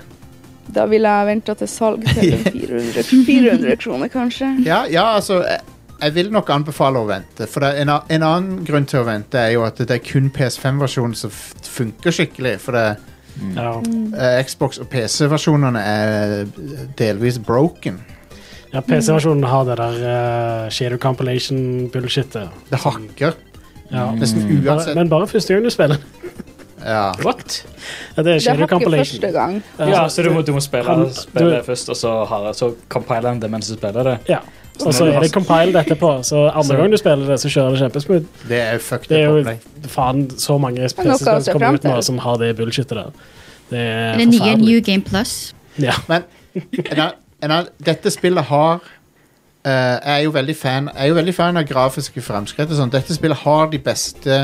[SPEAKER 5] Da ville jeg venta til salg til en 400, 400 kroner, kanskje.
[SPEAKER 1] Ja, ja altså jeg, jeg vil nok anbefale å vente. For det er en, a- en annen grunn til å vente er jo at det er kun PS5-versjonen som f- funker skikkelig. For det,
[SPEAKER 2] Ja.
[SPEAKER 1] eh, Xbox- og PC-versjonene er eh, delvis broken.
[SPEAKER 2] ja PC-versjonen har det der uh, shader compilation-bullshitet.
[SPEAKER 1] Det hakker
[SPEAKER 2] Ja.
[SPEAKER 1] nesten
[SPEAKER 2] Bare,
[SPEAKER 1] uansett.
[SPEAKER 2] men bare første gang du spiller.
[SPEAKER 1] Ja.
[SPEAKER 4] What?
[SPEAKER 2] Ja, det er
[SPEAKER 5] Det
[SPEAKER 2] shader
[SPEAKER 5] har ikke
[SPEAKER 2] compilation.
[SPEAKER 5] første gang.
[SPEAKER 4] Ja, så sånn du må, du må spille,
[SPEAKER 2] Han-
[SPEAKER 4] spille
[SPEAKER 2] du-
[SPEAKER 4] først, og så, har, så compiler han det mens du spiller det.
[SPEAKER 2] Ja. Og så er det compiled etterpå, så andre
[SPEAKER 4] Så-
[SPEAKER 2] gang du spiller det, så kjører det kjempesmooth.
[SPEAKER 1] Det er fucked
[SPEAKER 2] Det er
[SPEAKER 1] up
[SPEAKER 2] jo
[SPEAKER 1] opplegg.
[SPEAKER 2] faen så mange
[SPEAKER 5] noe å
[SPEAKER 2] PC-spill som
[SPEAKER 5] se
[SPEAKER 2] kommer
[SPEAKER 5] frem
[SPEAKER 2] ut nå
[SPEAKER 5] til.
[SPEAKER 2] som har det bullshitet der. Det er
[SPEAKER 3] Er det nye
[SPEAKER 2] forferdelig.
[SPEAKER 3] New Game Plus?
[SPEAKER 2] Ja.
[SPEAKER 1] Men en annen- en annen- dette spillet har eh, Jeg er jo veldig fan Jeg er jo veldig fan av grafiske fremskritt. og sånn. Dette spillet har de beste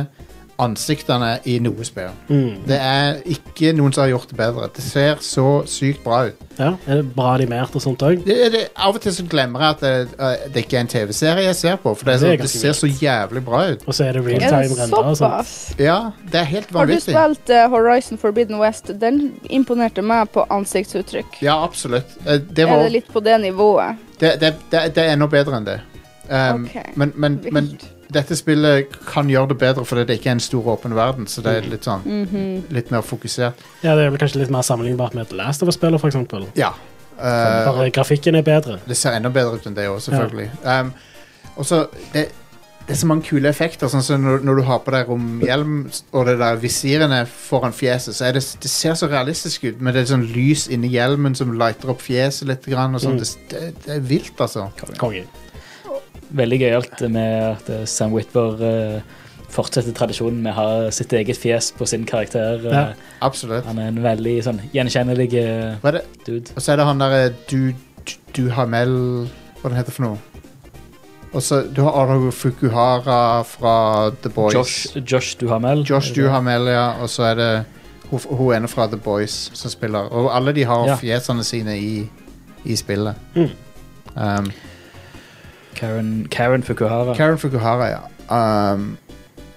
[SPEAKER 1] ansiktene i noe spill.
[SPEAKER 2] Mm.
[SPEAKER 1] Det er ikke noen som har gjort det bedre. Det ser så sykt bra ut.
[SPEAKER 2] ja. Er det bra animert og sånt òg?
[SPEAKER 1] Det, det, av og til så glemmer jeg at det, eh, det ikke er en TV-serie jeg ser på, for det, er
[SPEAKER 2] Det er
[SPEAKER 1] så, det
[SPEAKER 2] ganske
[SPEAKER 1] ser så jævlig bra ut.
[SPEAKER 2] Og så er det real
[SPEAKER 5] Er det
[SPEAKER 2] time render og sånt.
[SPEAKER 5] såpass?
[SPEAKER 1] Ja, det er helt
[SPEAKER 5] Har du
[SPEAKER 1] vanvittig.
[SPEAKER 5] spilt eh, Horizon Forbidden West? Den imponerte meg på ansiktsuttrykk.
[SPEAKER 1] Ja, absolutt. Eh, Det,
[SPEAKER 5] Er
[SPEAKER 1] var,
[SPEAKER 5] det litt på det nivået?
[SPEAKER 1] det, det, det, det er enda bedre enn det. Um,
[SPEAKER 5] Ok.
[SPEAKER 1] men, men, men
[SPEAKER 5] Vilt.
[SPEAKER 1] dette spillet kan gjøre det bedre fordi det ikke er en stor åpen verden, så det er litt sånn
[SPEAKER 5] Mhm.
[SPEAKER 1] litt mer fokusert.
[SPEAKER 2] Ja, Det er vel kanskje litt mer sammenlignbart med et Last of Us-spill, f.eks.
[SPEAKER 1] Ja. eh,
[SPEAKER 2] Bare grafikken er bedre.
[SPEAKER 1] Det ser enda bedre ut enn det òg, selvfølgelig. Um, og så det, det er så mange kule effekter. Sånn som når, når du har på deg romhjelm og det der visirene foran fjeset, så er det, det ser så realistisk ut, men det er sånn lys inni hjelmen som lighter opp fjeset litt. Grann, og sånn. det, det, det er vilt, altså.
[SPEAKER 2] Konge.
[SPEAKER 4] Veldig gøyalt med at eh, Sam Whitwer eh, fortsetter tradisjonen med å ha sitt eget fjes på sin karakter. eh.
[SPEAKER 2] Ja.
[SPEAKER 1] Absolutt.
[SPEAKER 4] Han er en veldig sånn gjenkjennelig eh,
[SPEAKER 1] Hva er det?
[SPEAKER 4] dude.
[SPEAKER 1] Og så er det han derre du, du, du Hamel Hva den heter for noe? Og så du har Aro Fukuhara fra The Boys.
[SPEAKER 4] Josh, Josh Duhamel. Eh,
[SPEAKER 1] Josh Duhamel, ja. Og så er det hun, hun ene fra The Boys som spiller. Og alle de har
[SPEAKER 4] Ja.
[SPEAKER 1] fjesene sine i, i spillet.
[SPEAKER 2] Mm.
[SPEAKER 1] Um,
[SPEAKER 4] Karen, Karen Fukuhara.
[SPEAKER 1] Karen Fukuhara, ja. Um,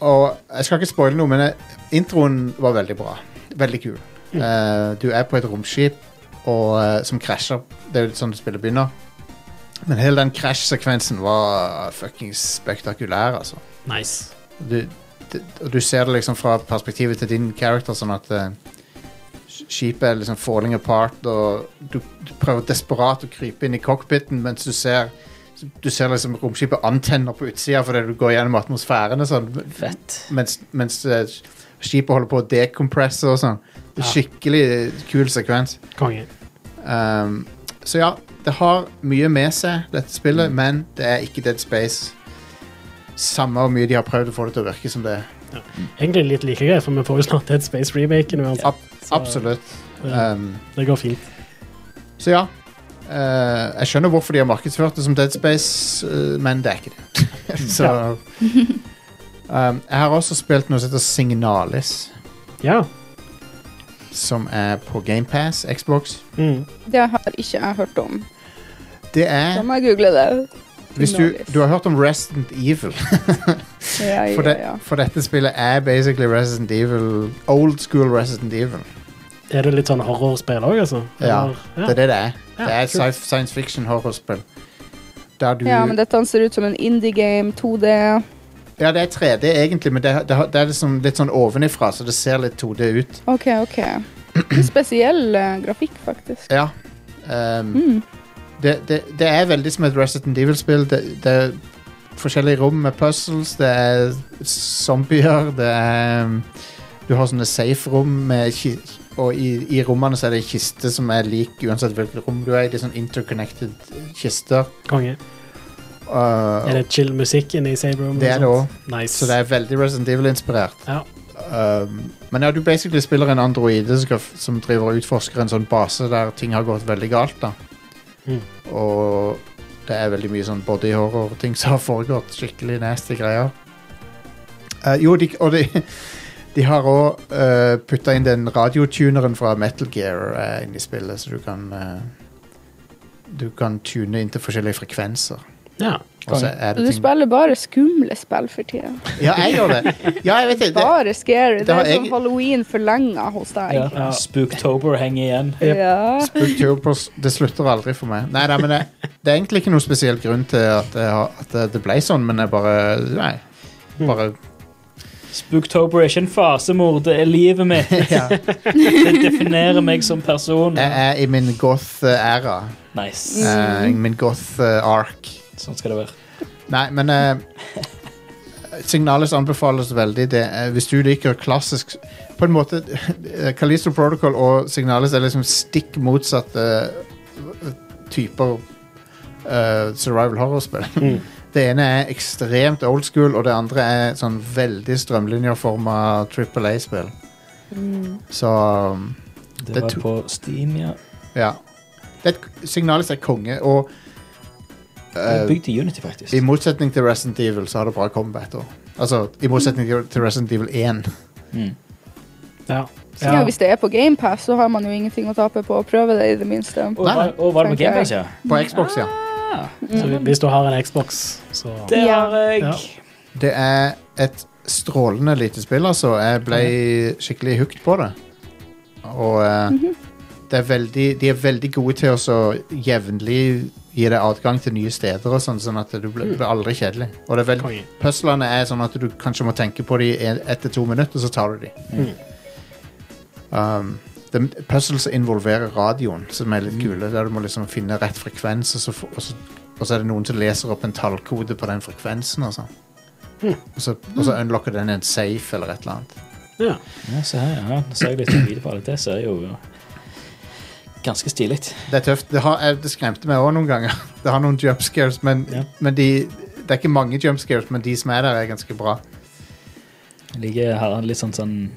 [SPEAKER 1] og jeg skal ikke spoile noe, men jeg, introen var veldig bra. Veldig kul. Eh, du er på et romskip og, eh, som krasjer. Det er jo litt sånn spillet begynner. Men hele den krasjsekvensen var fuckings spektakulær, altså.
[SPEAKER 2] Nice.
[SPEAKER 1] Du, det, og du ser det liksom fra perspektivet til din character, sånn at eh, skipet er liksom falling apart, og du, du prøver desperat å krype inn i cockpiten mens du ser du ser liksom romskipet antenner på utsida fordi du går gjennom atmosfæren og sånn
[SPEAKER 4] Fett.
[SPEAKER 1] mens, mens eh, skipet holder på å dekompresse og sånn. Det er
[SPEAKER 2] Ja.
[SPEAKER 1] Skikkelig kul sekvens.
[SPEAKER 2] Konge.
[SPEAKER 1] Um, så ja, det har mye med seg, dette spillet, men det er ikke Dead Space. Samme hvor mye de har prøvd å få det til å virke som det.
[SPEAKER 2] Egentlig litt like greit, for vi får jo snart Dead Space remaken uansett.
[SPEAKER 1] Ab absolutt.
[SPEAKER 2] Ja.
[SPEAKER 1] Um,
[SPEAKER 2] Det går fint.
[SPEAKER 1] så ja. Eh, jeg skjønner hvorfor de har markedsført det som Dead Space, eh, men det er ikke det. så um, Jeg har også spilt noe som heter Signalis,
[SPEAKER 2] Ja.
[SPEAKER 1] som er på GamePass, Xbox.
[SPEAKER 2] Mm.
[SPEAKER 5] Det har ikke jeg hørt om.
[SPEAKER 1] Det er
[SPEAKER 5] Da må jeg google det.
[SPEAKER 1] Eh. Hvis du, du har hørt om Resident Evil,
[SPEAKER 5] Ja,
[SPEAKER 1] for,
[SPEAKER 5] ja,
[SPEAKER 1] det,
[SPEAKER 5] ja.
[SPEAKER 1] for dette spillet er basically Resident Evil Old school Resident Evil.
[SPEAKER 2] Er det litt sånn horrorspill òg, altså?
[SPEAKER 1] Ja,
[SPEAKER 2] Eller-
[SPEAKER 1] Det er det det er.
[SPEAKER 2] Ja,
[SPEAKER 1] Det er et
[SPEAKER 2] kult.
[SPEAKER 1] sci- science fiction horrorspill. Der du
[SPEAKER 5] ja, men dette ser ut som en indie-game, 2D.
[SPEAKER 1] Ja, det er 3D egentlig, men det, det, har- det er liksom litt sånn ovenifra, så det ser litt 2D ut.
[SPEAKER 5] OK, OK. Litt Spesiell eh, grafikk, faktisk.
[SPEAKER 1] Ja. ehm,
[SPEAKER 5] Mm.
[SPEAKER 1] det, det, det er veldig som et Resident Evil-spill. Det, det er forskjellige rom med puzzles, det er zombier, det er um, Du har sånne safe-rom, med ki- og i, i rommene så er det en kiste som er lik uansett hvilket rom du er i. Det er sånn interconnected kister.
[SPEAKER 2] Konge.
[SPEAKER 1] Uh,
[SPEAKER 2] Er det chill musikk inne i Saber Room?
[SPEAKER 1] Eh, Det er det
[SPEAKER 2] og sånt? Nice.
[SPEAKER 1] så det er veldig Resident Evil-inspirert.
[SPEAKER 2] Ja.
[SPEAKER 1] Um, men ja, du basically spiller en androide som, skal, f- som driver og utforsker en sånn base der ting har gått veldig galt. da
[SPEAKER 2] Mm.
[SPEAKER 1] Og det er veldig mye sånn body horror-ting som har foregått. Skikkelig nasty greier. Eh, jo, de, og de, de har òg uh, putta inn den radiotuneren fra Metal Gear eh, inn i spillet, så du kan eh, Du kan tune inn til forskjellige frekvenser.
[SPEAKER 2] ja.
[SPEAKER 1] Og så er det
[SPEAKER 5] Så du
[SPEAKER 1] ting
[SPEAKER 5] spiller bare skumle spill for tida.
[SPEAKER 1] Ja, jeg gjør det! Ja, jeg vet det. det
[SPEAKER 5] Bare scary.
[SPEAKER 1] det
[SPEAKER 5] Det
[SPEAKER 1] har
[SPEAKER 5] er som
[SPEAKER 1] jeg-
[SPEAKER 5] halloween forlenga hos
[SPEAKER 4] Ja.
[SPEAKER 5] deg.
[SPEAKER 2] Ja.
[SPEAKER 4] Spooktober henger igjen.
[SPEAKER 2] Jep.
[SPEAKER 5] Ja.
[SPEAKER 1] Booktubers, det slutter aldri for meg. Nei, nei, men det, det er egentlig ikke noen spesiell grunn til at det, har- at det- det ble sånn, men jeg bare Nei. Bare
[SPEAKER 4] Spooktober er ikke en fasemor, det er livet mitt.
[SPEAKER 1] ja.
[SPEAKER 4] Det definerer meg som person.
[SPEAKER 1] Jeg er i min goth-æra.
[SPEAKER 4] Nice.
[SPEAKER 1] Eh, I min goth-ark.
[SPEAKER 4] Sånn skal det være.
[SPEAKER 1] Nei, men eh, Signalis anbefales veldig. Det, er- hvis du liker klassisk På en måte eh, Callisto Protocol og Signalis er liksom stikk motsatte eh, typer eh, survival horror-spill.
[SPEAKER 2] Mm.
[SPEAKER 1] Det ene er ekstremt old school, og det andre er sånn veldig strømlinjeforma Triple A-spill. Så um, Det
[SPEAKER 4] Det
[SPEAKER 1] to-
[SPEAKER 4] var på Steam, ja.
[SPEAKER 1] ja. Det er et, Signalis er konge, og
[SPEAKER 4] Det er
[SPEAKER 1] eh,
[SPEAKER 4] Bygd i Unity, faktisk.
[SPEAKER 1] i motsetning til Resident Evil så har det bra combat. Og, altså, I motsetning til- til Resident Evil 1.
[SPEAKER 4] Mm.
[SPEAKER 2] Ja.
[SPEAKER 5] Ja. hvis det er på GamePass, så har man jo ingenting å tape på å prøve det, i det minste.
[SPEAKER 4] Og, var, og var det på
[SPEAKER 5] Tenker
[SPEAKER 4] Gamebase, ja?
[SPEAKER 1] På Xbox, ja.
[SPEAKER 2] Så hvis du har en Xbox, så
[SPEAKER 4] Det
[SPEAKER 5] Ja.
[SPEAKER 4] har jeg.
[SPEAKER 2] Ja.
[SPEAKER 1] Det er et strålende lite spill, altså. Jeg ble skikkelig hooked på det. Og eh, det er veldig, de er veldig gode til å så jevnlig gi deg adgang til nye steder, og sånn, sånn at du blir, blir aldri kjedelig. Og det er veldig,
[SPEAKER 2] Konge.
[SPEAKER 1] puzzlene er sånn at du kanskje må tenke på dem i en- ett til to minutter, så tar du dem. Um, det er puzzles som involverer radioen, som er litt kule. Der du må liksom finne rett frekvens, og så, få- og så, og så er det noen som leser opp en tallkode på den frekvensen. Og sånn. Og så, og
[SPEAKER 4] Mm.
[SPEAKER 1] så unlocker den en safe eller et eller annet.
[SPEAKER 2] Ja.
[SPEAKER 4] Ja, se her, ja. Nå ser jeg litt videre på det. Det ser jo ganske stilig ut.
[SPEAKER 1] Det er tøft. Det, har, eh, det skremte meg òg noen ganger. Det har noen jump scares, men,
[SPEAKER 4] Ja.
[SPEAKER 1] men de, det er ikke mange jump scares, men de som er der, er ganske bra.
[SPEAKER 4] Jeg liker har han litt sånn sånn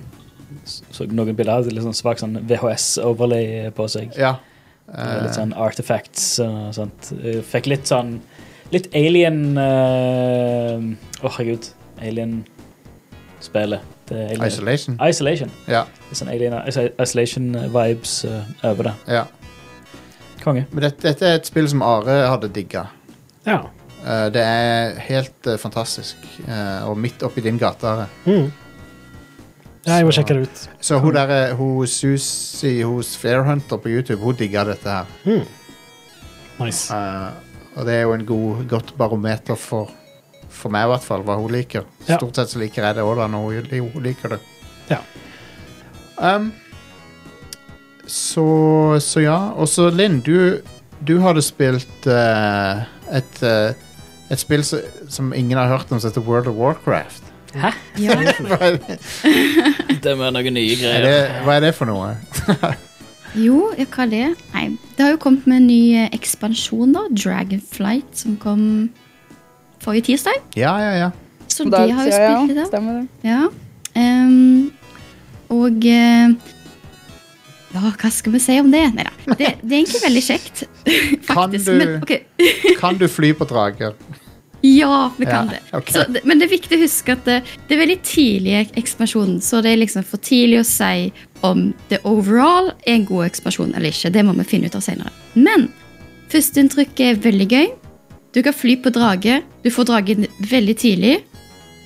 [SPEAKER 4] så noen bilder hadde litt sånn svak sånn VHS-overlay på seg.
[SPEAKER 1] Ja.
[SPEAKER 4] Det var Litt
[SPEAKER 1] Eh,
[SPEAKER 4] sånn artifacts og sånt. Jeg Fikk litt sånn Litt alien eh, Åh, herregud. Alien-spelet. Det er alien.
[SPEAKER 1] Eh, Isolation.
[SPEAKER 4] Isolation.
[SPEAKER 1] Ja,
[SPEAKER 4] Litt sånn alien isolation-vibes eh, over det.
[SPEAKER 1] ja.
[SPEAKER 4] Konge.
[SPEAKER 1] Men dette, dette er et spill som Are hadde digga.
[SPEAKER 2] ja.
[SPEAKER 1] Eh, det er helt eh, fantastisk. Eh, og midt oppi din gate. Are.
[SPEAKER 2] Mm. Ja, jeg må sjekke det ut.
[SPEAKER 1] Så hun der, eh, hun Susi hos Fairhunter på YouTube, hun digga dette her.
[SPEAKER 2] Mm. Nice.
[SPEAKER 1] Eh, og det er jo en god, godt barometer for, for meg, i hvert fall, hva hun liker.
[SPEAKER 2] Ja.
[SPEAKER 1] Stort sett så liker jeg det òg, da, når hun, hun liker det.
[SPEAKER 2] Ja.
[SPEAKER 1] Um, så, så ja. Og så Linn, du, du hadde spilt eh, et, eh, et spill som, som ingen har hørt om, som heter World of Warcraft.
[SPEAKER 3] Ja.
[SPEAKER 1] Hva er,
[SPEAKER 4] Det må være noen nye
[SPEAKER 1] er
[SPEAKER 4] greier.
[SPEAKER 1] det, hva er det for noe?
[SPEAKER 3] Jo, ja, hva er det? Nei, det har jo kommet med en ny eh, ekspansjon, da. Dragonflight, som kom forrige tirsdag.
[SPEAKER 1] Ja, ja, ja.
[SPEAKER 3] Så de har jo spilt i det.
[SPEAKER 5] Stemmer det.
[SPEAKER 3] Ja. ehm, og eh, Ja, hva skal vi si om det? Neida, Det, det er egentlig veldig kjekt,
[SPEAKER 1] Kan
[SPEAKER 3] faktisk.
[SPEAKER 1] du-
[SPEAKER 3] Men, ok,
[SPEAKER 1] Kan du fly på drager?
[SPEAKER 3] Ja, vi kan
[SPEAKER 1] Ja,
[SPEAKER 3] det.
[SPEAKER 1] ok.
[SPEAKER 3] Så, det- men det er viktig å huske at det, det er veldig tidlig ekspansjon, så det er liksom for tidlig å si om det overall er en god ekspansjon eller ikke. Det må vi finne ut av senere. Men førsteinntrykket er veldig gøy. Du kan fly på drage. Du får dragen veldig tidlig.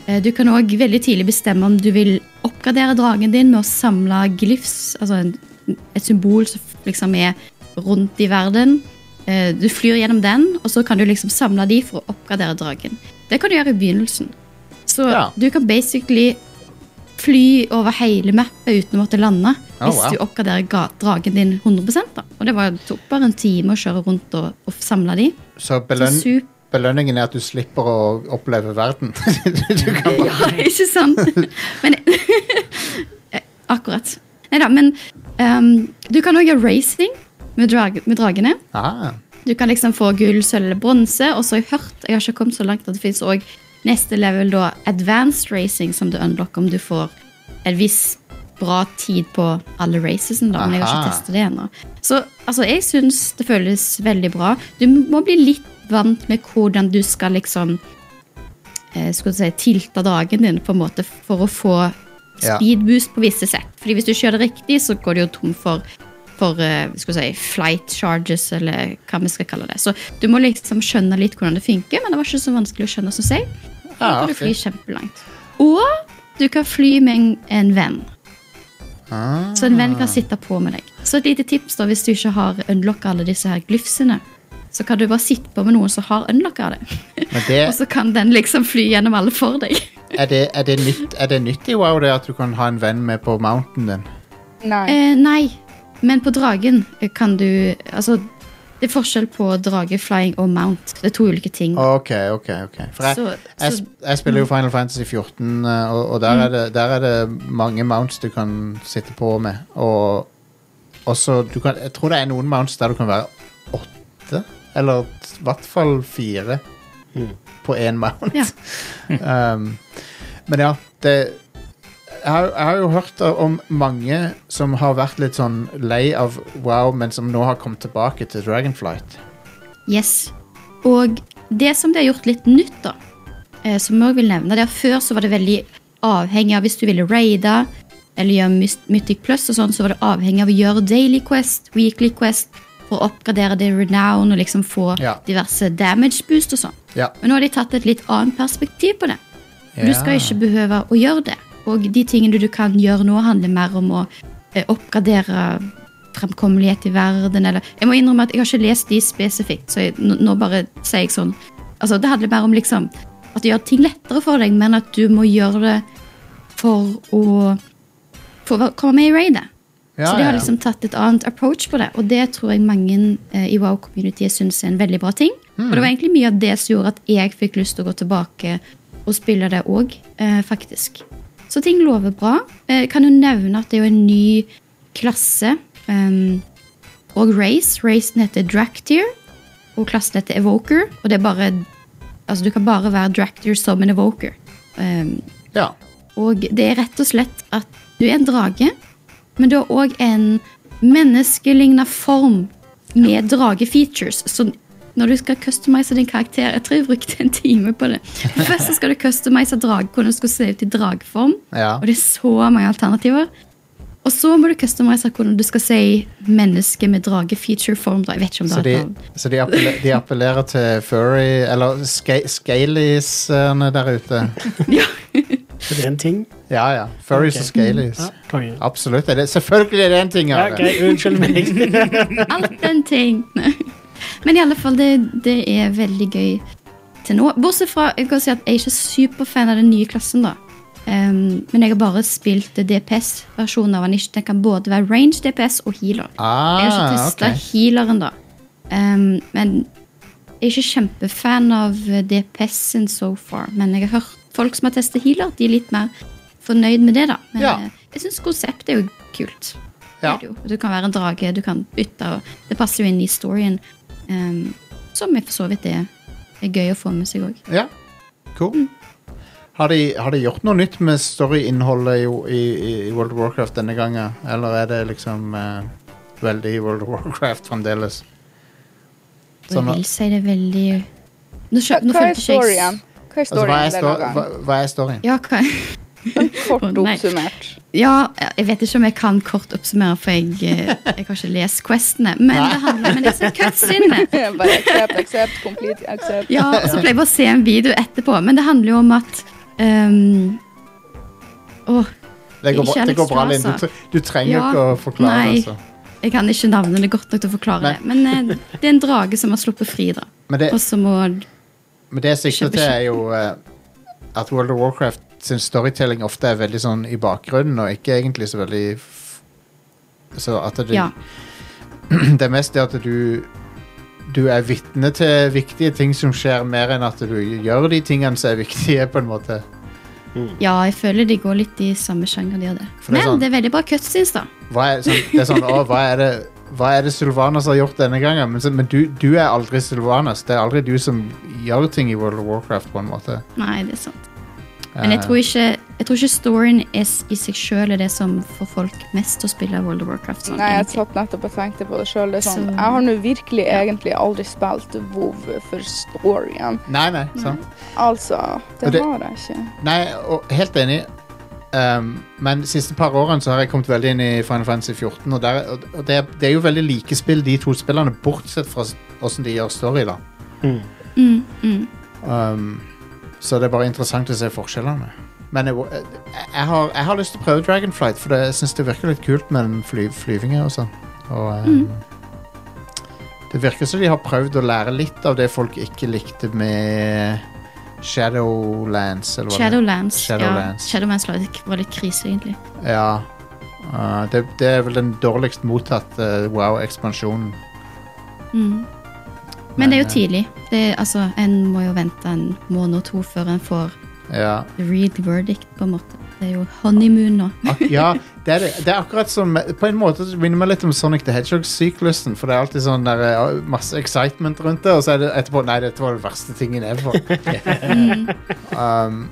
[SPEAKER 3] Eh, Du kan òg veldig tidlig bestemme om du vil oppgradere dragen din med å samle glyphs, altså en, et symbol som liksom er rundt i verden. Eh, Du flyr gjennom den, og så kan du liksom samle de for å oppgradere dragen. Det kan du gjøre i begynnelsen. Så
[SPEAKER 1] Ja.
[SPEAKER 3] du kan basically fly over hele mappet uten å måtte lande
[SPEAKER 1] Oh,
[SPEAKER 3] hvis
[SPEAKER 1] wow.
[SPEAKER 3] du oppgraderer ga- dragen din 100 da. Og det var, tok bare en time å kjøre rundt og, og samle de.
[SPEAKER 1] Så
[SPEAKER 3] Så
[SPEAKER 1] belønn,
[SPEAKER 3] sup-
[SPEAKER 1] belønningen er at du slipper å oppleve verden.
[SPEAKER 3] Ja, ikke sant? Men Eh, Akkurat. Nei da, men ehm, du kan òg gjøre racing med, drag med dragene.
[SPEAKER 1] ah,
[SPEAKER 3] Du kan liksom få gull, sølv eller bronse. Og så har jeg hørt, jeg har ikke kommet så langt, at det fins òg neste level, da, advanced racing, som du unlocker om du får en viss bra tid på alle racesen, da. Men jeg har
[SPEAKER 1] Aha.
[SPEAKER 3] ikke testet det ennå. Så altså, jeg syns det føles veldig bra. Du må bli litt vant med hvordan du skal liksom eh, skal du si, tilte dagen din på en måte for å få
[SPEAKER 1] Ja.
[SPEAKER 3] speed boost på visse sett. Fordi hvis du ikke gjør det riktig, så går du jo tom for, for eh, skal vi si, flight charges, eller hva vi skal kalle det. Så du må liksom skjønne litt hvordan det funker, men det var ikke så vanskelig å skjønne, syns jeg.
[SPEAKER 1] Ja,
[SPEAKER 3] Da kan du
[SPEAKER 1] Ah, ok.
[SPEAKER 3] fly kjempelangt. Og du kan fly med en, en venn.
[SPEAKER 1] ah.
[SPEAKER 3] Så en venn kan sitte på med deg. Så et lite tips da, hvis du ikke har unlocka alle disse her glyfsene, så kan du bare sitte på med noen som har unlocka det.
[SPEAKER 1] Men det,
[SPEAKER 3] Og så kan den liksom fly gjennom alle for deg.
[SPEAKER 1] er, det, er, det nytt, er det nytt i WoW det at du kan ha en venn med på mountain din?
[SPEAKER 5] Nei.
[SPEAKER 3] Eh, nei, men på dragen kan du Altså, det er forskjell på drage, flying og mount. Det er to ulike ting.
[SPEAKER 1] Ok, ok, ok. For jeg,
[SPEAKER 3] Så-
[SPEAKER 1] jeg,
[SPEAKER 3] så- Mm.
[SPEAKER 1] sp- jeg spiller jo Final Fantasy 14, eh, og, og der, er det, der er det mange mounts du kan sitte på med. Og også, du kan, jeg tror det er noen mounts der du kan være åtte, eller i hvert fall fire på én mount.
[SPEAKER 3] Ja.
[SPEAKER 1] um, men ja, det jeg har, jeg har jo hørt om mange som har vært litt sånn lei av wow, men som nå har kommet tilbake til Dragonflight.
[SPEAKER 3] Yes. Og det som det har gjort litt nytt, da, eh, som jeg også vil nevne, det er at før så var det veldig avhengig av hvis du ville raide eller gjøre Myst- Mythic Plus og sånn, så var det avhengig av å gjøre Daily Quest, Weekly Quest, for å oppgradere din renown og liksom få
[SPEAKER 1] Ja.
[SPEAKER 3] diverse damage boost og sånn.
[SPEAKER 1] Ja.
[SPEAKER 3] Men nå har de tatt et litt annet perspektiv på det. For
[SPEAKER 1] Ja.
[SPEAKER 3] Du skal ikke behøve å gjøre det. Og de tingene du kan gjøre nå, handler mer om å eh, oppgradere fremkommelighet i verden. Eller, jeg må innrømme at jeg har ikke lest de spesifikt, så jeg, nå nå bare sier jeg sånn. Altså, det handler mer om liksom, at du gjør ting lettere for deg, men at du må gjøre det for å for å være- komme med i raidet.
[SPEAKER 1] Ja,
[SPEAKER 3] så de
[SPEAKER 1] ja,
[SPEAKER 3] har
[SPEAKER 1] ja.
[SPEAKER 3] liksom tatt et annet approach på det, og det tror jeg mange eh, i Wow-communityet syns er en veldig bra ting.
[SPEAKER 1] Mm.
[SPEAKER 3] Og det var egentlig mye av det som gjorde at jeg fikk lyst til å gå tilbake og spille det òg, eh, faktisk. Så ting lover bra. Eh, kan jo nevne at det er jo en ny klasse ehm, og race. Racen heter Dractyr, og klassen heter Evoker. Og det er bare Altså, du kan bare være Dractyr som en Evoker. Ehm,
[SPEAKER 1] Ja.
[SPEAKER 3] og det er rett og slett at du er en drage, men du har òg en menneskelignende form med dragefeatures. Så når du skal customize din karakter Jeg tror jeg brukte en time på det. Først så skal du customize drage, hvordan du skal se ut i drageform.
[SPEAKER 1] Ja.
[SPEAKER 3] Og det er så mange alternativer. Og så må du customize hvordan du skal se i menneske med dragefeature-form. da. Jeg vet ikke om det
[SPEAKER 1] Så
[SPEAKER 3] er et
[SPEAKER 1] de,
[SPEAKER 3] navn.
[SPEAKER 1] så de, appelle, de appellerer til furry Eller ska, scaliesene der ute.
[SPEAKER 3] Ja.
[SPEAKER 2] Er det en ting?
[SPEAKER 1] Ja, ja. Furries
[SPEAKER 2] Ok.
[SPEAKER 1] og scalies.
[SPEAKER 2] Ja, konge.
[SPEAKER 1] Absolutt. Er det, selvfølgelig er det en ting
[SPEAKER 2] Ja,
[SPEAKER 1] av
[SPEAKER 2] ok,
[SPEAKER 1] det.
[SPEAKER 2] unnskyld meg.
[SPEAKER 3] Alt den ting. Nei. Men i alle fall, det, det er veldig gøy til nå. Bortsett fra jeg kan si at jeg er ikke superfan av den nye klassen, da. Ehm, men jeg har bare spilt DPS-versjonen av Anish. Den kan både være range DPS og healer. Jeg har
[SPEAKER 1] Ah,
[SPEAKER 3] ikke testa
[SPEAKER 1] ok.
[SPEAKER 3] healeren, da. Ehm, men jeg er ikke kjempefan av DPS-en so far. Men jeg har hørt folk som har testa healer, de er litt mer fornøyd med det, da. Men
[SPEAKER 1] Ja.
[SPEAKER 3] eh, jeg syns konseptet er jo kult. Det
[SPEAKER 1] Ja.
[SPEAKER 3] er det jo. Du kan være en drage, du kan bytte, og det passer jo inn i storyen. ehm, som jeg for så vidt er, er gøy å få med seg òg.
[SPEAKER 1] Ja, cool. Har de, har de gjort noe nytt med storyinnholdet i, i, i- i World of Warcraft denne gangen? Eller er det liksom eh, veldig World of Warcraft fremdeles?
[SPEAKER 3] Og jeg
[SPEAKER 1] Sånn at-
[SPEAKER 3] vil si det er veldig Nå, skjø, nå
[SPEAKER 5] Hva er
[SPEAKER 3] følte ikke jeg
[SPEAKER 5] storyen? Hva er
[SPEAKER 1] Altså, hva, er
[SPEAKER 5] storyen?
[SPEAKER 1] sto
[SPEAKER 5] denne
[SPEAKER 1] hva,
[SPEAKER 5] gangen?
[SPEAKER 1] hva er storyen?
[SPEAKER 3] Ja, hva
[SPEAKER 5] Kort
[SPEAKER 3] Å, nei.
[SPEAKER 5] oppsummert.
[SPEAKER 3] Ja, jeg vet ikke om jeg kan kort oppsummere, for jeg, eh, jeg har ikke lest questene. Men det handler om disse cutscenene.
[SPEAKER 5] Bare accept, accept, complete accept.
[SPEAKER 3] Ja, og så pleier jeg bare å se en video etterpå. Men det handler jo om at ehm, Åh,
[SPEAKER 1] Det går bra, det går bra
[SPEAKER 3] Kjærlighetsfraser.
[SPEAKER 1] Linn. Du, tre- du trenger
[SPEAKER 3] Ja,
[SPEAKER 1] ikke å forklare
[SPEAKER 3] nei.
[SPEAKER 1] det. Altså.
[SPEAKER 3] jeg kan ikke navnene godt nok til å forklare
[SPEAKER 1] Nei.
[SPEAKER 3] det. Men eh, det er en drage som har sluppet fri, da.
[SPEAKER 1] Men det,
[SPEAKER 3] Og så må
[SPEAKER 1] men det jeg sikter
[SPEAKER 3] Kjempe-
[SPEAKER 1] til, er jo eh, at World of Warcraft sin storytelling ofte er veldig sånn i bakgrunnen, og ikke egentlig så veldig f Så at det,
[SPEAKER 3] Ja.
[SPEAKER 1] det er mest det at du du er vitne til viktige ting som skjer, mer enn at du gjør de tingene som er viktige, på en måte.
[SPEAKER 3] ja, jeg føler de går litt i samme sjanger, de og det.
[SPEAKER 1] For det er
[SPEAKER 3] Men
[SPEAKER 1] sånn-
[SPEAKER 3] det er veldig bra cutscenes, da.
[SPEAKER 1] Hva er, sånn, det er sånn, å, hva er det hva er det Sylvanas har gjort denne gangen? Men, så, men du, du er aldri Sylvanas. Det er aldri du som gjør ting i World of Warcraft, på en måte.
[SPEAKER 3] Nei, det er sant. Men jeg
[SPEAKER 1] Eh,
[SPEAKER 3] tror ikke, jeg tror ikke storyen er s- i seg sjøl er det som får folk mest til å spille World of Warcraft. Sånn,
[SPEAKER 5] Nei, jeg
[SPEAKER 3] egentlig.
[SPEAKER 5] satt nettopp og tenkte på det sjøl. Sånn,
[SPEAKER 3] Så-
[SPEAKER 5] jeg har nå virkelig egentlig aldri spilt WoW for storyen.
[SPEAKER 1] Nei, nei, sant.
[SPEAKER 5] Altså,
[SPEAKER 1] Og
[SPEAKER 5] det,
[SPEAKER 1] det-
[SPEAKER 5] har jeg ikke.
[SPEAKER 1] Nei, og helt enig. Um, men de siste par årene så har jeg kommet veldig inn i Final Fantasy 14, og, der, og og det, er- det er jo veldig like spill, de to spillene, bortsett fra s- hvordan de gjør story, da.
[SPEAKER 2] Mm.
[SPEAKER 3] Mm, mm.
[SPEAKER 1] Um, så det er bare interessant å se forskjellene. Men jeg, jeg, jeg, har, jeg har lyst til å prøve Dragonflight, for det, jeg syns det virker litt kult med den fly, flyvinga og sånn. Og um, det virker som de har prøvd å lære litt av det folk ikke likte med Shadowlands. Eller hva det
[SPEAKER 3] Shadowlands.
[SPEAKER 1] Shadowlands.
[SPEAKER 3] Ja, Shadowlands var litt, var litt krise, egentlig.
[SPEAKER 1] Ja. Uh, det, det er vel den dårligst mottatte wow-ekspansjonen.
[SPEAKER 3] Mm.
[SPEAKER 1] Men,
[SPEAKER 3] Men det er
[SPEAKER 1] eh,
[SPEAKER 3] jo tidlig. Det er, altså, en må jo vente en måned og to før en får
[SPEAKER 1] Ja.
[SPEAKER 3] the read verdict, på en måte. Det er jo honeymoon nå.
[SPEAKER 1] Ak ja, det er, det, det er akkurat som På en måte så minner meg litt om Sonic the Hedgehog-syklusen. For det er alltid sånn der, ja, masse excitement rundt det, og så er det etterpå Nei, dette var den verste tingen ever.
[SPEAKER 3] Eh.
[SPEAKER 5] Mm.
[SPEAKER 1] um,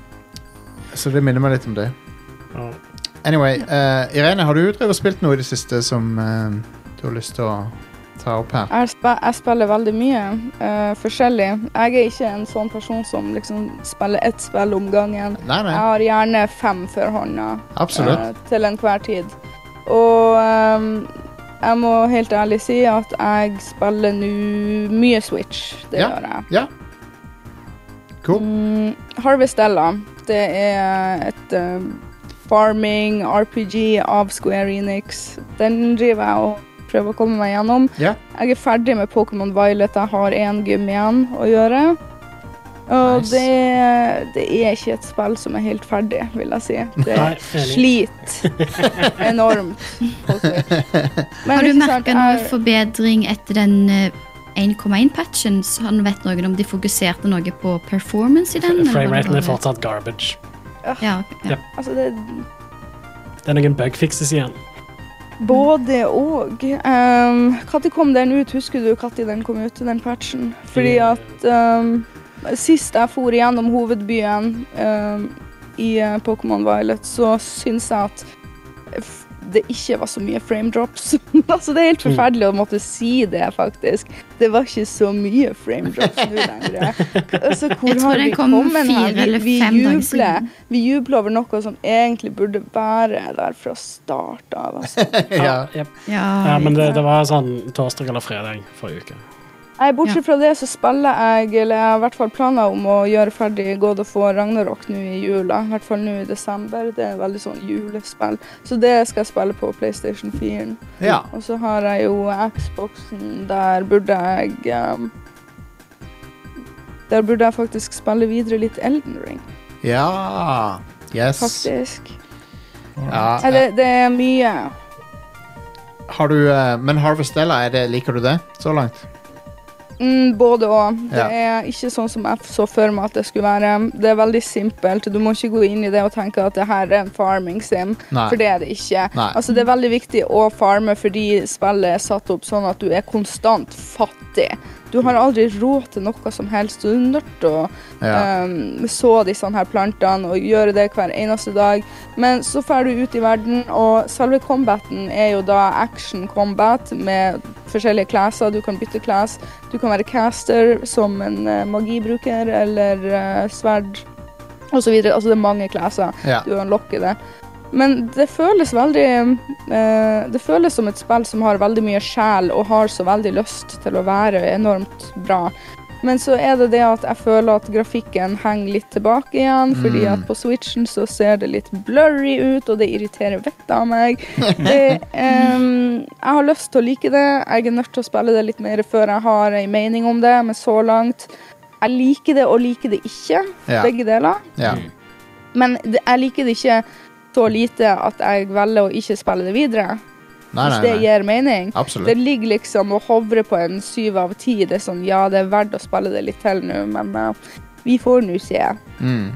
[SPEAKER 1] så det minner meg litt om det.
[SPEAKER 2] Ja.
[SPEAKER 1] Anyway, eh, Irene, har du drevet og spilt noe i det siste som eh, du har lyst til å ta opp her?
[SPEAKER 5] Jeg, spe jeg spiller veldig mye eh, forskjellig. Jeg er ikke en sånn person som liksom spiller ett spill om gangen.
[SPEAKER 1] Nei, nei.
[SPEAKER 5] Jeg har gjerne fem for hånda.
[SPEAKER 1] Absolutt.
[SPEAKER 5] eh, til enhver tid. Og ehm, jeg må helt ærlig si at jeg spiller nå mye Switch. Det
[SPEAKER 1] Ja.
[SPEAKER 5] gjør jeg.
[SPEAKER 1] Ja. Cool.
[SPEAKER 5] Mm, Harvestella, det er et eh, farming RPG av Square Enix. Den driver jeg og prøver å komme meg gjennom.
[SPEAKER 1] Ja.
[SPEAKER 5] Jeg er ferdig med Pokémon Violet. Jeg har én gym igjen å gjøre. Og
[SPEAKER 1] Nice.
[SPEAKER 5] det, det er ikke et spill som er helt ferdig, vil jeg si. Det
[SPEAKER 2] Nei, enig.
[SPEAKER 5] Slit enormt. på Switch. Men
[SPEAKER 3] Har du
[SPEAKER 5] ikke sant,
[SPEAKER 3] merka noe
[SPEAKER 5] jeg-
[SPEAKER 3] forbedring etter den eh, 1,1-patchen? Så han vet noen om de fokuserte noe på performance i den? eller var det
[SPEAKER 2] Frameraten er
[SPEAKER 3] bare-
[SPEAKER 2] fortsatt garbage.
[SPEAKER 3] ja, ok, ja.
[SPEAKER 2] Ja.
[SPEAKER 5] altså, det,
[SPEAKER 2] Det er noen bugfixes igjen.
[SPEAKER 5] både og. Um, når kom den ut? Husker du når den kom ut, den patchen? Fordi at um, sist jeg for igjennom hovedbyen um, i eh, Pokémon Violet, så syns jeg at f- det ikke var så mye frame drops. altså, det er helt forferdelig å måtte si det, faktisk. Det var ikke så mye frame drops nå lenger. Altså, hvor
[SPEAKER 3] Jeg tror
[SPEAKER 5] har
[SPEAKER 3] den
[SPEAKER 5] vi
[SPEAKER 3] kom
[SPEAKER 5] kommet
[SPEAKER 3] fire
[SPEAKER 5] hen?
[SPEAKER 3] eller
[SPEAKER 5] Vi, vi,
[SPEAKER 3] fem dager
[SPEAKER 5] jubler,
[SPEAKER 3] siden.
[SPEAKER 5] vi jubler over noe som egentlig burde være der fra start av. Altså.
[SPEAKER 1] Ja.
[SPEAKER 2] jep.
[SPEAKER 3] Ja,
[SPEAKER 2] Ja, men det, det var sånn torsdag eller fredag forrige uke.
[SPEAKER 5] Nei, Bortsett fra det så spiller jeg, eller jeg har i hvert fall planer om å gjøre ferdig God of War Ragnarok nå i jula. I hvert fall nå i desember. Det er veldig sånn julespill. Så det skal jeg spille på PlayStation 4.
[SPEAKER 1] Ja.
[SPEAKER 5] Og så har jeg jo Xboxen. Der burde jeg um, Der burde jeg faktisk spille videre litt Elden Ring,
[SPEAKER 1] Ja. Yes.
[SPEAKER 5] faktisk.
[SPEAKER 1] Ja.
[SPEAKER 5] Nei, det, det er mye.
[SPEAKER 1] Har du, eh, men Harvestella, er det, liker du det så langt?
[SPEAKER 5] Mm, både og. Det
[SPEAKER 1] Ja.
[SPEAKER 5] er ikke sånn som jeg så for meg at det skulle være. Det er veldig simpelt. Du må ikke gå inn i det og tenke at det her er en farming sim,
[SPEAKER 1] Nei.
[SPEAKER 5] for det er det ikke.
[SPEAKER 1] Nei.
[SPEAKER 5] Altså, det er veldig viktig å farme fordi spillet er satt opp sånn at du er konstant fattig. Du har aldri råd til noe som helst. Du er nødt til å
[SPEAKER 1] Ja.
[SPEAKER 5] um, så disse her plantene og gjøre det hver eneste dag. Men så drar du ut i verden, og selve combaten er jo da action combat med forskjellige classer. Du kan bytte class. Du kan være caster som en eh, magibruker eller eh, sverd osv. Altså det er mange classer.
[SPEAKER 1] ja.
[SPEAKER 5] Du unlocker det. Men det føles veldig eh, Det føles som et spill som har veldig mye sjel, og har så veldig lyst til å være enormt bra. Men så er det det at jeg føler at grafikken henger litt tilbake igjen, fordi
[SPEAKER 1] Mm.
[SPEAKER 5] at på Switchen så ser det litt blurry ut, og det irriterer vettet av meg. Det, ehm, jeg har lyst til å like det. Jeg er nødt til å spille det litt mer før jeg har en mening om det, men så langt Jeg liker det og liker det ikke,
[SPEAKER 1] Ja.
[SPEAKER 5] begge deler.
[SPEAKER 1] ja.
[SPEAKER 5] Men det, jeg liker det ikke så lite at jeg velger å ikke spille det videre,
[SPEAKER 1] Nei,
[SPEAKER 5] hvis
[SPEAKER 1] nei,
[SPEAKER 5] det
[SPEAKER 1] nei.
[SPEAKER 5] gir mening. Det
[SPEAKER 1] Absolutt.
[SPEAKER 5] ligger liksom og hovrer på en syv av ti. Det er sånn, ja, det er verdt å spille det litt til nå, men eh, vi får nå se.
[SPEAKER 1] Mm.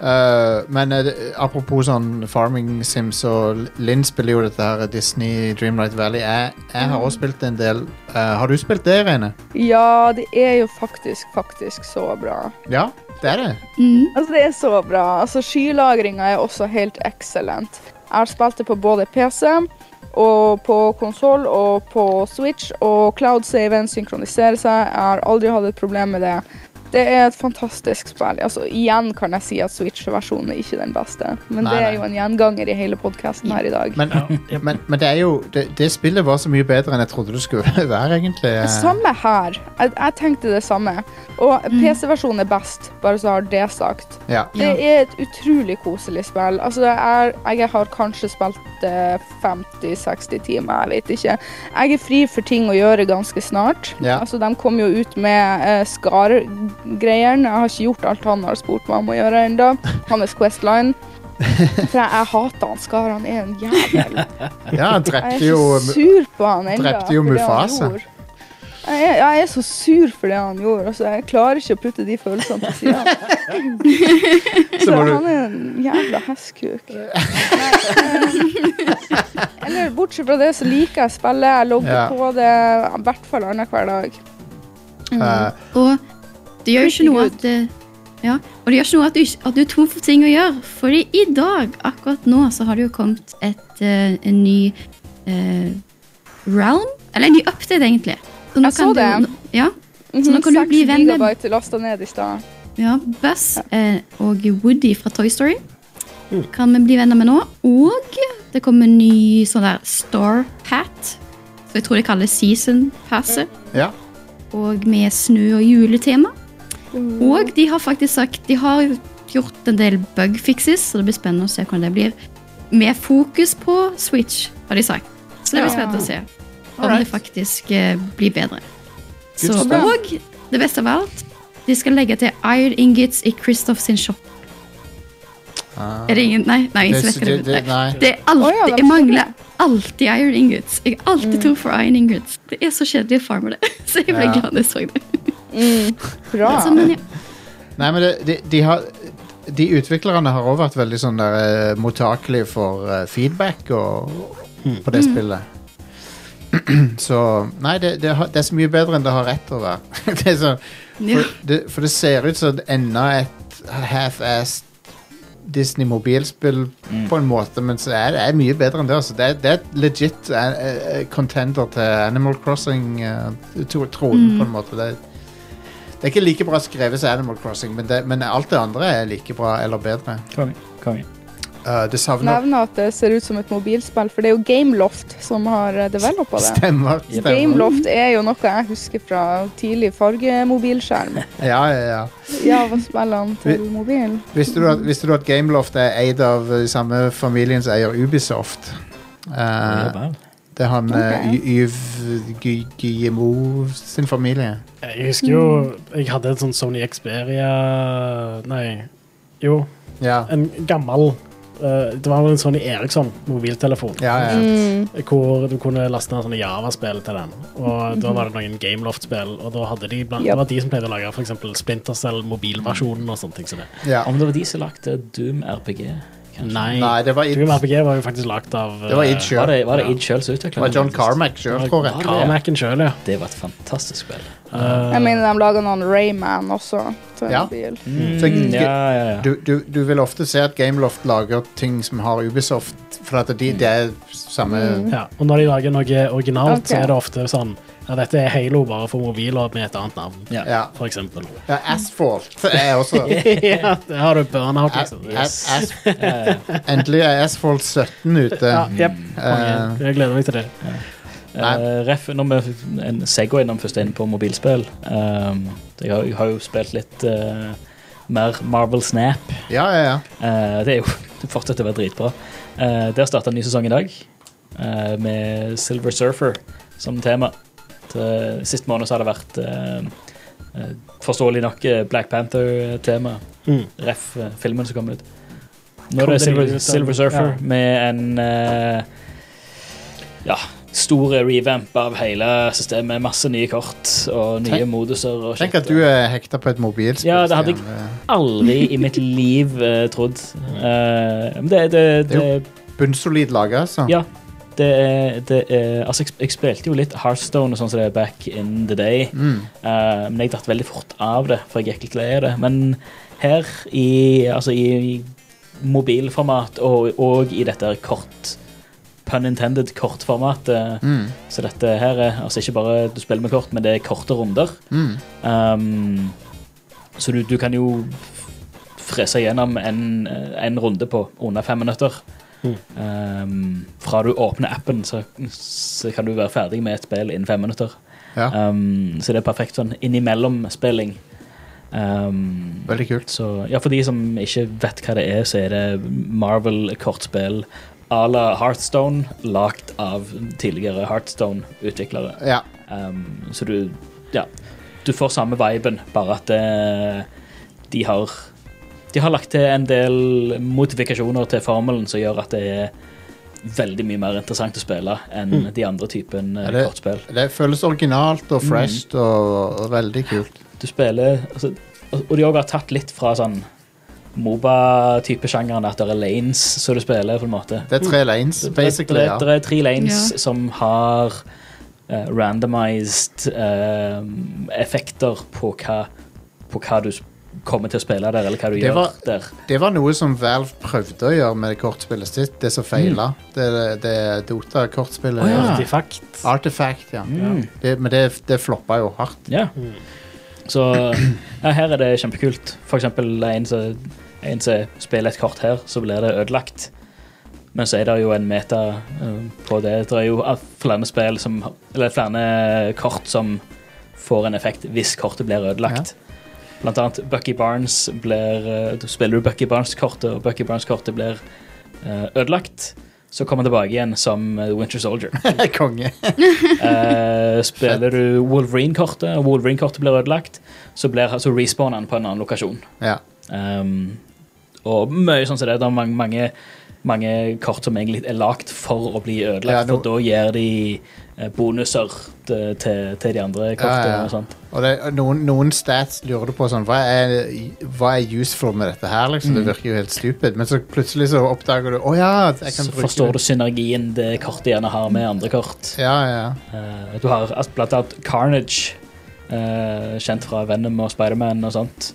[SPEAKER 1] Eh, men eh, det- apropos sånn farming sims, så L- Linn spiller jo dette her eh, Disney Dreamlight Valley. Jeg, jeg har også spilt en del. Eh, har du spilt det, Rene?
[SPEAKER 5] Ja, det er jo faktisk, faktisk så bra.
[SPEAKER 1] Ja, det er det.
[SPEAKER 3] Mm.
[SPEAKER 5] Altså, det er så bra. Altså, skylagringa er også helt excellent. Jeg har spilt det på både PC og på konsoll og på Switch, og cloud-saven synkroniserer seg. Jeg har aldri hatt et problem med det. Det er et fantastisk spill. Altså, igjen kan jeg si at Switch-versjonen er ikke den beste, men
[SPEAKER 1] Nei,
[SPEAKER 5] det
[SPEAKER 1] nei.
[SPEAKER 5] er jo en gjenganger i hele podkasten her i dag.
[SPEAKER 1] Men, men, men det er jo det, det spillet var så mye bedre enn jeg trodde det skulle være, egentlig. Eh,
[SPEAKER 5] Samme her. Jeg, jeg tenkte det samme. Og
[SPEAKER 1] Mm.
[SPEAKER 5] PC-versjonen er best, bare så har det sagt.
[SPEAKER 1] Ja.
[SPEAKER 5] Det er et utrolig koselig spill. Altså, det er, jeg har kanskje spilt eh, 50-60 timer, jeg vet ikke. Jeg er fri for ting å gjøre ganske snart.
[SPEAKER 1] Ja.
[SPEAKER 5] Altså, de kom jo ut med uh, Skar-greiene. Jeg har ikke gjort alt han har spurt meg om å gjøre ennå. Hans Questline. For jeg, jeg hater han Skar. Han er en jævel.
[SPEAKER 1] ja, han
[SPEAKER 5] Jeg
[SPEAKER 1] drepte
[SPEAKER 5] er
[SPEAKER 1] jo
[SPEAKER 5] så sur på han ennå.
[SPEAKER 1] drepte jo
[SPEAKER 5] for det han
[SPEAKER 1] Mufasa.
[SPEAKER 5] gjorde. Jeg, er- jeg er så sur for det han gjorde. Altså, jeg klarer ikke å putte de følelsene til side.
[SPEAKER 1] Så må
[SPEAKER 5] Så
[SPEAKER 1] du
[SPEAKER 5] han er en jævla hestkuk. Nei, eh, Eller bortsett fra det, så liker jeg spillet. Jeg logger
[SPEAKER 1] Ja.
[SPEAKER 5] på det i hvert fall annenhver dag.
[SPEAKER 1] eh,
[SPEAKER 3] Og det gjør jo ikke noe at eh, ja, og det gjør ikke noe at du, ikke- at du er tom for ting å gjøre, fordi i dag, akkurat nå, så har det jo kommet et, eh, en ny eh, realm, eller en ny update, egentlig. Så nå
[SPEAKER 5] Jeg
[SPEAKER 3] kan
[SPEAKER 5] så det.
[SPEAKER 3] Du, ja, Så nå kan du bli venn med-
[SPEAKER 5] Mhm. gigabyte lasta ned i stad.
[SPEAKER 3] Ja, Buzz eh, og Woody fra Toy Story kan vi bli venner med nå. Og det kommer en ny sånn der Star Pat, som jeg tror de kaller Season Passet.
[SPEAKER 1] Ja.
[SPEAKER 3] Og med snø- og juletema. Og de har faktisk sagt De har jo gjort en del bug fixes, så det blir spennende å se hvordan det blir. Med fokus på Switch, har de sagt. Så det blir
[SPEAKER 5] Ja.
[SPEAKER 3] spennende å se om det faktisk eh, blir bedre. Så,
[SPEAKER 1] Good
[SPEAKER 5] stuff.
[SPEAKER 3] og det beste av alt, de skal legge til Iron Ingots i Christoph sin shop.
[SPEAKER 1] Ah.
[SPEAKER 3] Er det ingen Nei, nei ingen
[SPEAKER 1] Det-
[SPEAKER 3] som vet hva det
[SPEAKER 1] det- det-
[SPEAKER 3] betyr.
[SPEAKER 1] nei.
[SPEAKER 3] Det er alltid,
[SPEAKER 5] Å ja, hvem
[SPEAKER 3] Jeg
[SPEAKER 5] sa
[SPEAKER 3] mangler alltid Iron Ingots. Jeg har alltid to for Iron Ingots. Det er så kjedelig å farme det, så jeg ble
[SPEAKER 1] Ja.
[SPEAKER 3] glad da jeg så det.
[SPEAKER 1] Mm.
[SPEAKER 5] Bra.
[SPEAKER 3] Så, men, ja.
[SPEAKER 1] Nei, men det, de, de har De utviklerne har også vært veldig sånn der eh, mottakelige for eh, feedback og, på det spillet. Så Nei, det, det, har, det er så mye bedre enn det har rett til å være. det er så,
[SPEAKER 3] Ja.
[SPEAKER 1] for, det, for det ser ut som enda et half-assed Disney-mobilspill på en måte, men så er det er mye bedre enn det. Altså. Det, er- det er et legit eh, eh, contender til Animal Crossing-tronen, på en måte. Det er det er ikke like bra skrevet som Animal Crossing, men, det, men alt det andre er like bra eller bedre.
[SPEAKER 4] Konge. Konge.
[SPEAKER 1] Eh, det savner
[SPEAKER 5] nevne at det ser ut som et mobilspill, for det er jo Gameloft som har eh, developa det.
[SPEAKER 1] Stemmer. stemmer.
[SPEAKER 5] Gameloft er jo noe jeg husker fra tidlig fargemobilskjerm.
[SPEAKER 1] Ja, ja, ja.
[SPEAKER 5] Ja, hva spiller han til mobilen?
[SPEAKER 1] Visste du, at, visste du at Gameloft er eid av eh, samme familien som eier Ubisoft?
[SPEAKER 4] Ja,
[SPEAKER 1] Eh,
[SPEAKER 4] vel.
[SPEAKER 1] det er han eh,
[SPEAKER 5] Ok.
[SPEAKER 1] Y- Yves Gu- Guillemot sin familie.
[SPEAKER 2] Jeg husker jo
[SPEAKER 5] Mm.
[SPEAKER 2] jeg hadde en sånn Sony Xperia Nei, jo,
[SPEAKER 1] Ja,
[SPEAKER 2] en gammel eh, Det var vel en Sony Eriksson-mobiltelefon.
[SPEAKER 1] ja, ja.
[SPEAKER 2] Hvor du kunne laste ned sånne Java-spill til den.
[SPEAKER 5] Mhm.
[SPEAKER 2] Og da var det noen Gameloft-spill. Og da hadde de blant,
[SPEAKER 5] Yep.
[SPEAKER 2] det var de som pleide å lage for eksempel Splinter Cell mobilversjonen og sånne ting som det.
[SPEAKER 1] ja.
[SPEAKER 4] Om det var de som lagde Doom RPG? kanskje?
[SPEAKER 2] Nei.
[SPEAKER 1] Nei, det var id-
[SPEAKER 2] Doom RPG var jo faktisk lagd av
[SPEAKER 1] Det var id
[SPEAKER 2] eh,
[SPEAKER 1] sjøl.
[SPEAKER 4] Var det, var det
[SPEAKER 2] Ja.
[SPEAKER 4] id sjøl som utvikla
[SPEAKER 1] Det var John Carmack sjøl, tror jeg.
[SPEAKER 2] Carmack-en sjøl, ja.
[SPEAKER 4] Det var et fantastisk spill.
[SPEAKER 2] Eh,
[SPEAKER 5] Jeg mener de lager noen Rayman også. Til
[SPEAKER 1] Ja.
[SPEAKER 5] mobil.
[SPEAKER 1] Så g-
[SPEAKER 4] ja, ja, ja.
[SPEAKER 1] Du, du, du vil ofte se at Gameloft lager ting som har Ubisoft, for at de, det er samme
[SPEAKER 2] ja. Og når de lager noe originalt, så
[SPEAKER 5] Ok.
[SPEAKER 2] er det ofte sånn ja, Dette er Halo bare for mobiler med et annet navn,
[SPEAKER 4] Ja.
[SPEAKER 1] Ja.
[SPEAKER 2] for eksempel.
[SPEAKER 1] ja Asphalt er også
[SPEAKER 2] ja, der har du burnout,
[SPEAKER 1] A-
[SPEAKER 2] liksom.
[SPEAKER 1] a- as, Endelig er Asphalt 17 ute.
[SPEAKER 2] Ja, jep.
[SPEAKER 1] Eh,
[SPEAKER 2] Jeg gleder meg til det.
[SPEAKER 1] Mm. Nei.
[SPEAKER 4] Eh, ref, når vi en segway når vi først er inne på mobilspill Ehm, Jeg har, jeg har jo spilt litt eh, mer Marvel Snap.
[SPEAKER 1] ja, ja, ja.
[SPEAKER 4] Eh, det er jo det fortsetter å være dritbra. Eh, der starta en ny sesong i dag eh, med Silver Surfer som tema. Til, sist måned så har det vært eh, eh, forståelig nok eh, Black Panther-tema.
[SPEAKER 2] Mm.
[SPEAKER 4] Ref eh, filmen som kom ut. Nå
[SPEAKER 2] Kom
[SPEAKER 4] er det
[SPEAKER 2] det
[SPEAKER 4] Silver,
[SPEAKER 2] nylig ut,
[SPEAKER 4] Silver
[SPEAKER 2] den-
[SPEAKER 4] Surfer
[SPEAKER 2] ja.
[SPEAKER 4] med en eh, ja, stor revamp av hele systemet. Masse nye kort og nye
[SPEAKER 1] Tenk-
[SPEAKER 4] moduser. Og
[SPEAKER 1] Tenk
[SPEAKER 4] shit.
[SPEAKER 1] at du er hekta på et mobilspill.
[SPEAKER 4] Ja, det hadde jeg-
[SPEAKER 1] Stian. Eh,
[SPEAKER 4] Aldri i mitt liv eh, trodd. Eh, men det, det,
[SPEAKER 1] Det
[SPEAKER 4] det,
[SPEAKER 1] er jo- Bunnsolid laga, altså.
[SPEAKER 4] Ja. det, er- det er Altså, jeg, jeg spilte jo litt Heartstone og sånn som det er back in the day.
[SPEAKER 1] Mm.
[SPEAKER 4] Eh, men jeg datt veldig fort av det, for jeg gikk litt lei av det. Men her, i, altså i mobilformat og, og i dette her kort Pun intended kortformatet.
[SPEAKER 1] Mm.
[SPEAKER 4] Så dette her er altså ikke bare du spiller med kort, men det er korte runder.
[SPEAKER 1] Mm.
[SPEAKER 4] Um, så du, du kan jo frese gjennom en, eh, en runde på under fem minutter.
[SPEAKER 2] Mm.
[SPEAKER 4] Um, fra du åpner appen, så, så kan du være ferdig med et spill innen fem minutter.
[SPEAKER 1] ja.
[SPEAKER 4] Um, så det er perfekt sånn innimellom-spilling. Um,
[SPEAKER 1] Veldig kult.
[SPEAKER 4] så, ja, for de som ikke vet hva det er, så er det Marvel-kortspill à la Heartstone, lagd av tidligere Heartstone-utviklere.
[SPEAKER 1] Ja.
[SPEAKER 4] Um, så du Ja. Du får samme viben, bare at eh, de har De har lagt til en del modifikasjoner til formelen som gjør at det er veldig mye mer interessant å spille enn de andre typen eh,
[SPEAKER 1] Mm. Er det-
[SPEAKER 4] kortspill.
[SPEAKER 1] Det føles originalt
[SPEAKER 4] Mm.
[SPEAKER 1] og fresh og, og veldig kult.
[SPEAKER 4] Du spiller altså, Og og de har også tatt litt fra sånn Moba-type sjangeren, at det er lanes som du spiller, på en måte.
[SPEAKER 1] Det er tre lanes, basically.
[SPEAKER 4] Det, det,
[SPEAKER 1] ja.
[SPEAKER 4] det er tre lanes
[SPEAKER 3] Ja.
[SPEAKER 4] som har eh, randomized eh, effekter på hva, på hva du s- kommer til å spille der, eller hva du
[SPEAKER 1] Det
[SPEAKER 4] gjør
[SPEAKER 1] var-
[SPEAKER 4] der.
[SPEAKER 1] Det var noe som Valve prøvde å gjøre med det kortspillet sitt, det som feila. Det, det Dota-kortspillet.
[SPEAKER 4] Mm. Å, ja.
[SPEAKER 2] Artifact.
[SPEAKER 1] Artifact, ja.
[SPEAKER 4] Mm.
[SPEAKER 1] Det, men det, det floppa jo hardt.
[SPEAKER 4] Ja. Så ja, her er det kjempekult. For eksempel en som, en som spiller et kort her, så blir det ødelagt. Men så er det jo en meta eh, på det. Det er jo eh, flere spill som Eller flere kort som får en effekt hvis kortet blir ødelagt. Blant annet Bucky Barnes blir eh, da Spiller du Bucky Barnes-kortet, og Bucky Barnes-kortet blir eh, ødelagt, så kommer han tilbake igjen som eh, Winter Soldier.
[SPEAKER 1] Konge.
[SPEAKER 4] Eh, spiller du Wolverine-kortet, og Wolverine-kortet blir ødelagt, så, blir, så respawner han på en annen lokasjon.
[SPEAKER 1] Ja.
[SPEAKER 4] Ehm, og mye sånn som det. Det er mange, mange, mange kort som egentlig er lagd for å bli ødelagt,
[SPEAKER 1] Ja, nå-
[SPEAKER 4] for da gir de eh, bonuser til, til til de andre kortene.
[SPEAKER 1] ja.
[SPEAKER 4] og sånt.
[SPEAKER 1] Og det, noen, noen stats lurer du på sånn hva er, hva er useful med dette her, liksom?
[SPEAKER 4] Mm.
[SPEAKER 1] Det virker jo helt stupid. Men så plutselig så oppdager du Å ja, jeg kan
[SPEAKER 4] Så
[SPEAKER 1] bruke
[SPEAKER 4] forstår du synergien det kortet gjerne har med andre kort.
[SPEAKER 1] Ja, ja.
[SPEAKER 4] Eh, du har altså, blant annet Carnage, eh, kjent fra Venom og Spiderman og sånt.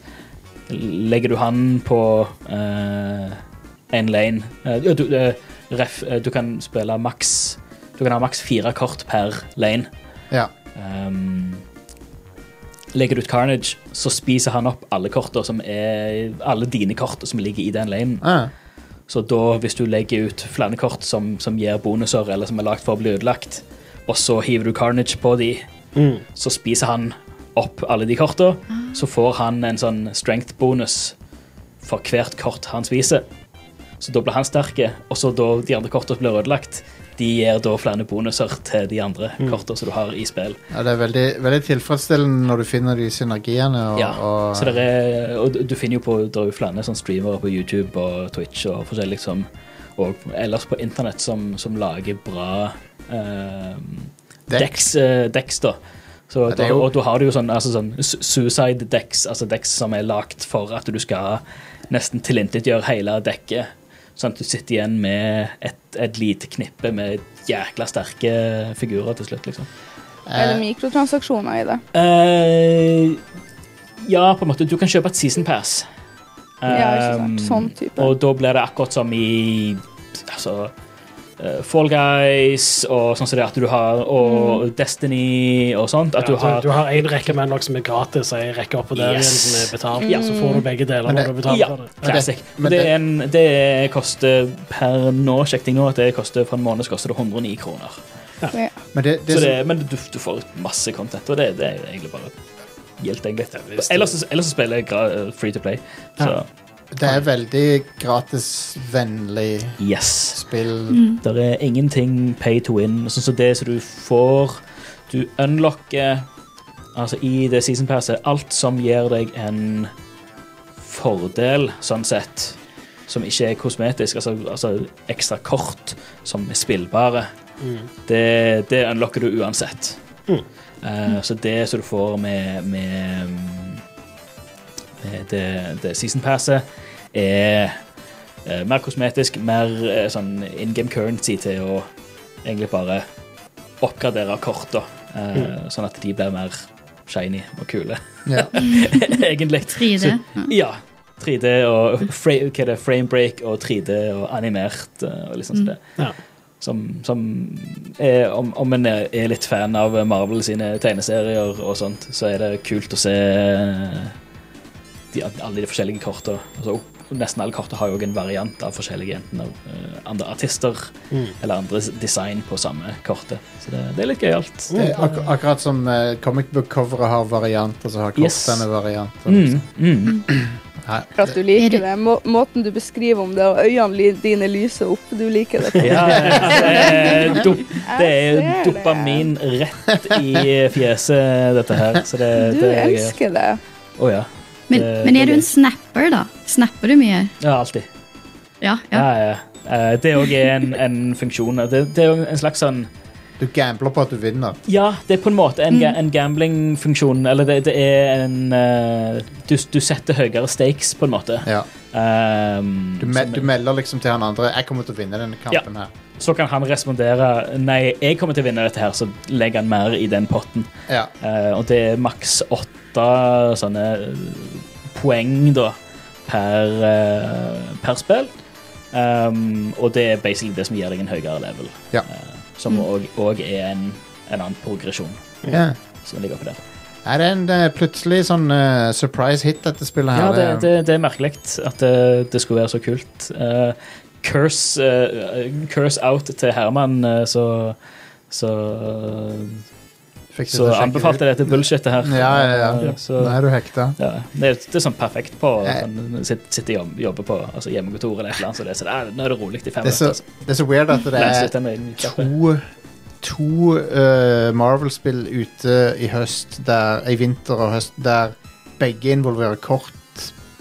[SPEAKER 4] Legger du han på eh, en lane eh, ja, du, eh, ref, eh, du kan spille maks Du kan ha maks fire kort per lane.
[SPEAKER 1] ja.
[SPEAKER 4] Ehm, legger du ut Carnage, så spiser han opp alle korter som er Alle dine kort som ligger i den lanen.
[SPEAKER 1] Ah,
[SPEAKER 4] Så da, hvis du legger ut flere kort som, som gir bonuser, eller som er lagd for å bli ødelagt, og så hiver du carnage på de,
[SPEAKER 2] Mm.
[SPEAKER 4] så spiser han opp alle de korta. Så får han en sånn strength-bonus for hvert kort han spiser. Så da blir han sterke, og så da de andre korta blir ødelagt, de gir da flere bonuser til de andre korta som du har i spill.
[SPEAKER 1] Ja, det er veldig, veldig tilfredsstillende når du finner de synergiene. Og,
[SPEAKER 4] Ja,
[SPEAKER 1] og,
[SPEAKER 4] så det er, og du- du finner jo på det er jo flere sånne streamere på YouTube og Twitch og forskjellig som og ellers på internett som, som lager bra eh,
[SPEAKER 1] Decks.
[SPEAKER 4] decks, eh, decks da. Så,
[SPEAKER 1] det er
[SPEAKER 4] da,
[SPEAKER 1] jo-
[SPEAKER 4] og da har du jo sånn, altså sånn su- suicide decks, altså decks som er lagt for at du skal nesten tilintetgjøre hele dekket. Sånn at du sitter igjen med et, et lite knippe med jækla sterke figurer til slutt, liksom.
[SPEAKER 5] Er det mikrotransaksjoner i det?
[SPEAKER 4] Eh, ja, på en måte. Du kan kjøpe et season pass.
[SPEAKER 5] Ja, ikke sant.
[SPEAKER 4] Eh,
[SPEAKER 5] Sånn type.
[SPEAKER 4] Og da blir det akkurat som i altså, eh, Fall Guys og sånn som det at du har Og
[SPEAKER 5] Mm.
[SPEAKER 4] Destiny og sånt. At
[SPEAKER 2] Ja,
[SPEAKER 4] du har
[SPEAKER 2] du, har en rekke med nok som er gratis, og en rekke oppå der
[SPEAKER 4] Yes.
[SPEAKER 2] igjen som er betalt.
[SPEAKER 4] Ja.
[SPEAKER 2] Så får du begge deler
[SPEAKER 1] Men det-
[SPEAKER 2] når du betaler
[SPEAKER 4] ja,
[SPEAKER 2] for det.
[SPEAKER 4] Classic.
[SPEAKER 1] Men
[SPEAKER 4] Og det,
[SPEAKER 1] det-
[SPEAKER 4] er en, det koster per nå, sjekket jeg nå, at det koster for en måned så koster det 109 kroner.
[SPEAKER 5] Ja.
[SPEAKER 1] Men det, det,
[SPEAKER 4] så det,
[SPEAKER 1] som-
[SPEAKER 4] men du, du får masse content, og det, det er egentlig bare gildt, egentlig.
[SPEAKER 2] hvis du-
[SPEAKER 4] Ellers, så- ellers så spiller jeg gra- free to play. Så
[SPEAKER 1] det er veldig gratisvennlig
[SPEAKER 4] yes.
[SPEAKER 1] spill.
[SPEAKER 4] Det er ingenting pay to win. Sånn som det som du får Du unlocker altså i det season passet alt som gir deg en fordel, sånn sett, som ikke er kosmetisk, altså, altså ekstra kort som er spillbare, det, det unlocker du uansett.
[SPEAKER 2] Mm.
[SPEAKER 4] Eh, så det som du får med, med, med det, det season passet, er eh, mer kosmetisk, mer eh, sånn in game currency til å egentlig bare oppgradere korta, eh, sånn at de blir mer shiny og kule,
[SPEAKER 1] Ja.
[SPEAKER 4] egentlig.
[SPEAKER 3] 3D.
[SPEAKER 4] Så- Ja. 3D og fra- hva er det, framebreak og 3D og animert eh, og liksom sånn det.
[SPEAKER 2] Mm. Ja.
[SPEAKER 4] Som, som er, om, om en er er litt fan av Marvel sine tegneserier og sånt, så er det kult å se eh, de, alle de forskjellige korta. Altså, nesten alle korta har jo også en variant av forskjellige enten av eh, andre artister
[SPEAKER 2] Mm.
[SPEAKER 4] eller andre design på samme kortet. Så det, det er litt gøyalt.
[SPEAKER 1] Det er ak akkurat som eh, comic book-coveret har varianter, så har
[SPEAKER 4] Yes.
[SPEAKER 1] kortene varianter. liksom.
[SPEAKER 4] Mm, mm.
[SPEAKER 1] Nei,
[SPEAKER 5] For at du liker det. Må måten du beskriver om det, og øynene li- dine lyser opp. Du liker det.
[SPEAKER 4] Ja, det er, dop, det
[SPEAKER 5] Jeg
[SPEAKER 4] er
[SPEAKER 5] ser det.
[SPEAKER 4] dopamin rett i fjeset, dette her. Så det, eh,
[SPEAKER 5] Du
[SPEAKER 4] det er gøy.
[SPEAKER 5] elsker det.
[SPEAKER 4] Å ja.
[SPEAKER 3] Men,
[SPEAKER 4] det-
[SPEAKER 3] men er du
[SPEAKER 4] det-
[SPEAKER 3] en snapper, da? Snapper du mye?
[SPEAKER 4] ja. Alltid.
[SPEAKER 3] Ja. ja.
[SPEAKER 4] Ja, ja. Eh, Det òg er en, en funksjon. Det, det er jo en slags sånn
[SPEAKER 1] Du gambler på at du vinner.
[SPEAKER 4] Ja, det er på en måte en,
[SPEAKER 5] Mm.
[SPEAKER 4] ga- en gambling-funksjon. Eller det, det er en eh, du, du setter høyere stakes, på en måte.
[SPEAKER 1] Ja.
[SPEAKER 4] Ehm,
[SPEAKER 1] Du, me
[SPEAKER 4] som-
[SPEAKER 1] du melder liksom til han andre 'Jeg kommer til å vinne denne kampen her'.
[SPEAKER 4] så kan han respondere Nei, jeg kommer til å vinne dette her, så legger han mer i den potten.
[SPEAKER 1] Ja.
[SPEAKER 4] Eh, og det er maks åtte sånne eh, poeng da, per, eh, per spill. Um, og det er basically det som gir deg en høyere level.
[SPEAKER 1] Ja.
[SPEAKER 4] Eh, som òg er en, en annen progresjon
[SPEAKER 1] ja.
[SPEAKER 4] som ligger oppi der.
[SPEAKER 1] Er det en eh, plutselig sånn eh, surprise hit, dette spillet her?
[SPEAKER 4] Ja, det, det, det er merkelig at det, det skulle være så kult. Eh, curse, eh, curse out til Herman, eh, så så,
[SPEAKER 1] Fikk du
[SPEAKER 4] så
[SPEAKER 1] til å sjekke
[SPEAKER 4] anbefalte
[SPEAKER 1] ut?
[SPEAKER 4] dette bullshitet her.
[SPEAKER 1] Ja, ja, ja.
[SPEAKER 4] Eh, Så,
[SPEAKER 1] Nå er du hekta.
[SPEAKER 4] Ja, det, er, det er sånn perfekt på
[SPEAKER 1] Eh.
[SPEAKER 4] sånn, sitt- Sitte og jobb, jobbe på altså hjemmekontor eller et eller annet. Så det, er sånn, «Ah, nå er det rolig i fem
[SPEAKER 1] Det er, så,
[SPEAKER 4] minutter.
[SPEAKER 1] det er så weird at det
[SPEAKER 4] Lese
[SPEAKER 1] er
[SPEAKER 4] ut den egen kjappe.
[SPEAKER 1] to To eh, Marvel-spill ute i høst, der, i vinter og høst, der begge involverer kort.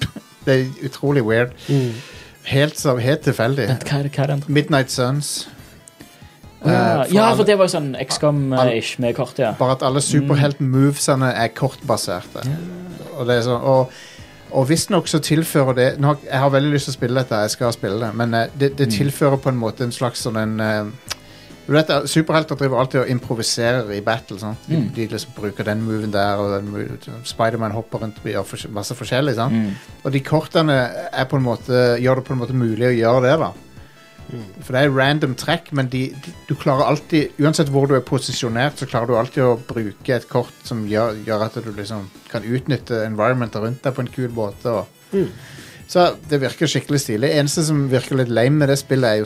[SPEAKER 1] Det er utrolig weird.
[SPEAKER 2] Mm.
[SPEAKER 1] Helt, så- helt tilfeldig.
[SPEAKER 4] Vent, Hva er det, hva er det andre?
[SPEAKER 1] Midnight Suns.
[SPEAKER 4] Ja,
[SPEAKER 1] Eh, for
[SPEAKER 4] ja,
[SPEAKER 1] alle-
[SPEAKER 4] for det var jo sånn XCOM-ish med kort, ja.
[SPEAKER 1] Bare at alle superhelt-movesene er kortbaserte. Og, det er sånn, og, og visstnok så tilfører det nå, har- Jeg har veldig lyst til å spille dette, jeg skal spille det, men eh, det, det tilfører på en måte en slags sånn en eh, du vet, eh, Superhelter driver alltid og improviserer i battle. Sant? De, de liksom bruker den moven der, og den moven- Spiderman hopper rundt og gjør fors- masse forskjellig. Sant?
[SPEAKER 4] Mm.
[SPEAKER 1] Og de kortene er på en måte, gjør det på en måte mulig å gjøre det, da. For det er random trekk, men de, de, du klarer alltid Uansett hvor du er posisjonert, så klarer du alltid å bruke et kort som gjør, gjør at du liksom kan utnytte environmentet rundt deg på en kul måte. Og. Så det virker skikkelig stilig. Eneste som virker litt lame med det spillet, er jo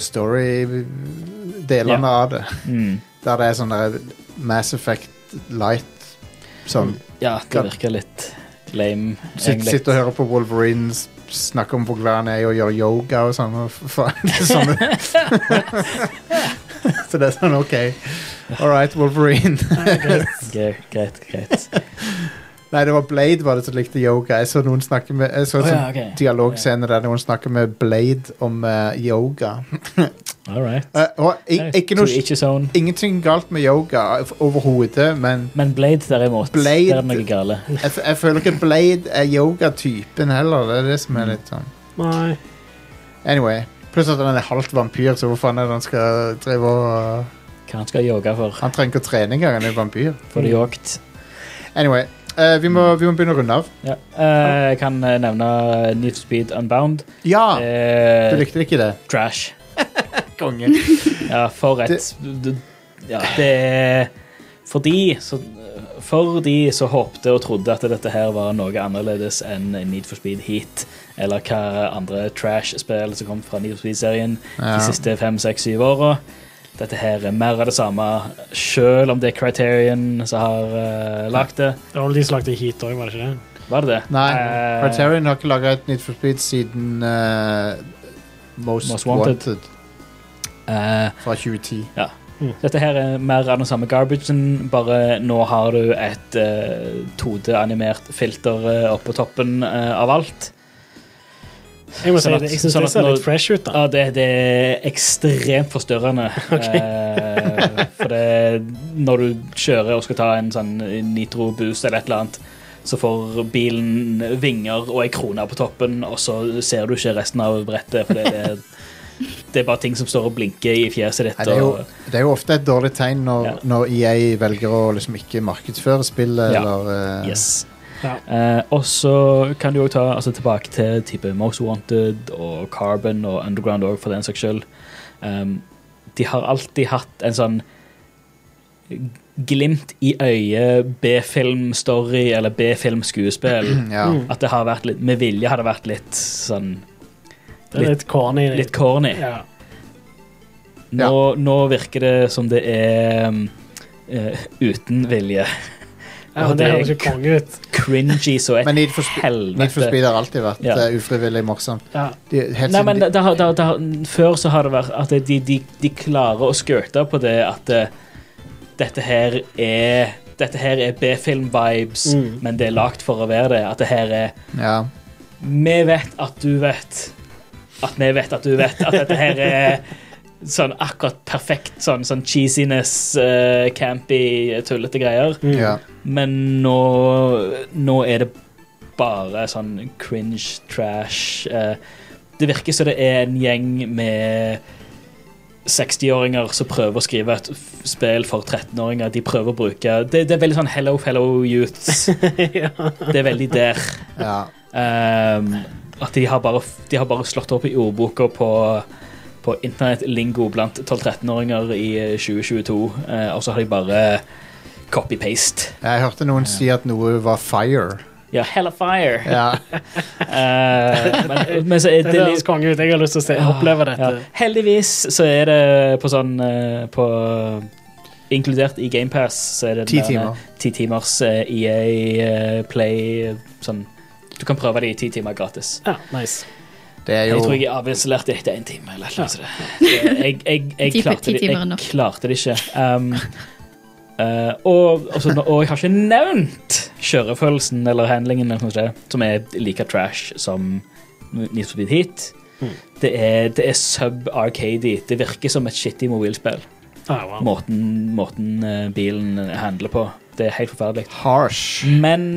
[SPEAKER 1] story-delene av det.
[SPEAKER 4] Mm.
[SPEAKER 1] Der det er sånn der Mass Effect Light sånn.
[SPEAKER 4] Ja, det virker litt lame,
[SPEAKER 1] Sitt,
[SPEAKER 4] egentlig.
[SPEAKER 1] sitt og høre på Wolverine s- snakke om hvor glad han er i å gjøre yoga og sånn. og f- faen, det er sånne. Så det er sånn OK. All right, Wolverine.
[SPEAKER 4] Gre- Greit, greit.
[SPEAKER 1] Nei, det var Blade var det som likte yoga. Jeg så noen snakke med Jeg så en
[SPEAKER 4] Å ja,
[SPEAKER 1] sånn
[SPEAKER 4] ok.
[SPEAKER 1] dialogscene der noen snakker med Blade om eh, yoga.
[SPEAKER 4] All right.
[SPEAKER 1] Eh, og, i, ikke
[SPEAKER 4] To
[SPEAKER 1] noe
[SPEAKER 4] each his own.
[SPEAKER 1] Ingenting galt med yoga f- overhodet, men
[SPEAKER 4] Men Blade, derimot,
[SPEAKER 1] Blade-
[SPEAKER 4] der er det noe gale.
[SPEAKER 1] jeg, f- jeg føler ikke Blade er yogatypen heller. Det er det
[SPEAKER 4] Mm.
[SPEAKER 1] som er litt sånn.
[SPEAKER 2] Nei.
[SPEAKER 1] Anyway. Pluss at han er halvt vampyr, så hvor faen er det han skal drive og uh,
[SPEAKER 4] Hva han skal yoga for?
[SPEAKER 1] Han trenger ikke å trene engang, han er vampyr.
[SPEAKER 4] For det yogt.
[SPEAKER 1] Anyway, eh, vi, må, vi må begynne å runde av.
[SPEAKER 4] Ja. Eh, jeg kan eh, nevne Need for Speed Unbound.
[SPEAKER 1] Ja!
[SPEAKER 4] Eh,
[SPEAKER 1] Ah. Du likte ikke det?
[SPEAKER 4] trash.
[SPEAKER 1] Konge.
[SPEAKER 4] Ja, for et det, ja, det er For de, så, for de som håpte og trodde at dette her var noe annerledes enn Need for Speed Heat, eller hva andre trash-spill som kom fra Need for Speed-serien
[SPEAKER 1] Ja.
[SPEAKER 4] de siste fem, seks, syv åra. Dette her er mer av det samme, sjøl om det er Criterion som har uh, lagd det.
[SPEAKER 2] Det var vel de som lagde Heat òg, var det ikke det?
[SPEAKER 4] Var det det?
[SPEAKER 1] Nei,
[SPEAKER 4] Eh,
[SPEAKER 1] Criterion har ikke laga et nytt for Speed siden eh, Most,
[SPEAKER 4] Most
[SPEAKER 1] Wanted.
[SPEAKER 4] Wanted. eh,
[SPEAKER 1] fra 2010.
[SPEAKER 4] Dette her er mer av den samme garbagen, bare nå har du et uh, 2D-animert filter eh, oppå toppen eh, av alt.
[SPEAKER 2] Jeg må
[SPEAKER 4] Sånn
[SPEAKER 2] si
[SPEAKER 4] at-
[SPEAKER 2] det, jeg syns
[SPEAKER 4] sånn
[SPEAKER 2] det
[SPEAKER 4] at
[SPEAKER 2] ser
[SPEAKER 4] når-
[SPEAKER 2] litt fresh ut, da.
[SPEAKER 4] Ja, det, det er ekstremt forstørrende. eh, for det, når du kjører og skal ta en sånn nitroboost eller et eller annet, så får bilen vinger og ei krone på toppen, og så ser du ikke resten av brettet. For det, det, det er bare ting som står og blinker i fjeset ditt.
[SPEAKER 1] Nei, det, er
[SPEAKER 4] og-
[SPEAKER 1] jo, det er jo ofte et dårlig tegn når,
[SPEAKER 4] Ja.
[SPEAKER 1] når EA velger å liksom ikke markedsføre spillet,
[SPEAKER 4] Ja.
[SPEAKER 1] eller eh,
[SPEAKER 4] Yes.
[SPEAKER 2] Ja.
[SPEAKER 4] Eh, og så kan du jo ta altså, tilbake til type Most Wanted og Carbon og Underground òg, for den saks skyld. Um, de har alltid hatt en sånn glimt i øyet B-filmstory eller B-filmskuespill.
[SPEAKER 1] ja.
[SPEAKER 2] Mm.
[SPEAKER 4] At det har vært litt med vilje har det vært litt sånn
[SPEAKER 2] Det er litt corny.
[SPEAKER 4] litt corny.
[SPEAKER 2] ja.
[SPEAKER 4] Nå, nå virker det som det er um, eh, uten vilje.
[SPEAKER 2] ja,
[SPEAKER 4] Og
[SPEAKER 2] men det
[SPEAKER 4] det er
[SPEAKER 2] høres jo konge ut.
[SPEAKER 4] Cringy så et
[SPEAKER 1] Men Need for, Sp- Need for
[SPEAKER 4] helvete.
[SPEAKER 1] Speed har alltid vært
[SPEAKER 4] Ja.
[SPEAKER 1] eh, ufrivillig morsomt.
[SPEAKER 2] Ja.
[SPEAKER 1] De, helt
[SPEAKER 4] Nei,
[SPEAKER 1] siden de,
[SPEAKER 4] men det, det, har- det, har- det, har- Før så har det vært at de, de, de klarer å skøte på det at eh, dette her er Dette her er B-film-vibes,
[SPEAKER 2] Mm.
[SPEAKER 4] men det er lagd for å være det. At det her er
[SPEAKER 1] ja.
[SPEAKER 4] Vi vet at du vet at vi vet at du vet at dette her er sånn akkurat perfekt sånn, sånn cheesiness, eh, campy, tullete greier.
[SPEAKER 2] Mm.
[SPEAKER 1] Ja.
[SPEAKER 4] Men nå, nå er det bare sånn cringe, trash. eh, Det virker som det er en gjeng med 60-åringer som prøver å skrive et f- spill for 13-åringer. De prøver å bruke det, det er veldig sånn hello, fellow youths. Det er veldig der.
[SPEAKER 1] ja.
[SPEAKER 4] Ehm, at de har, bare, de har bare slått opp i ordboka på, på internettlingo blant 12-13-åringer i eh, 2022, eh, og så har de bare copy-paste.
[SPEAKER 1] Jeg hørte noen si at noe var fire.
[SPEAKER 4] Ja, Hellafire.
[SPEAKER 1] Ja.
[SPEAKER 4] Eh, men, men så er
[SPEAKER 2] Det
[SPEAKER 4] det,
[SPEAKER 2] høres konge ut. Jeg har lyst til å se, oppleve dette.
[SPEAKER 4] Ja. Heldigvis så er det på sånn eh, på, Inkludert i GamePass så er det
[SPEAKER 1] Ti
[SPEAKER 4] den der,
[SPEAKER 1] timer.
[SPEAKER 4] eh, Ti timers eh, EA eh, Play eh, sånn Du kan prøve det i ti timer gratis.
[SPEAKER 2] Ja, nice.
[SPEAKER 1] Det er
[SPEAKER 4] Jeg tror
[SPEAKER 1] jo
[SPEAKER 4] jeg avinstallerte etter én time. eller noe sånt. Jeg, jeg, jeg,
[SPEAKER 3] Ti-
[SPEAKER 4] klarte
[SPEAKER 3] ti
[SPEAKER 4] det,
[SPEAKER 3] timer er
[SPEAKER 4] jeg
[SPEAKER 3] nok.
[SPEAKER 4] klarte det ikke. Um, eh, og, og, så, og jeg har ikke nevnt kjørefølelsen eller handlingen, eller noe sånt, som er like trash som Need for Speed Heat. Det er, det er sub-arcady. Det virker som et shitty mobilspill.
[SPEAKER 2] Ah, wow.
[SPEAKER 4] Måten, måten eh, bilen handler på. Det er helt forferdelig.
[SPEAKER 1] harsh.
[SPEAKER 4] Men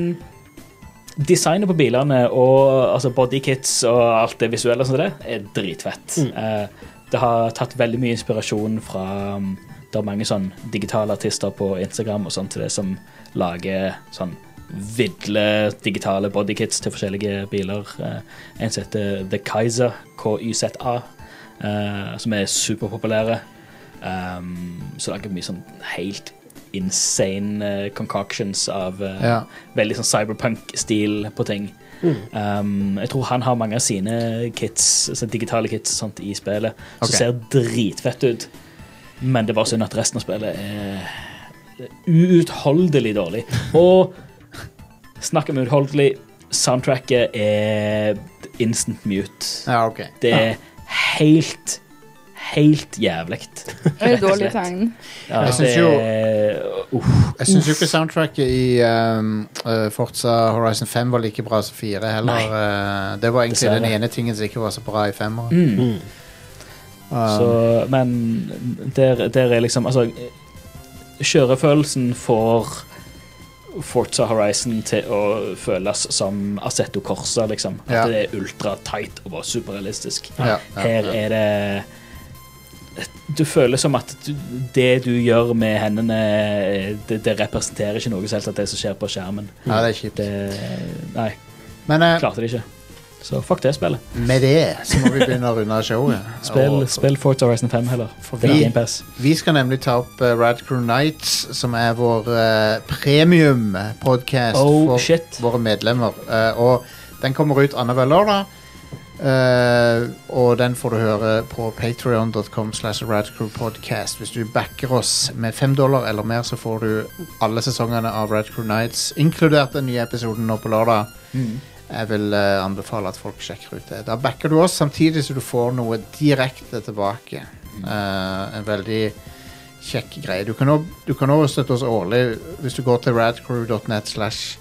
[SPEAKER 4] designet på bilene og altså bodykits og alt det visuelle og sånt der, er dritfett. Eh, det har tatt veldig mye inspirasjon fra um, Det er mange sånn digitale artister på Instagram og sånt til det som lager sånn vidle digitale bodykits til forskjellige biler. Eh, en som heter The Kaiser, KYZA, eh, som er superpopulære. Um, så lager mye sånn helt insane eh, concoctions av eh,
[SPEAKER 1] Ja.
[SPEAKER 4] veldig sånn cyberpunk-stil på ting.
[SPEAKER 1] Mm.
[SPEAKER 4] Um, jeg tror han har mange av sine kits, altså digitale kits og sånt, i spillet, som
[SPEAKER 1] Ok.
[SPEAKER 4] ser dritfett ut. Men det er bare synd at resten av spillet er uutholdelig dårlig. Og snakk om uutholdelig, soundtracket er instant mute.
[SPEAKER 1] Ja, OK.
[SPEAKER 4] Det er helt, helt jævlig.
[SPEAKER 5] Det er et dårlig tegn.
[SPEAKER 4] Ja,
[SPEAKER 1] Jeg synes
[SPEAKER 4] det
[SPEAKER 1] jo-
[SPEAKER 4] er uff.
[SPEAKER 1] Jeg syns jo ikke soundtracket i um, uh, Forza Horizon 5 var like bra som 4 heller. Uh, det var egentlig
[SPEAKER 4] Dessverre.
[SPEAKER 1] den ene tingen som ikke var så bra i Um, 5
[SPEAKER 4] Mm.
[SPEAKER 2] Mm.
[SPEAKER 4] Så, men der, der er liksom Altså, kjørefølelsen får Forza Horizon til å føles som Assetto Corsa, liksom. At
[SPEAKER 1] Ja.
[SPEAKER 4] det er ultra-tight og bare superrealistisk.
[SPEAKER 1] Ja, ja,
[SPEAKER 4] Her
[SPEAKER 1] ja.
[SPEAKER 4] er det Du føler som at du, det du gjør med hendene, det, det representerer ikke noe selv at det som skjer på skjermen.
[SPEAKER 1] ja, det er kjipt.
[SPEAKER 4] Det Nei,
[SPEAKER 1] Men uh,
[SPEAKER 4] klarte det ikke. Så fuck det spillet.
[SPEAKER 1] med det så må vi begynne å runde av showet.
[SPEAKER 4] Spill,
[SPEAKER 1] Og-
[SPEAKER 4] spill Forza Horizon 5 heller. Det
[SPEAKER 1] vi-
[SPEAKER 4] er GamePass.
[SPEAKER 1] Vi skal nemlig ta opp uh, Radcrew Nights, som er vår uh, premium-podkast
[SPEAKER 4] Oh,
[SPEAKER 1] for
[SPEAKER 4] shit.
[SPEAKER 1] våre medlemmer. Uh, og den kommer ut annenhver lørdag. Uh, og den får du høre på patreon.com slash radcrewpodcast. Hvis du backer oss med fem dollar eller mer, så får du alle sesongene av Radcrew Nights, inkludert den nye episoden nå på lørdag.
[SPEAKER 5] Mm.
[SPEAKER 1] Jeg vil eh, anbefale at folk sjekker ut det. Da backer du oss samtidig så du får noe direkte tilbake. Eh, en veldig kjekk greie. Du kan også- du kan også støtte oss årlig hvis du går til radcrew.net slash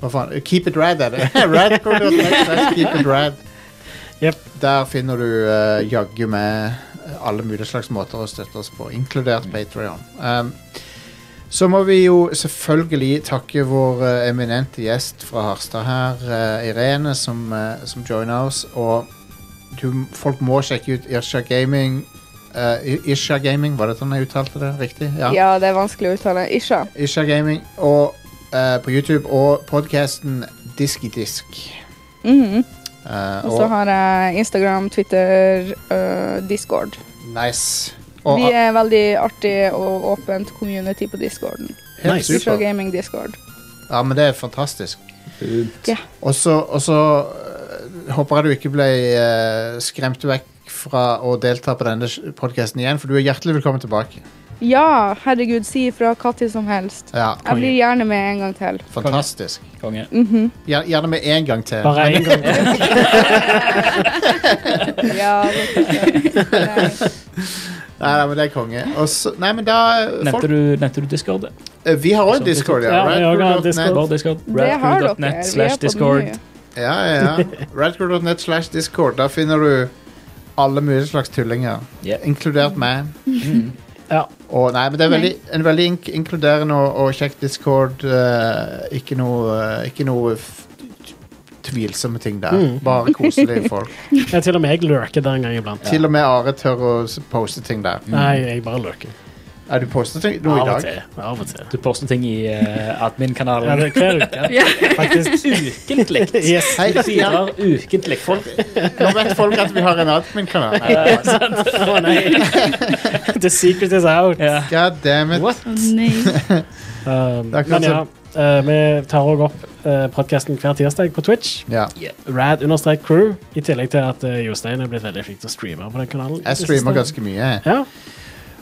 [SPEAKER 1] Hva faen? Keep it rad, er det. radcrew.net slash keep it rad.
[SPEAKER 2] Jep.
[SPEAKER 1] Der finner du eh, jaggu med alle mulige slags måter å støtte oss på, inkludert Patreon. Um, så må vi jo selvfølgelig takke vår eh, eminente gjest fra Harstad her, eh, Irene, som, uh, som joiner oss. Og du, folk må sjekke ut Irsha Gaming. Eh, I- Isha Gaming, var det sånn jeg uttalte det riktig?
[SPEAKER 5] Ja, det er vanskelig å uttale. Isha.
[SPEAKER 1] Isha Gaming og, eh, på YouTube, og podkasten Disk i disk.
[SPEAKER 5] Mhm.
[SPEAKER 1] Eh,
[SPEAKER 5] Og så har jeg Instagram, Twitter, øh, Discord.
[SPEAKER 1] nice. Og
[SPEAKER 5] Vi er veldig artig og åpent community på Discorden.
[SPEAKER 1] helt
[SPEAKER 2] Nice.
[SPEAKER 5] Isha
[SPEAKER 1] super.
[SPEAKER 5] Gaming Discord.
[SPEAKER 1] Ja, men det er fantastisk.
[SPEAKER 5] Ja.
[SPEAKER 1] Og så, og så øh, håper jeg du ikke ble øh, skremt vekk fra å delta på denne podkasten igjen, for du er hjertelig velkommen tilbake.
[SPEAKER 5] Ja, herregud, si ifra hva tid som helst.
[SPEAKER 1] Ja,
[SPEAKER 5] Jeg blir gjerne med en gang til.
[SPEAKER 1] Fantastisk.
[SPEAKER 4] Konge.
[SPEAKER 5] Mm.
[SPEAKER 1] Gjer- Gjerne med én gang til.
[SPEAKER 2] Bare én gang.
[SPEAKER 5] Ja, det er
[SPEAKER 1] Nei, nei, men det er konge. Og så, nei, men da øh,
[SPEAKER 4] Nevnte
[SPEAKER 1] folk,
[SPEAKER 4] du, nevnte du Discord?
[SPEAKER 1] øh, Vi har òg
[SPEAKER 4] Så-
[SPEAKER 1] Discord, ja.
[SPEAKER 2] Ja, vi har
[SPEAKER 1] Radcrew.net.
[SPEAKER 2] Discord.
[SPEAKER 4] Vår Discord.
[SPEAKER 5] det har dere. Vi
[SPEAKER 4] Radcrew.net
[SPEAKER 5] er
[SPEAKER 4] slash
[SPEAKER 5] på
[SPEAKER 4] Discord.
[SPEAKER 5] mye.
[SPEAKER 1] Ja, ja. Radcrew.net slash discord. Da finner du alle mulige slags tullinger,
[SPEAKER 4] Ja.
[SPEAKER 1] inkludert meg.
[SPEAKER 5] Mm.
[SPEAKER 2] Ja.
[SPEAKER 1] Og nei, men det er veldig, en veldig ink inkluderende og, og kjekk discord. eh, ikke noe, eh, ikke noe f tvilsomme ting der.
[SPEAKER 2] Mm.
[SPEAKER 1] Bare koselige folk.
[SPEAKER 2] Jeg, til og med jeg lurker der en gang iblant.
[SPEAKER 1] Til og med Are tør å s- poste ting der.
[SPEAKER 2] Nei, jeg bare lurker.
[SPEAKER 1] Er du postet ting noe i
[SPEAKER 2] Av og
[SPEAKER 1] dag?
[SPEAKER 2] til. Av og til.
[SPEAKER 4] Du poster ting i eh,
[SPEAKER 2] Ja,
[SPEAKER 4] admin-kanalen
[SPEAKER 2] det er hver uke.
[SPEAKER 3] Ja.
[SPEAKER 2] Faktisk.
[SPEAKER 4] ukentlig.
[SPEAKER 2] Yes.
[SPEAKER 1] Hei,
[SPEAKER 4] Du
[SPEAKER 1] ja,
[SPEAKER 4] bidrar ukentlig.
[SPEAKER 1] nå vet folk at vi har en admin-kanal. Nei, nei, nei.
[SPEAKER 2] Å nei. The secret is out.
[SPEAKER 4] Ja.
[SPEAKER 1] God damn it.
[SPEAKER 3] Å nei.
[SPEAKER 2] Um,
[SPEAKER 1] Det er akkurat
[SPEAKER 2] men ja, eh, vi tar òg opp uh, podkasten hver tirsdag på Twitch.
[SPEAKER 1] Ja.
[SPEAKER 2] Rad understrek crew. I tillegg til at eh, Jostein er blitt veldig flink til å streame på den kanalen.
[SPEAKER 1] Jeg streamer ganske mye. jeg.
[SPEAKER 2] Ja,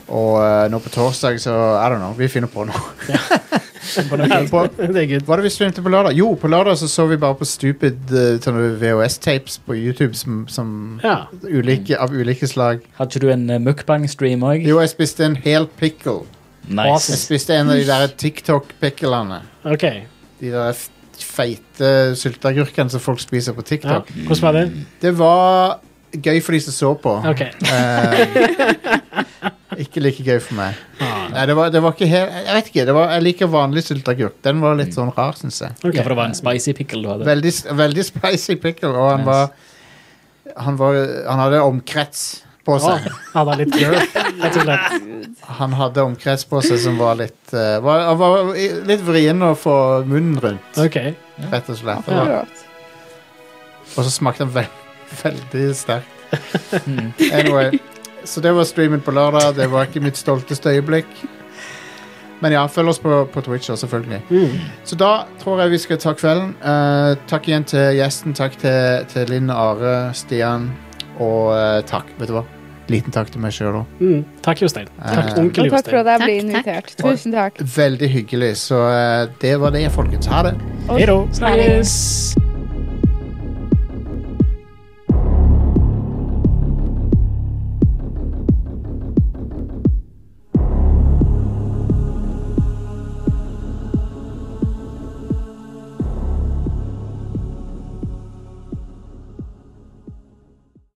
[SPEAKER 1] Og eh, nå på torsdag, så I don't know. Vi finner på noe. på,
[SPEAKER 2] det er good.
[SPEAKER 1] Hva er det vi streamte på lørdag? Jo, på lørdag så, så vi bare på stupid eh, sånne VHS-tapes på YouTube som, som
[SPEAKER 2] Ja.
[SPEAKER 1] ulike, av ulike slag.
[SPEAKER 4] Hadde ikke du en eh, mukbang-stream òg?
[SPEAKER 1] Jo, jeg spiste en hel pickle.
[SPEAKER 4] Nice.
[SPEAKER 1] Jeg spiste en av de der TikTok-picklene.
[SPEAKER 2] OK.
[SPEAKER 1] De der f- feite sylteagurkene som folk spiser på
[SPEAKER 2] Ja.
[SPEAKER 1] TikTok.
[SPEAKER 2] Hvordan var det?
[SPEAKER 4] Mm.
[SPEAKER 1] Det var gøy for de som så på.
[SPEAKER 2] OK.
[SPEAKER 1] Eh, ikke like gøy for meg. Nei, det var, det var ikke helt Jeg vet ikke. Det var, jeg liker vanlig sylteagurk. Den var
[SPEAKER 2] Mm.
[SPEAKER 1] litt sånn rar, syns jeg.
[SPEAKER 2] ok.
[SPEAKER 4] Ja, for det var en spicy pickle du hadde.
[SPEAKER 1] Veldig, veldig spicy pickle, og han
[SPEAKER 4] Yes.
[SPEAKER 1] var han, var han hadde omkrets på
[SPEAKER 2] Å,
[SPEAKER 1] seg.
[SPEAKER 2] ja, det er litt gøy, rett og slett.
[SPEAKER 1] Han hadde omkrets på seg som var litt eh, var, Han var i- litt vrien å få munnen rundt,
[SPEAKER 2] OK.
[SPEAKER 1] rett og slett. Det var-
[SPEAKER 5] Akkurat.
[SPEAKER 1] Og så smakte han vel- veldig sterkt.
[SPEAKER 4] Mm.
[SPEAKER 1] Anyway, så det var streamen på lørdag. Det var ikke mitt stolteste øyeblikk. Men ja, følg oss på, på Twitch, også, selvfølgelig.
[SPEAKER 2] Mm.
[SPEAKER 1] Så da tror jeg vi skal ta kvelden. Eh, takk igjen til gjesten. Takk til, til Linn, Are, Stian. Og eh, takk, vet du hva. Liten takk til meg sjøl òg.
[SPEAKER 2] Mm. Takk, Jostein. Takk,
[SPEAKER 1] Eh,
[SPEAKER 2] onkel
[SPEAKER 5] Og takk
[SPEAKER 2] Jostein.
[SPEAKER 5] for at jeg ble
[SPEAKER 3] Takk, takk.
[SPEAKER 5] invitert. Tusen takk.
[SPEAKER 1] Veldig hyggelig. Så eh, det var det, folkens. Ha det.
[SPEAKER 2] Hei da.
[SPEAKER 5] Snakkes.
[SPEAKER 2] Snakkes.